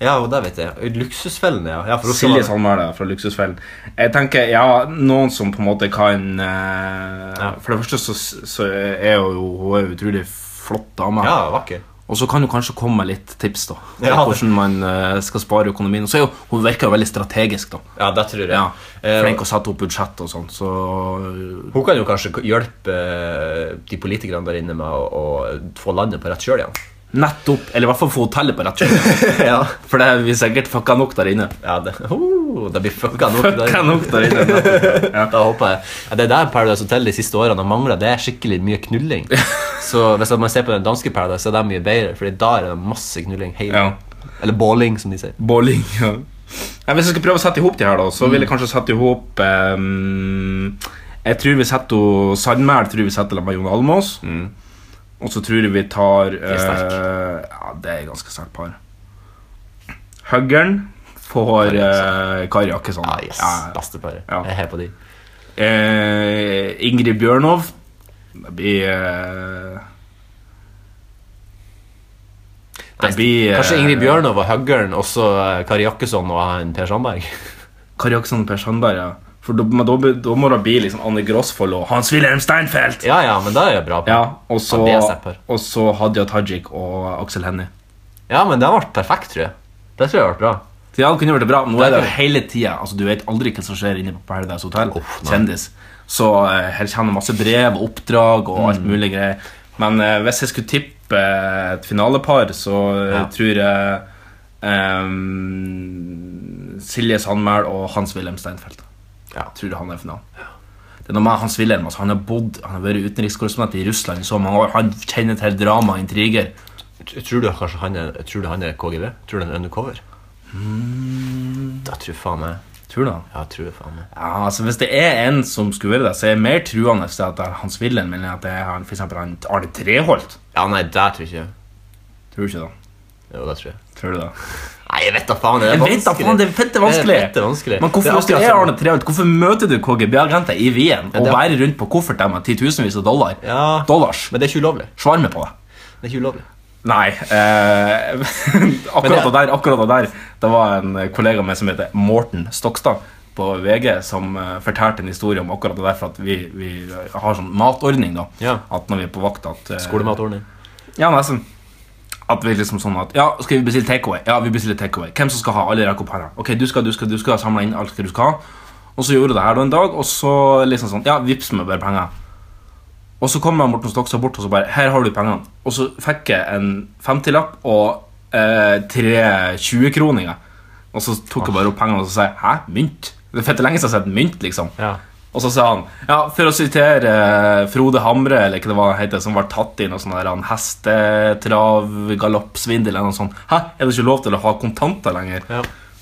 [SPEAKER 3] Ja, og det vet jeg. Luksusfellen, ja. ja for hun skal
[SPEAKER 2] Silje
[SPEAKER 3] være-
[SPEAKER 2] Sandmæl er fra Luksusfellen. Jeg tenker, ja, Noen som på en måte kan eh, For det første så, så er hun jo hun er jo utrolig flott dame.
[SPEAKER 3] Ja, vakker.
[SPEAKER 2] Og så kan du kanskje komme med litt tips da til
[SPEAKER 3] Ja, det-
[SPEAKER 2] hvordan man eh, skal spare økonomien. Og så er jo, Hun virker jo veldig strategisk. da
[SPEAKER 3] Ja, det tror jeg.
[SPEAKER 2] ja,
[SPEAKER 3] Eh,
[SPEAKER 2] Flink å sette opp budsjett og sånn. Så eh,
[SPEAKER 3] Hun kan jo kanskje k- hjelpe eh, de politikerne der inne med å, å få landet på rett kjøl igjen.
[SPEAKER 2] nettopp Eller i hvert fall få hotellet på rett kjøl.
[SPEAKER 3] ja.
[SPEAKER 2] For det er vi sikkert fucka nok der inne.
[SPEAKER 3] ja, det, <laughs> oh, det blir fucka nok. der.
[SPEAKER 2] Fucka nok der inne nettopp. <laughs> ja.
[SPEAKER 3] <laughs> Da håper jeg. Ja, Det er der Paradise Hotel de siste årene har manglet, Det er skikkelig mye knulling. <laughs> Så hvis man ser på den danske Paradise, så er det mye bedre, Fordi da er det masse knulling. hele
[SPEAKER 2] Ja.
[SPEAKER 3] Eller bowling, som de sier.
[SPEAKER 2] Bowling. Ja. Nei, hvis jeg skal prøve å sette i hop de her, da, så vil jeg kanskje sette i hop ehm, Jeg tror vi setter henne- Sandmæl tror vi setter sammen med Jon Almaas. Og så tror jeg vi tar
[SPEAKER 3] er sterk.
[SPEAKER 2] eh, Ja, det er et ganske sterkt par. Huggern får eh, Kari Jakkesson.
[SPEAKER 3] Ah, yes,
[SPEAKER 2] Ja, ja.
[SPEAKER 3] Beste paret.
[SPEAKER 2] Ja.
[SPEAKER 3] Jeg er helt på de.
[SPEAKER 2] Eh, Ingrid Bjørnov. Det blir eh, Det blir eh,
[SPEAKER 3] Kanskje Ingrid Bjørnov og Høggern, og så eh, Kari Jakkesson og han Per Sandberg?
[SPEAKER 2] Kari Jakkesson og Per Sandberg, ja. For da, men da, da må det bli liksom Anne Grosvold og Hans-Wilhelm Steinfeld.
[SPEAKER 3] <laughs> Ja, ja, men det er jo bra.
[SPEAKER 2] Ja, og så,
[SPEAKER 3] Ja, det er zapper.
[SPEAKER 2] og så Hadia Tajik og Aksel Hennie.
[SPEAKER 3] Ja, men det ble perfekt, tror jeg. Det tror jeg ble bra.
[SPEAKER 2] Ja, det kunne vært bra. Nå er det
[SPEAKER 3] Det
[SPEAKER 2] jo hele tida. Altså, du vet aldri hva som skjer inne på Paradise Hotel. Kjendis. Så eh, her kommer det masse brev og oppdrag og
[SPEAKER 3] Mm.
[SPEAKER 2] alt mulig greier. Men eh, hvis jeg skulle tippe eh, et finalepar, så eh, tror jeg ehm, Silje Sandmæl og Hans-Wilhelm Steinfeld.
[SPEAKER 3] Ja.
[SPEAKER 2] Tror jeg han er i finalen. Det er noe med Hans-Wilhelm. Altså, han har bodd, han har vært utenrikskorrespondent i Russland i så mange år. Han kjenner til drama og intriger.
[SPEAKER 3] Tror du kanskje han er, tror du han er KGB? Tror du han er undercover?
[SPEAKER 2] Hmm.
[SPEAKER 3] Da tror jeg faen meg
[SPEAKER 2] Tror du det?
[SPEAKER 3] Ja, tror jeg faen meg.
[SPEAKER 2] Ja, altså Hvis det er en som skulle være det, så er jeg mer truende til at det er Hans Wilhelm enn at det er han, for eksempel han Arne Treholt.
[SPEAKER 3] Ja, nei, det tror jeg ikke.
[SPEAKER 2] Tror du ikke det?
[SPEAKER 3] Jo, det tror jeg.
[SPEAKER 2] Tror du det?
[SPEAKER 3] Nei, jeg vet da faen. Det er
[SPEAKER 2] Jeg vet da
[SPEAKER 3] vanskelig.
[SPEAKER 2] faen, det er fette vanskelig.
[SPEAKER 3] Det er fette vanskelig.
[SPEAKER 2] Men hvorfor,
[SPEAKER 3] Det er
[SPEAKER 2] hvis du
[SPEAKER 3] akkurat
[SPEAKER 2] er
[SPEAKER 3] som-
[SPEAKER 2] Arne Treholt, hvorfor møter du KGB-agenter i Wien
[SPEAKER 3] Ja,
[SPEAKER 2] og
[SPEAKER 3] det-
[SPEAKER 2] bærer rundt på koffert med titusenvis av dollar?
[SPEAKER 3] Ja.
[SPEAKER 2] Dollars?
[SPEAKER 3] Men det er ikke ulovlig.
[SPEAKER 2] Svarme på det.
[SPEAKER 3] Det er ikke ulovlig.
[SPEAKER 2] Nei. Eh, <laughs> akkurat, det, der, akkurat det der Det var en kollega med som heter Morten Stokstad på VG, som eh, fortalte en historie om akkurat det der. For at vi, vi har sånn matordning, da. At når vi er på vakt at eh,
[SPEAKER 3] Skolematordning.
[SPEAKER 2] Ja, nesten. At vi liksom sånn at Ja, skal vi bestille takeaway? Ja, vi bestiller takeaway. Hvem som skal ha? Alle rekker opp hånda. Ok, du skal, du skal, du skal samle inn alt hva du skal ha. Og så gjorde jeg det her da en dag, og så liksom sånn Ja, vips meg bare penger. Og så kom jeg Morten Stokstad bort og så bare Her har du pengene. Og så fikk jeg en 50-lapp og eh, tre 20-kroninger. Og så tok jeg bare opp pengene og så sa jeg, Hæ, mynt? Det er fette lenge siden jeg har sett mynt, liksom. Og så sa han Ja, for å sitere eh, Frode Hamre, eller hva det var han heter, som var tatt i noe sånn der, han hestetravgaloppsvindel eller noe sånt. Hæ, er det ikke lov til å ha kontanter lenger?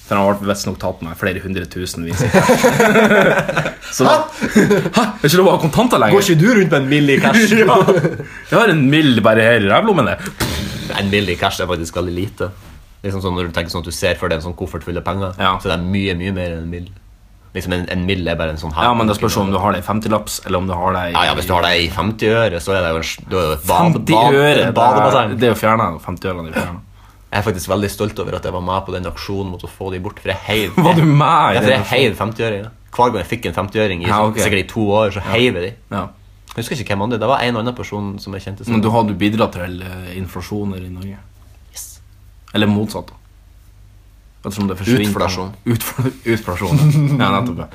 [SPEAKER 2] For han ble visstnok tatt med flere hundre tusen. Så da, Hæ? Er det ikke lov å ha kontanter lenger?
[SPEAKER 3] Går ikke du rundt med en mill i cash? <laughs>
[SPEAKER 2] ja. Jeg har en mill bare her i rævlommene.
[SPEAKER 3] En mill i cash er faktisk veldig lite. Liksom sånn Når du tenker sånn at du ser for deg en sånn koffert full av penger, så det er mye mye mer enn en mill. Liksom En, en mill er bare en sånn her.
[SPEAKER 2] Ja, men det spørs om du har det i 50-laps, eller om du har det i
[SPEAKER 3] Ja, ja, Hvis du har det i 50 øre, så er det jo en, s- da er det jo et bad,
[SPEAKER 2] 50
[SPEAKER 3] bad,
[SPEAKER 2] øre!
[SPEAKER 3] en
[SPEAKER 2] Det
[SPEAKER 3] badebasseng.
[SPEAKER 2] er- Det er jo fjerna. 50 ørene er jo fjernet.
[SPEAKER 3] Jeg er faktisk veldig stolt over at jeg var med på den aksjonen mot å få de bort. For jeg heiv
[SPEAKER 2] Var du med i
[SPEAKER 3] Ja, for
[SPEAKER 2] den
[SPEAKER 3] jeg heiv 50-øringer. Hver gang jeg fikk en 50-øring, i
[SPEAKER 2] Ja, ok.
[SPEAKER 3] sikkert i to år, så heiv jeg de.
[SPEAKER 2] Ja.
[SPEAKER 3] Jeg husker ikke hvem andre. Det var en annen person som jeg kjente. som-
[SPEAKER 2] Men du har du bidratt til eh, inflasjoner i Norge? Eller motsatt, da. Ettersom det forsvinner <laughs>
[SPEAKER 3] Utflasjon.
[SPEAKER 2] Utfl utflasjon. Ja, nettopp. ja.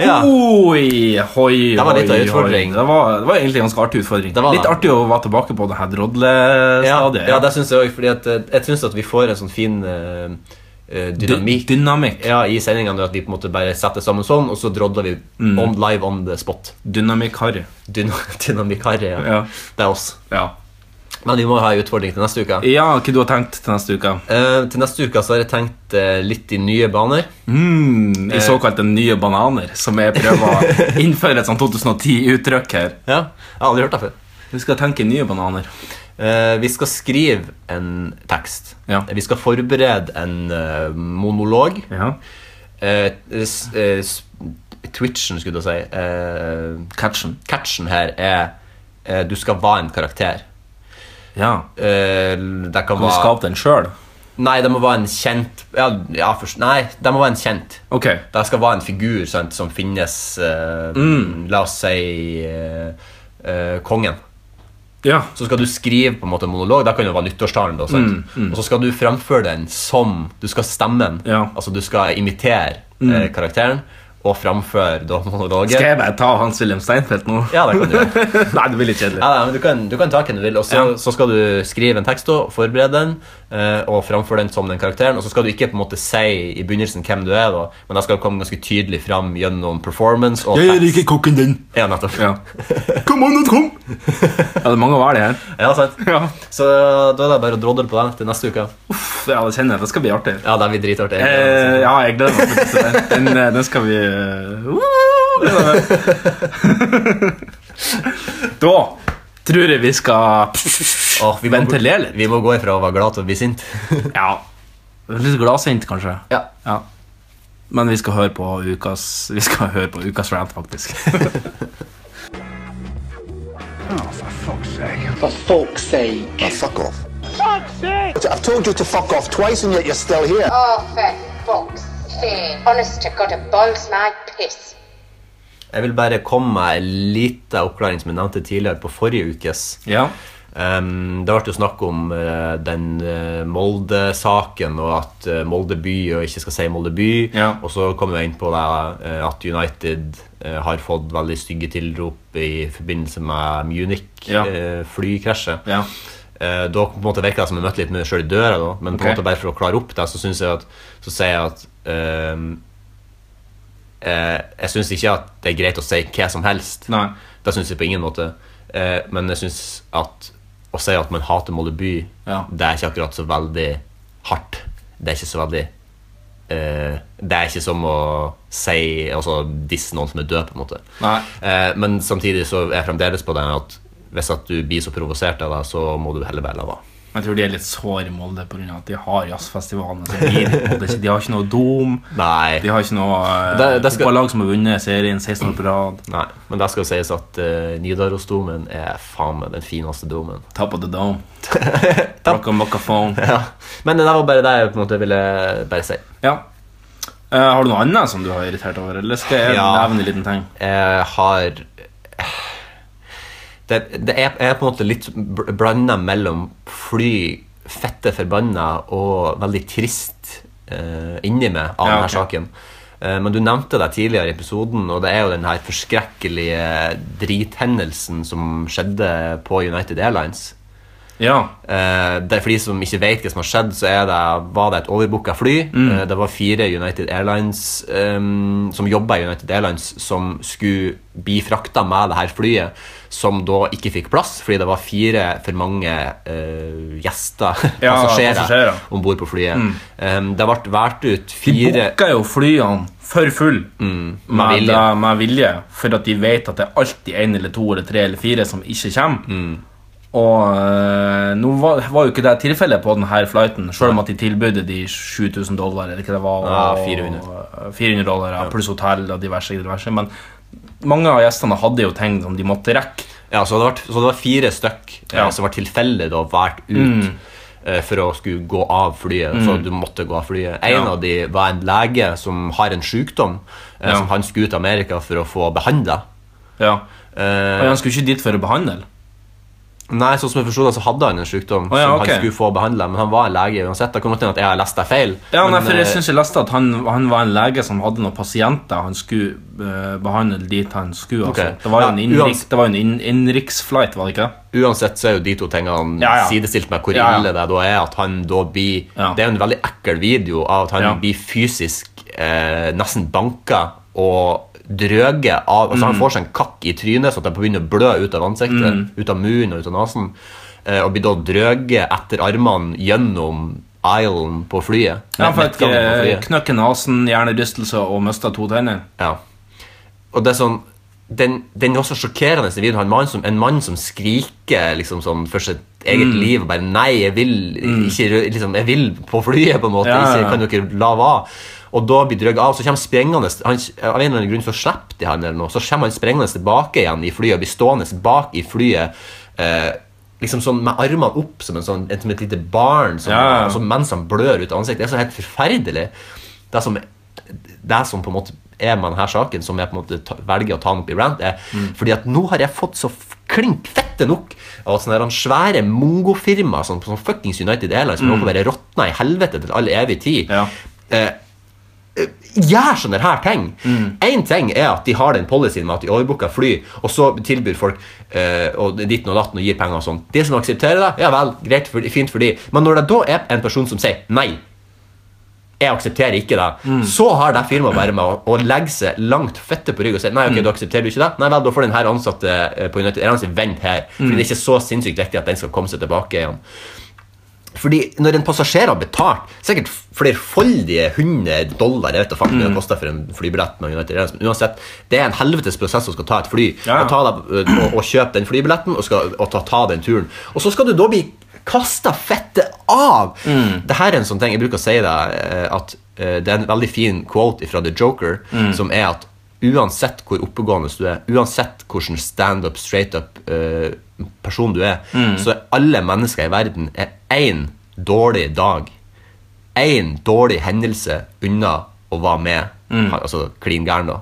[SPEAKER 3] Ja.
[SPEAKER 2] Oh, Oi, hoi,
[SPEAKER 3] Det var litt av
[SPEAKER 2] hoi,
[SPEAKER 3] utfordring.
[SPEAKER 2] hoi. Det var, det var egentlig en ganske artig utfordring.
[SPEAKER 3] Det var
[SPEAKER 2] litt
[SPEAKER 3] det.
[SPEAKER 2] artig å være tilbake på det her drodlestadiet.
[SPEAKER 3] Ja, det syns jeg òg. Jeg syns at vi får en sånn fin eh, eh, dynamikk, Ja, i sendingene. At vi på en måte bare setter sammen sånn, og så drodler vi
[SPEAKER 2] Mm.
[SPEAKER 3] on, live on the spot.
[SPEAKER 2] Dynamikk-harry.
[SPEAKER 3] Dyna <laughs> Dynamikk-harry, ja.
[SPEAKER 2] Ja.
[SPEAKER 3] Det er oss.
[SPEAKER 2] Ja.
[SPEAKER 3] Men vi må ha en utfordring til neste uke.
[SPEAKER 2] Ja, hva du har tenkt til neste uke?
[SPEAKER 3] Eh, til neste uke så har jeg tenkt eh, litt i nye baner.
[SPEAKER 2] Mm,
[SPEAKER 3] Eh.
[SPEAKER 2] I såkalte nye bananer, som jeg prøver
[SPEAKER 3] <laughs>
[SPEAKER 2] å innføre et sånn 2010-uttrykk her.
[SPEAKER 3] Ja, jeg har aldri hørt det før.
[SPEAKER 2] Vi skal tenke nye bananer.
[SPEAKER 3] Eh, vi skal skrive en tekst. Vi skal forberede en eh, monolog. Eh, s- eh, s- twitchen, skulle jeg si. eh,
[SPEAKER 2] catchen.
[SPEAKER 3] her er eh, du skal være en karakter.
[SPEAKER 2] Ja.
[SPEAKER 3] Eh, det kan
[SPEAKER 2] Kan du
[SPEAKER 3] være
[SPEAKER 2] skape den sjøl?
[SPEAKER 3] Nei, det må være en kjent ja, ja, først, Nei, det må være en kjent.
[SPEAKER 2] Ok.
[SPEAKER 3] Det skal være en figur sant, som finnes eh,
[SPEAKER 2] Mm.
[SPEAKER 3] La oss si eh, eh, kongen.
[SPEAKER 2] Ja.
[SPEAKER 3] Så skal du skrive på en måte en monolog. Det kan jo være nyttårstalen. Da, sant?
[SPEAKER 2] Mm, mm.
[SPEAKER 3] Og så skal du fremføre den som Du skal stemme den. Altså du skal imitere
[SPEAKER 2] Mm.
[SPEAKER 3] eh, karakteren og fremføre da monologen.
[SPEAKER 2] Skal jeg bare ta Hans-Wilhelm Steinfeld nå?
[SPEAKER 3] Ja, det kan du gjøre.
[SPEAKER 2] <laughs> Nei, det blir litt kjedelig.
[SPEAKER 3] Ja, nei, men du kan, du kan ta hvem du vil, og så,
[SPEAKER 2] Ja.
[SPEAKER 3] så skal du skrive en tekst, da, forberede den, eh, og framføre den som den karakteren. Og så skal du ikke på en måte si i begynnelsen hvem du er, da, men det skal komme ganske tydelig fram gjennom performance. Og
[SPEAKER 2] Jeg er
[SPEAKER 3] tekst.
[SPEAKER 2] ikke kokken din.
[SPEAKER 3] Ja, nettopp.
[SPEAKER 2] Ja. Kom an, kom! Ja, det er mange å være det her.
[SPEAKER 3] Ja, sant. Så da er det bare å drodle på den til neste uke.
[SPEAKER 2] Uff, ja, det kjenner jeg. Det skal bli artig.
[SPEAKER 3] Ja, det blir dritartig.
[SPEAKER 2] Eh, ja, jeg gleder meg faktisk til det. Den, eh, den skal vi eh, uh, gleder meg. <laughs> Da tror jeg vi skal
[SPEAKER 3] vi må
[SPEAKER 2] ventilere
[SPEAKER 3] gå-
[SPEAKER 2] litt.
[SPEAKER 3] Vi må gå ifra å være glad til å bli sint.
[SPEAKER 2] ja. Litt gladsint, kanskje.
[SPEAKER 3] Ja.
[SPEAKER 2] ja. Men vi skal høre på ukas Vi skal høre på ukas rant, <laughs> faktisk.
[SPEAKER 6] For folk's sake.
[SPEAKER 12] Now fuck off. I've told you to fuck off twice and yet you're still here.
[SPEAKER 8] Oh, for fuck's sake. Honest to God, it boils my piss.
[SPEAKER 3] <laughs> Jeg vil bare komme med en liten oppklaring som jeg nevnte tidligere på forrige ukes. Um, det ble jo snakk om eh, den eh, Molde-saken, og at eh, Molde by og ikke skal si Molde by. Og så kom vi inn på det, eh, at United eh, har fått veldig stygge tilrop i forbindelse med
[SPEAKER 2] Ja.
[SPEAKER 3] Munich-flykrasjet. Eh, da på en måte virka det som jeg møtte litt med meg sjøl i døra, da. men på en
[SPEAKER 2] Ok.
[SPEAKER 3] måte bare for å klare opp det, så synes jeg at Så sier jeg at eh, Eh, jeg syns ikke at det er greit å si hva som helst. Det syns jeg på ingen måte. Eh, men jeg syns at å si at man hater Molde by, det er ikke akkurat så veldig hardt. Det er ikke så veldig eh, Det er ikke som å si Altså disse noen som er død, på en måte. Eh, men samtidig så er jeg fremdeles på det at hvis at du blir så provosert av det, så må du heller bare la være.
[SPEAKER 2] Jeg tror de er litt såre i Molde pga. at de har jazzfestivalen. som gir dem på det. De har ikke noe dom. De har ikke noe eh,
[SPEAKER 3] Det- det skal-
[SPEAKER 2] fotballag som har vunnet serien 16 år på rad.
[SPEAKER 3] Nei, men det skal sies at eh, Nidarosdomen er faen meg den fineste domen.
[SPEAKER 2] Top of the dome. <laughs> Rock and mocaphone.
[SPEAKER 3] Ja. Men det der var bare det jeg på en måte ville bare si.
[SPEAKER 2] Ja. Eh, har du noe annet som du har irritert over, eller skal jeg
[SPEAKER 3] Ja.
[SPEAKER 2] nevne en liten ting?
[SPEAKER 3] Jeg eh, har det, det er, jeg er på en måte litt bl- blanda mellom fly, fette forbanna og veldig trist eh, inni meg av
[SPEAKER 2] Ja,
[SPEAKER 3] denne saken. Eh, men du nevnte det tidligere i episoden, og det er jo den her forskrekkelige drithendelsen som skjedde på United Airlines. Eh, det er for de som ikke vet hva som har skjedd, så er det, var det et overbooka fly.
[SPEAKER 2] Mm.
[SPEAKER 3] Eh, det var fire United Airlines eh, som jobba i United Airlines, som skulle bli frakta med det her flyet, som da ikke fikk plass fordi det var fire for mange eh, gjester,
[SPEAKER 2] Ja,
[SPEAKER 3] <laughs> passasjerer,
[SPEAKER 2] passasjerer.
[SPEAKER 3] om bord på flyet.
[SPEAKER 2] Mm.
[SPEAKER 3] Eh, det ble valgt ut
[SPEAKER 2] De
[SPEAKER 3] fire
[SPEAKER 2] booka jo flyene for full med,
[SPEAKER 3] vilje.
[SPEAKER 2] vilje. med vilje, for at de vet at det er alltid én eller to eller tre eller fire som ikke kommer. Og eh, nå var, var jo ikke det tilfellet på denne flighten, selv om at de tilbød de 7000 dollar eller hva det var.
[SPEAKER 3] Ja,
[SPEAKER 2] og-
[SPEAKER 3] 400.
[SPEAKER 2] eh, 400 dollar, ja, pluss hotell og diverse, diverse. Men mange av gjestene hadde jo ting som de måtte rekke.
[SPEAKER 3] Ja, så det var, så det var fire stykk eh,
[SPEAKER 2] Ja.
[SPEAKER 3] som var tilfeldig da valgt ut
[SPEAKER 2] Mm.
[SPEAKER 3] eh, for å skulle gå av flyet. Så
[SPEAKER 2] Mm.
[SPEAKER 3] du måtte gå av flyet. En
[SPEAKER 2] Ja.
[SPEAKER 3] av de var en lege som har en sykdom, eh,
[SPEAKER 2] Ja.
[SPEAKER 3] som han skulle ut til Amerika for å få behandla.
[SPEAKER 2] Ja.
[SPEAKER 3] Eh,
[SPEAKER 2] Og han skulle ikke dit for å behandle?
[SPEAKER 3] Nei, sånn som jeg forstod det, så hadde han en sykdom
[SPEAKER 2] Å, ja,
[SPEAKER 3] som
[SPEAKER 2] ok.
[SPEAKER 3] han skulle få behandla, men han var en lege uansett. Det kan godt hende at jeg har lest det feil.
[SPEAKER 2] Ja, nei,
[SPEAKER 3] men,
[SPEAKER 2] for
[SPEAKER 3] eh,
[SPEAKER 2] jeg synes jeg leste at han, han var en lege som hadde noen pasienter han skulle eh, behandle dit han skulle. Altså.
[SPEAKER 3] Ok.
[SPEAKER 2] Det var jo
[SPEAKER 3] Ja,
[SPEAKER 2] en innenriks-
[SPEAKER 3] uans-
[SPEAKER 2] det var jo en inn- innenriksflight, var det ikke?
[SPEAKER 3] Uansett så er jo de to tingene
[SPEAKER 2] Ja, ja.
[SPEAKER 3] sidestilt med hvor
[SPEAKER 2] Ja, ja.
[SPEAKER 3] ille det da er at han da blir Det er jo en veldig ekkel video av at han
[SPEAKER 2] Ja.
[SPEAKER 3] blir fysisk eh, nesten banka og drøge av Altså Han
[SPEAKER 2] Mm.
[SPEAKER 3] får seg en kakk i trynet så at det begynner å blø ut av ansiktet,
[SPEAKER 2] Mm.
[SPEAKER 3] ut av munnen og ut av nesen. Eh, og blir da drøget etter armene gjennom islen på flyet.
[SPEAKER 2] Ja, han
[SPEAKER 3] Nei,
[SPEAKER 2] fikk
[SPEAKER 3] nettgangen på
[SPEAKER 2] eh,
[SPEAKER 3] flyet.
[SPEAKER 2] knøkk i nesen, hjernerystelse og mista to tenner.
[SPEAKER 3] Ja. Og det er sånn den, den er også sjokkerende i videoen. Han mann som, en mann som skriker liksom sånn for sitt eget
[SPEAKER 2] Mm.
[SPEAKER 3] liv og bare 'Nei, jeg vil ikke rø- liksom, Jeg vil på flyet, på en måte.
[SPEAKER 2] Ja, ja, ja.
[SPEAKER 3] Ikke, kan dere la være?' Og da blir drøgget av, så kommer sprengende han, Av en eller annen grunn så slipper de han, eller noe. Så kommer han sprengende tilbake igjen i flyet og blir stående bak i flyet. Eh, liksom sånn med armene opp som, en sånn, som et lite barn som,
[SPEAKER 2] Ja, ja.
[SPEAKER 3] altså, mens han blør ut av ansiktet. Det er så helt forferdelig. Det som det som på en måte er med denne saken, som jeg på en måte ta, velger å ta den opp i rant, er fordi at nå har jeg fått så f- klink fette nok av at sånne her svære mongofirmaer som, som fuckings United Airlines som
[SPEAKER 2] Mm.
[SPEAKER 3] mm. bare råtna i helvete til all evig tid, eh, eh, gjør sånne her ting. Én ting er at de har den policyen med at de overbooker fly, og så tilbyr folk eh, og ditten og datten og gir penger og sånn. De som aksepterer det, ja vel, greit, for, fint for de. Men når det da er en person som sier nei, jeg aksepterer ikke det.
[SPEAKER 2] Mm.
[SPEAKER 3] Så har det firmaet bare med å, å legge seg langt fette på rygg og si Nei, ok,
[SPEAKER 2] Mm.
[SPEAKER 3] da aksepterer du ikke det. Nei vel, da får den her ansatte eh, på United Airlines vente her. Fordi
[SPEAKER 2] Mm.
[SPEAKER 3] det er ikke så sinnssykt viktig at den skal komme seg tilbake igjen. Fordi når en passasjer har betalt sikkert flerfoldige 100 dollar Jeg vet da faen
[SPEAKER 2] Mm.
[SPEAKER 3] hva det koster for en flybillett med United Airlines, men uansett, det er en helvetes prosess å skal ta et fly
[SPEAKER 2] Ja, ja.
[SPEAKER 3] og, ta deg, øh, og, og kjøpe den flybilletten og, skal, og ta, ta den turen. Og så skal du da
[SPEAKER 13] Mm.
[SPEAKER 3] bli kasta fettet av! Det her er en sånn ting, jeg bruker å si det, eh, at eh, eh, Det er en veldig fin quote fra The Joker,
[SPEAKER 13] Mm.
[SPEAKER 3] som er at uansett hvor oppegående du er, uansett hvordan standup, straight-up eh, person du er,
[SPEAKER 13] Mm.
[SPEAKER 3] så er alle mennesker i verden er én dårlig dag, én dårlig hendelse unna å være med.
[SPEAKER 13] Mm.
[SPEAKER 3] Altså klin gæren, da.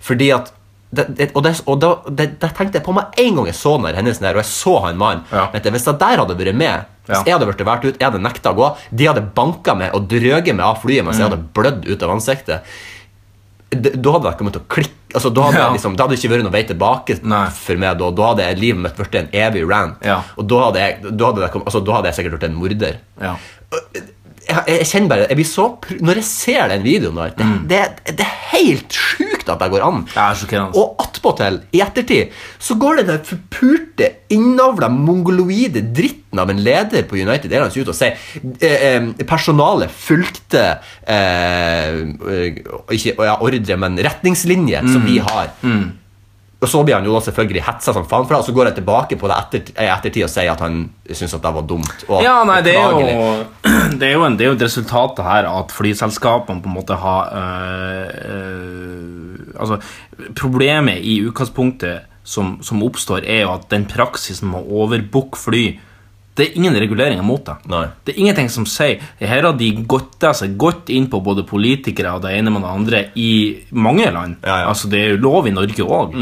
[SPEAKER 3] Fordi at det, det, og det, og da, det, det tenkte jeg på meg en gang jeg så den der hendelsen der, og jeg så han mannen. tenkte jeg, Hvis det der hadde vært med, hvis
[SPEAKER 13] Ja.
[SPEAKER 3] jeg hadde vært valgt ut, jeg hadde nekta å gå, de hadde banka meg og drøget meg av flyet mens jeg
[SPEAKER 13] Mm.
[SPEAKER 3] hadde blødd ut av ansiktet, d- da hadde jeg kommet til å klikke altså, da, hadde
[SPEAKER 13] Ja.
[SPEAKER 3] jeg liksom, da hadde det ikke vært noen vei tilbake for meg da. Da hadde jeg- livet mitt blitt en evig rant. Og da hadde, jeg, da, hadde jeg, kom- altså, da hadde jeg sikkert vært en morder. Jeg, jeg kjenner bare, jeg blir så pr- Når jeg ser den videoen der, det,
[SPEAKER 2] Mm.
[SPEAKER 3] det, det er helt sjukt at det går an. Og attpåtil, i ettertid, så går den der forpurte, innavla, mongoloide dritten av en leder på United Airlines ut og sier eh, eh, personalet fulgte eh, eh, ikke ja, ordre, men retningslinjer
[SPEAKER 2] Mm.
[SPEAKER 3] som vi har. Og så blir han jo da selvfølgelig hetsa som faen for det, og så går jeg tilbake på det etter, i ettertid og sier at han syns at det var dumt. Og
[SPEAKER 2] Ja, nei, det er
[SPEAKER 3] beklagelig.
[SPEAKER 2] jo, <clears throat> det er jo, en, det er jo et resultat det her at flyselskapene på en måte har øh, øh, Altså, problemet i utgangspunktet som, som oppstår, er jo at den praksisen med å overbooke fly det er ingen reguleringer mot det. Det er ingenting som sier Her har de godta seg godt inn på både politikere og det ene med det andre i mange land. Altså, det er jo lov i Norge òg.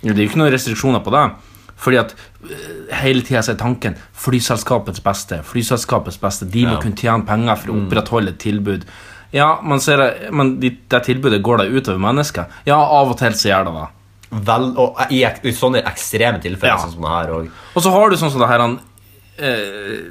[SPEAKER 2] Det er jo ikke noen restriksjoner på det. Fordi at øh, hele tida er tanken flyselskapets beste. Flyselskapets beste De må
[SPEAKER 13] Ja.
[SPEAKER 2] kunne tjene penger for å opprettholde et tilbud. Ja, man ser det, men de, det tilbudet går da utover mennesker. Ja, av og til så gjør det det.
[SPEAKER 3] Vel, og i, ek- i sånne ekstreme tilfeller, sånn som det her og
[SPEAKER 2] Og så har du sånn som det her han, eh,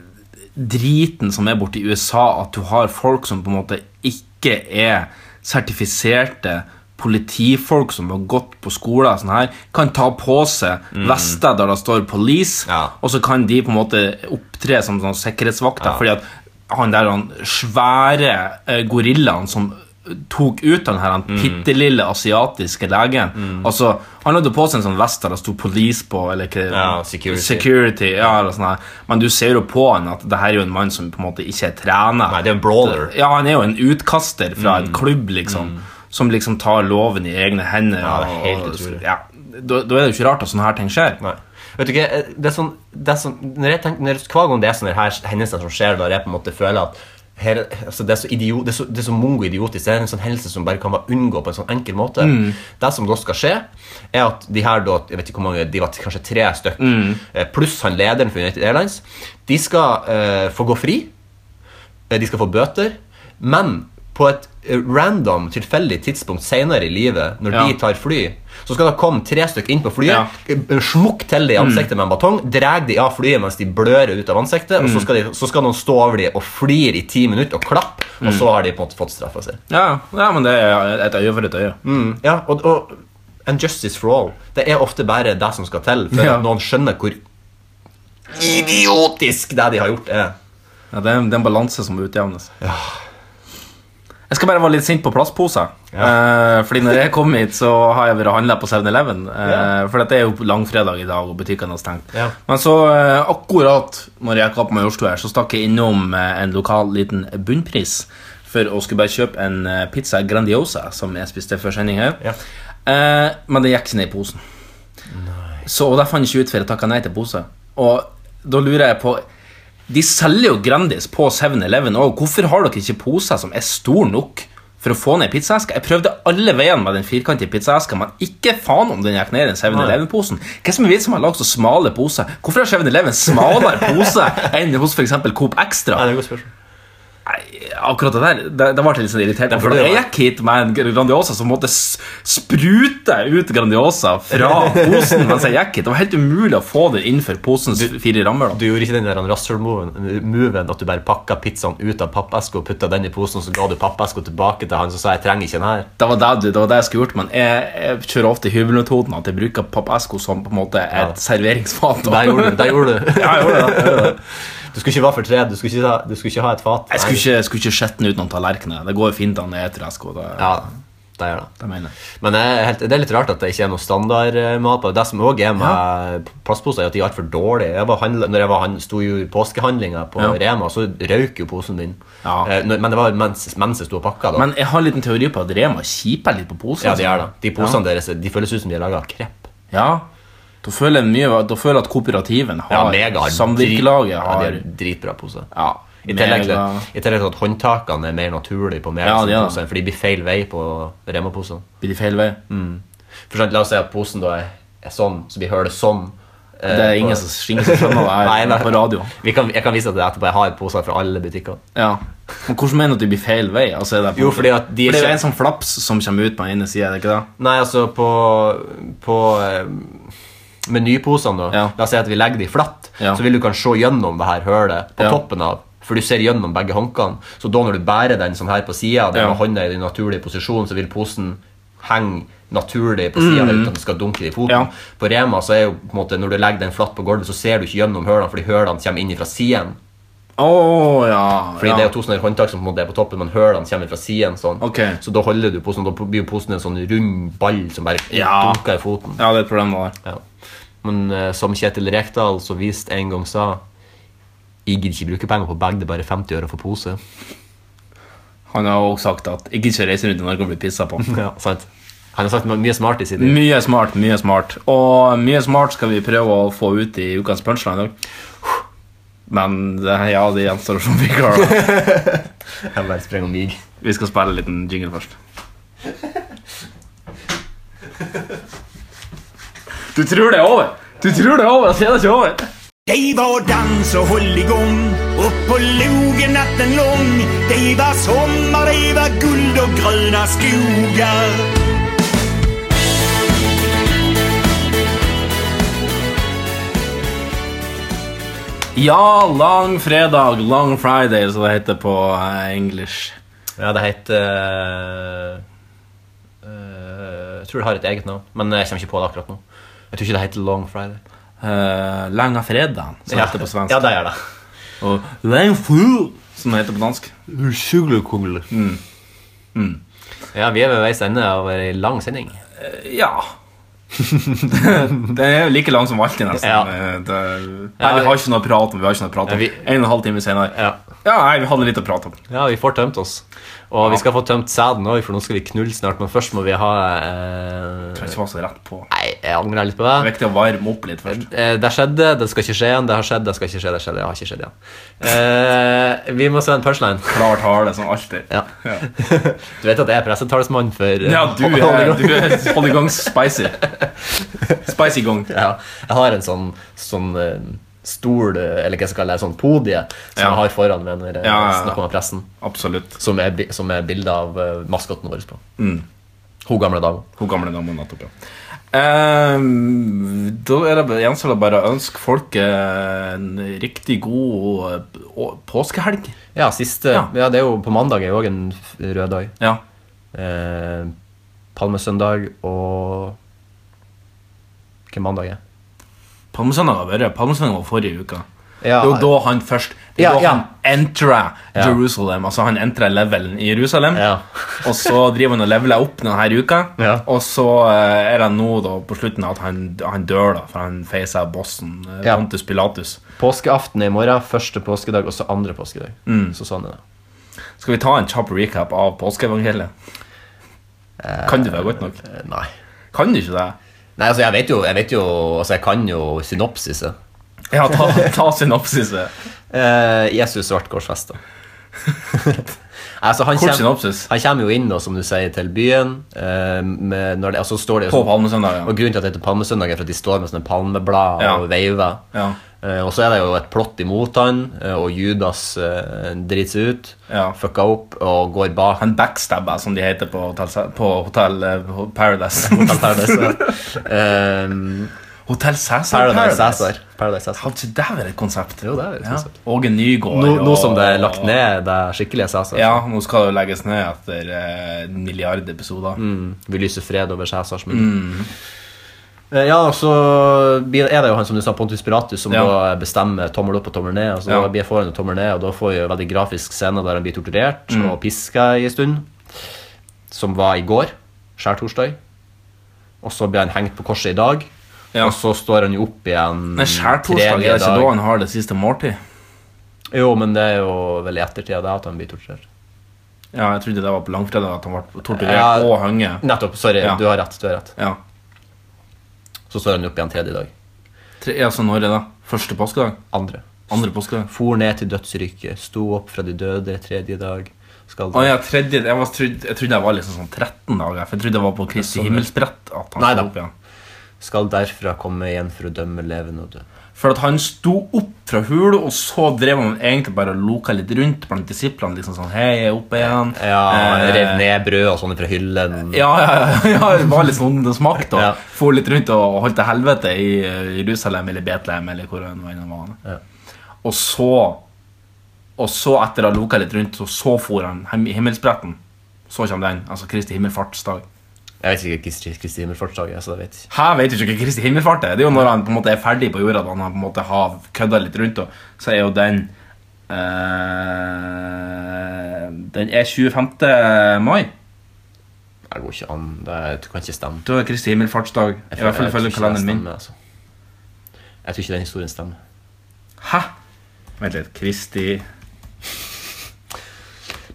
[SPEAKER 2] Driten som er borte i USA At du har folk som på en måte ikke er Sertifiserte Politifolk som har gått på skole og sånn her, Kan ta på seg
[SPEAKER 13] Mm.
[SPEAKER 2] Vester der det står police Og så kan de på en måte opptre som sånn sikkerhetsvakter Fordi at han der han svære eh, gorillaen som tok ut den her han pittelille asiatiske legen Altså, han hadde på seg en sånn vest der det sto police på Eller hva
[SPEAKER 3] Ja, security.
[SPEAKER 2] Security, ja, eller sånn her. Men du ser jo på han at det her er jo en mann som på en måte ikke er trener. Nei,
[SPEAKER 3] det er en brawler. Mm.
[SPEAKER 2] Ja, han er jo en utkaster fra en klubb, liksom. Som liksom tar loven i egne hender.
[SPEAKER 3] Ja, det er helt
[SPEAKER 2] og- og-
[SPEAKER 3] utrolig.
[SPEAKER 2] Ja, da, da er det jo ikke rart at sånne her ting skjer.
[SPEAKER 3] Vet du ikke, eh, det er sånn, det er sånn når jeg tenker, når, Hver gang det er sånne her hendelser som skjer, der jeg på en måte føler at her, altså det, er så idiot, det, er så, det er så mongo-idiotisk. Det er en sånn hendelse som bare kan være unngå på en sånn enkel måte.
[SPEAKER 13] Mm.
[SPEAKER 3] Det som da skal skje, er at de her da, jeg vet ikke hvor mange, de var t- kanskje tre stykk,
[SPEAKER 13] Mm.
[SPEAKER 3] eh, pluss han lederen for United Airlines, de skal eh, få gå fri. Eh, De skal få bøter. Men på et eh, random, tilfeldig tidspunkt senere i livet, når
[SPEAKER 13] Ja.
[SPEAKER 3] de tar fly, så skal det komme tre stykker inn på flyet, ja. Mm. smukk til de i ansiktet med en batong, drar de av flyet mens de blør ut av ansiktet, og så
[SPEAKER 2] Mm.
[SPEAKER 3] skal, de, så skal noen stå over de og flire i ti minutter og klappe, og
[SPEAKER 2] Mm.
[SPEAKER 3] så har de på en måte fått straffa si.
[SPEAKER 2] Ja, ja, men det er et øye for et øye.
[SPEAKER 3] Mm, ja, og, og And justice for all. Det er ofte bare det som skal til for
[SPEAKER 2] Ja.
[SPEAKER 3] at noen skjønner hvor idiotisk det de har gjort, er.
[SPEAKER 2] Ja, det, er en, det er en balanse som utjevnes. Jeg skal bare være litt sint på plastposer. Eh, fordi når jeg kom hit, så har jeg vært og handla på 7-Eleven. Eh, For det er jo langfredag i dag, og butikkene har stengt.
[SPEAKER 3] Ja.
[SPEAKER 2] Men så, eh, akkurat når jeg gikk opp på Majorstua, her, så stakk jeg innom eh, en lokal liten bunnpris for å skulle bare kjøpe en eh, pizza Grandiosa, som jeg spiste før sending her. Eh, men det gikk ikke ned i posen. Så og det fant jeg ikke ut før jeg takka nei til pose. Og da lurer jeg på De selger jo Grandis på 7-Eleven òg. Hvorfor har dere ikke poser som er store nok for å få ned pizzaeska? Jeg prøvde alle veiene med den firkantige pizzaeska, men ikke faen om den gikk ned i den 7-Eleven-posen. Hva som er vitsen med å lage så smale poser? Hvorfor har 7-Eleven smalere pose enn hos for eksempel Coop Extra?
[SPEAKER 3] Nei, det er et godt spørsmål.
[SPEAKER 2] Akkurat det der, det, det ble jeg litt sånn irritert.
[SPEAKER 3] Det
[SPEAKER 2] For
[SPEAKER 3] burde
[SPEAKER 2] da jeg
[SPEAKER 3] det
[SPEAKER 2] gikk hit med en Grandiosa som måtte s- sprute ut Grandiosa fra posen mens jeg gikk hit. Det var helt umulig å få det innenfor posens fire rammer. da
[SPEAKER 3] Du gjorde ikke den der rasshøl-moven at du bare pakka pizzaen ut av pappeska og putta den i posen, og så ga du pappeska tilbake til han som sa 'jeg trenger ikke den her'.
[SPEAKER 2] Det var det, du- det var det jeg skulle gjort, men jeg, jeg kjører ofte hybelmetoden at jeg bruker pappesko som på en måte et serveringsfat. da.
[SPEAKER 3] Der gjorde du, der gjorde du.
[SPEAKER 2] <laughs> ja, jeg gjorde det. jeg gjorde det.
[SPEAKER 3] Du skulle ikke være for tred, du skulle ikke, ha- du skulle ikke ha et fat.
[SPEAKER 2] Jeg skulle ikke, jeg skulle ikke skjetne ut noen tallerkener. Det går fint an etter esko. Det,
[SPEAKER 3] Ja. Det gjør det.
[SPEAKER 2] Det mener jeg.
[SPEAKER 3] Men jeg, er helt- det er litt rart at det ikke er noe standardmat på det. Det som òg er med plastposer, er at de er altfor dårlige. Jeg var handla, når jeg var han- sto jo i påskehandlinga på
[SPEAKER 2] Ja.
[SPEAKER 3] Rema, så røyk jo posen min. Eh, når- Men det var mens, mens jeg sto og pakka. Da.
[SPEAKER 2] Men jeg har en liten teori på at Rema kiper litt på posene.
[SPEAKER 3] ja, de er det. De posene
[SPEAKER 2] ja.
[SPEAKER 3] deres de føles ut som de er laga av krepp.
[SPEAKER 2] Ja. Da føler jeg mye Da føler jeg at kooperativen
[SPEAKER 3] Ja,
[SPEAKER 2] har
[SPEAKER 3] mega.
[SPEAKER 2] Samvirkelaget
[SPEAKER 3] Ja,
[SPEAKER 2] har
[SPEAKER 3] de har dritbra poser. I
[SPEAKER 2] Mega.
[SPEAKER 3] tillegg, til, I tillegg til at håndtakene er mer naturlige på
[SPEAKER 2] Ja, de er det.
[SPEAKER 3] Mega-posene, for de blir feil vei på Rema-posene.
[SPEAKER 2] Blir de feil vei?
[SPEAKER 3] Mm. For sant, La oss si at posen da er, er sånn, så blir hølet sånn. eh,
[SPEAKER 2] Det er
[SPEAKER 3] på-
[SPEAKER 2] ingen som- ingen som skjønner det her
[SPEAKER 3] <laughs> Nei, nei.
[SPEAKER 2] på radio.
[SPEAKER 3] Vi kan, jeg kan vise deg etterpå. Jeg har poser fra alle butikker.
[SPEAKER 2] Ja. Men hvordan mener du at de blir feil vei? Altså, er det på en
[SPEAKER 3] Jo,
[SPEAKER 2] måte-
[SPEAKER 3] fordi at de
[SPEAKER 2] For det er
[SPEAKER 3] ikke-
[SPEAKER 2] jo en sånn flaps som kommer ut på den ene sida, er det ikke det?
[SPEAKER 3] Nei, altså på, på eh, menyposene, da. La oss si at vi legger de flatt,
[SPEAKER 2] Ja.
[SPEAKER 3] så vil du kan se gjennom det her hølet på
[SPEAKER 2] Ja.
[SPEAKER 3] toppen av. For du ser gjennom begge håndkene. Så da når du bærer den sånn her på sida, den
[SPEAKER 2] Ja.
[SPEAKER 3] med hånda i den naturlige posisjonen, så vil posen henge naturlig på sida
[SPEAKER 2] Mhm.
[SPEAKER 3] uten at det skal dunke i foten. På Rema så er jo på en måte når du legger den flatt på gulvet, så ser du ikke gjennom hølene, fordi hølene kommer inn fra siden.
[SPEAKER 2] Oh, ja,
[SPEAKER 3] Fordi
[SPEAKER 2] ja.
[SPEAKER 3] det er jo to sånne håndtak som på en måte er på toppen, men hølene kommer fra siden. Sånn. Så da holder du posen, da blir jo posen en sånn rund ball som bare
[SPEAKER 2] Ja.
[SPEAKER 3] dunker i foten.
[SPEAKER 2] Ja, det er et problem der.
[SPEAKER 3] Ja. Men eh, som Kjetil Rekdal så vist en gang sa Jeg gidder ikke bruke penger på bag, det er bare 50 øre for pose.
[SPEAKER 2] Han har også sagt at ikke ikke reise rundt i Norge og bli pissa på.
[SPEAKER 3] <laughs> ja, sant. Han har sagt mye smart i sitt liv.
[SPEAKER 2] Mye smart, mye smart. Og mye smart skal vi prøve å få ut i ukens punchline i dag. Men det, ja, det gjenstår å se om vi klarer det.
[SPEAKER 3] Jeg bare sprenger mig.
[SPEAKER 2] Vi skal spille en liten jingle først. Du tror det er over? Du tror det er over, så er det ikke over.
[SPEAKER 14] De var dans og hold i gang Opp på logen natten lång De var sommer, de var guld og grønne skogar
[SPEAKER 2] Ja, lang fredag. Long Friday, som det heter på eh, engelsk.
[SPEAKER 3] Ja, det heter eh, Jeg tror det har et eget navn, men jeg kommer ikke på det akkurat nå. Jeg tror ikke det heter Long Friday.
[SPEAKER 2] Uh, Langa fredagen, som
[SPEAKER 3] Ja.
[SPEAKER 2] det heter på svensk.
[SPEAKER 3] Ja, det gjør det.
[SPEAKER 2] Og Lang fru, som det heter på dansk. Suglekongle. Mm. Mm.
[SPEAKER 3] Ja, vi er ved veis ende av ei lang sending.
[SPEAKER 2] Ja. det er jo like lang som alltid, nesten.
[SPEAKER 3] Ja.
[SPEAKER 2] Eh, Det, nei, vi har ikke noe å prate om. Vi har ikke noe å prate om.
[SPEAKER 3] Ja,
[SPEAKER 2] En og en halv time senere. Ja, nei, vi hadde litt å prate om.
[SPEAKER 3] Ja, vi får tømt oss. Og vi skal få tømt sæden òg, for nå skal vi knulle snart. Men først må vi ha eh...
[SPEAKER 2] Tror ikke det var så rett på.
[SPEAKER 3] Nei, jeg angrer litt på det. Det
[SPEAKER 2] er viktig å varme opp litt først.
[SPEAKER 3] Eh, det skjedde, det skal ikke skje igjen. Det har skjedd, det skal ikke skje, det skjedde, det har ikke skjedd igjen. Eh, vi må se en punchline.
[SPEAKER 2] Klar tale, som alltid.
[SPEAKER 3] Ja. <laughs> du vet at jeg er pressetalsmann for eh,
[SPEAKER 2] Ja, du er,
[SPEAKER 3] Hollywood.
[SPEAKER 2] du er hold i gang spicy. Spicy gong.
[SPEAKER 3] <laughs> Ja, jeg har en sånn, sånn eh, stol, eh, eller hva jeg skal kalle det, sånn podie, som
[SPEAKER 2] Ja.
[SPEAKER 3] jeg har foran meg når jeg
[SPEAKER 2] Ja, ja, ja.
[SPEAKER 3] snakker med pressen.
[SPEAKER 2] Absolutt.
[SPEAKER 3] Som er, bi- som er bilde av eh, maskotten vår på.
[SPEAKER 2] Mm.
[SPEAKER 3] Hun gamle dama.
[SPEAKER 2] Hun gamle dama, nettopp, ja. Ehm, da er det bare- gjenstår det bare å ønske folk eh, en riktig god eh, å- påskehelg.
[SPEAKER 3] Ja, siste Ja, det er jo på mandag er jo òg en f- rød dag.
[SPEAKER 2] Ja.
[SPEAKER 3] Eh, Palmesøndag og Hvilken mandag er
[SPEAKER 2] Palmesøndag har vært Palmesøndag var forrige uke.
[SPEAKER 3] Ja.
[SPEAKER 2] Det var da han først Det
[SPEAKER 3] Ja,
[SPEAKER 2] var
[SPEAKER 3] ja.
[SPEAKER 2] da han entra
[SPEAKER 3] Ja.
[SPEAKER 2] Jerusalem. Altså han entra levelen i Jerusalem, <laughs> og så driver han og leveler opp denne uka. Og så eh, er det nå da på slutten at han, han dør, da, for han feier seg bossen eh,
[SPEAKER 3] Ja.
[SPEAKER 2] Pontus Pilatus.
[SPEAKER 3] Påskeaften er i morgen. Første påskedag og så andre påskedag.
[SPEAKER 2] Mm.
[SPEAKER 3] Så sånn er det.
[SPEAKER 2] Skal vi ta en kjapp recap av påskeevangeliet? Kan du det godt nok?
[SPEAKER 3] Eh, Nei.
[SPEAKER 2] Kan du ikke det?
[SPEAKER 3] Nei, altså, jeg vet jo, jeg vet jo Altså, jeg kan jo synopsiset.
[SPEAKER 2] Ja, ta, ta synopsiset.
[SPEAKER 3] Eh, Jesus ble korsfesta.
[SPEAKER 2] <laughs>
[SPEAKER 3] altså, han
[SPEAKER 2] Kort
[SPEAKER 3] kjem-
[SPEAKER 2] synopsis.
[SPEAKER 3] Han kommer jo inn, da, som du sier, til byen. eh, med, når det, og så står det <laughs> sånn-
[SPEAKER 2] På Palmesøndag, ja.
[SPEAKER 3] Og grunnen til at det heter Palmesøndag, er for at de står med sånne palmeblad
[SPEAKER 2] Ja.
[SPEAKER 3] og veiver.
[SPEAKER 2] Ja.
[SPEAKER 3] Eh, og så er det jo et plott imot han, eh, og Judas eh, driter seg ut.
[SPEAKER 2] Ja.
[SPEAKER 3] Fucka opp og går bak. <laughs>
[SPEAKER 2] Han backstabba, som de heter på Hotell, på hotell eh,
[SPEAKER 3] <laughs>
[SPEAKER 2] Paradise.
[SPEAKER 3] Hotel
[SPEAKER 2] <laughs>
[SPEAKER 3] Paradise, ja.
[SPEAKER 2] Hotel Cæsar?
[SPEAKER 3] Paradise Cæsar. Paradise Cæsar.
[SPEAKER 2] Hadde ikke det vært et konsept?
[SPEAKER 3] Jo, det er et
[SPEAKER 2] Ja.
[SPEAKER 3] konsept.
[SPEAKER 2] Åge Nygaard.
[SPEAKER 3] Nå, nå
[SPEAKER 2] og-
[SPEAKER 3] som det er lagt ned, det er skikkelige Cæsar.
[SPEAKER 2] Ja, nå skal det jo legges ned etter eh, en milliard episoder.
[SPEAKER 3] Mm, vi lyser fred over Cæsars munn.
[SPEAKER 2] Mm.
[SPEAKER 3] Eh, Ja, og så blir- er det jo han som du sa, Pontus Pilatus, som
[SPEAKER 2] Ja.
[SPEAKER 3] da bestemmer tommel opp og tommel ned. Og så
[SPEAKER 2] Ja.
[SPEAKER 3] da blir jeg foran og tommel ned, og da får vi en veldig grafisk scene der han blir torturert
[SPEAKER 2] Mm.
[SPEAKER 3] og piska i en stund. Som var i går. skjærtorsdag. Og så blir han hengt på korset i dag. Og sånn så står han jo opp igjen
[SPEAKER 2] Men skjærtorsdag er det ikke da han har det siste måltid?
[SPEAKER 3] Jo, men det er jo vel i ettertid av det at han blir torturert.
[SPEAKER 2] Ja, jeg trodde det var på langfredag at han ble torturert
[SPEAKER 3] Ja,
[SPEAKER 2] og hengt.
[SPEAKER 3] Nettopp. Sorry,
[SPEAKER 2] Ja.
[SPEAKER 3] du har rett. Du har rett.
[SPEAKER 2] Ja.
[SPEAKER 3] Så står han opp igjen tredje dag.
[SPEAKER 2] Tre, altså når er det? Første påskedag?
[SPEAKER 3] Andre.
[SPEAKER 2] Andre påskedag?
[SPEAKER 3] For ned til dødsriket, sto opp fra de døde tredje dag. Skal
[SPEAKER 2] Å ja, tredje Jeg, var, trodde, jeg trodde jeg var liksom sånn 13 dager. For jeg trodde det var på Kristi himmelsbrett at han
[SPEAKER 3] Neida.
[SPEAKER 2] sto opp igjen.
[SPEAKER 3] Skal derfra komme igjen for å dømme levende og døde.
[SPEAKER 2] For at han sto opp fra hula, og så drev han egentlig bare og loka litt rundt blant disiplene. Liksom sånn Hei, jeg er oppe igjen.
[SPEAKER 3] Ja,
[SPEAKER 2] Eh,
[SPEAKER 3] Rev ned brød og sånne fra hyllen.
[SPEAKER 2] Ja, ja, ja, ja, det var litt sånn det smakte. Og For litt rundt og holdt til helvete i eh, Jerusalem eller Betlehem eller hvor han var. inne var. Og så Og så, etter å ha loka litt rundt, så, så for han hem- himmelspretten. Så kommer den. Altså Kristi himmelfartsdag.
[SPEAKER 3] Jeg vet ikke Kristi, Kristi himmelfartsdag er, så altså, det vet jeg.
[SPEAKER 2] Her vet du ikke hva Kristi himmelfart er. Det er jo når han på en måte er ferdig på jorda, da han har på en måte har kødda litt rundt, og så er jo den eh, Den er 25. mai.
[SPEAKER 3] Det går ikke an. Det er, det kan ikke stemme.
[SPEAKER 2] Da er Kristi himmelfartsdag. I hvert fall ifølge kalenderen min.
[SPEAKER 3] Altså. Jeg tror ikke den historien stemmer.
[SPEAKER 2] Hæ? Vent litt. Kristi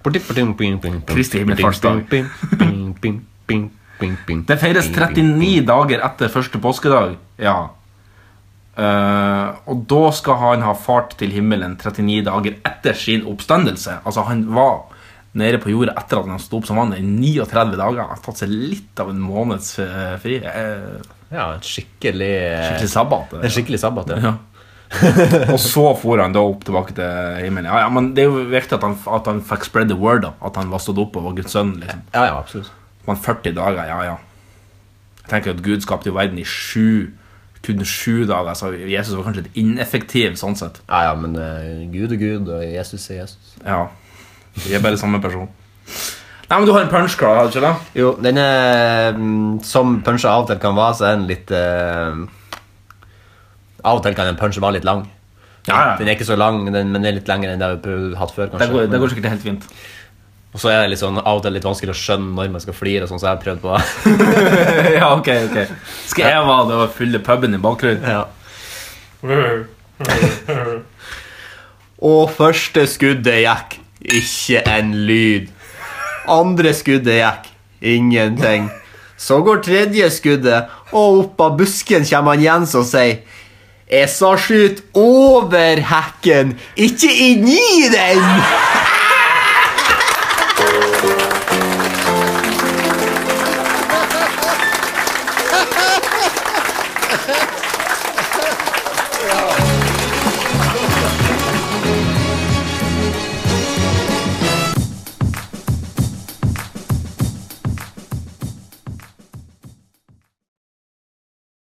[SPEAKER 2] Kristi himmelfartsdag. Det feires 39 dager etter første påskedag. Ja. Eh, og da skal han ha fart til himmelen 39 dager etter sin oppstandelse. Altså Han var nede på jorda etter at han sto opp som vann i 39 dager. Han har tatt seg litt av en måneds eh, fri.
[SPEAKER 3] ja, skikkelig
[SPEAKER 2] Skikkelig sabbat. eh.
[SPEAKER 3] En skikkelig sabbat, ja. <laughs>
[SPEAKER 2] Ja. og så for han da opp tilbake til himmelen. Ja, ja, men Det er jo viktig at han, at han fikk spread the word. da At han var stått opp og var Guds sønn. liksom
[SPEAKER 3] Ja, ja, absolutt
[SPEAKER 2] Men 40 dager, ja, ja. Jeg tenker at Gud skapte jo verden i sju kun sju dager, så Jesus var kanskje litt ineffektiv sånn sett.
[SPEAKER 3] Ja, ja, men eh, Gud er Gud, og Jesus er Jesus.
[SPEAKER 2] Ja. Vi er bare samme person. Nei, men Du har en punch klar, har du ikke det?
[SPEAKER 3] Jo, den er mm, Som punsjer av og til kan være, så er den litt eh, Av og til kan en punch være litt lang.
[SPEAKER 2] Ja, ja.
[SPEAKER 3] Den er ikke så lang, den, men den er litt lengre enn det vi har prøvd- hatt før. kanskje
[SPEAKER 2] Det går, det går sikkert helt fint.
[SPEAKER 3] Og så er det litt sånn, av og til litt vanskelig å skjønne når man skal flire, og sånn, så jeg har prøvd på det.
[SPEAKER 2] <laughs> ja, ok, ok. Skal jeg være det og fylle puben i bakgrunnen?
[SPEAKER 3] <laughs> Og første skuddet gikk. Ikke en lyd. Andre skuddet gikk. Ingenting. Så går tredje skuddet, og opp av busken kommer han Jens og sier Jeg sa skyt over hekken, ikke inni den!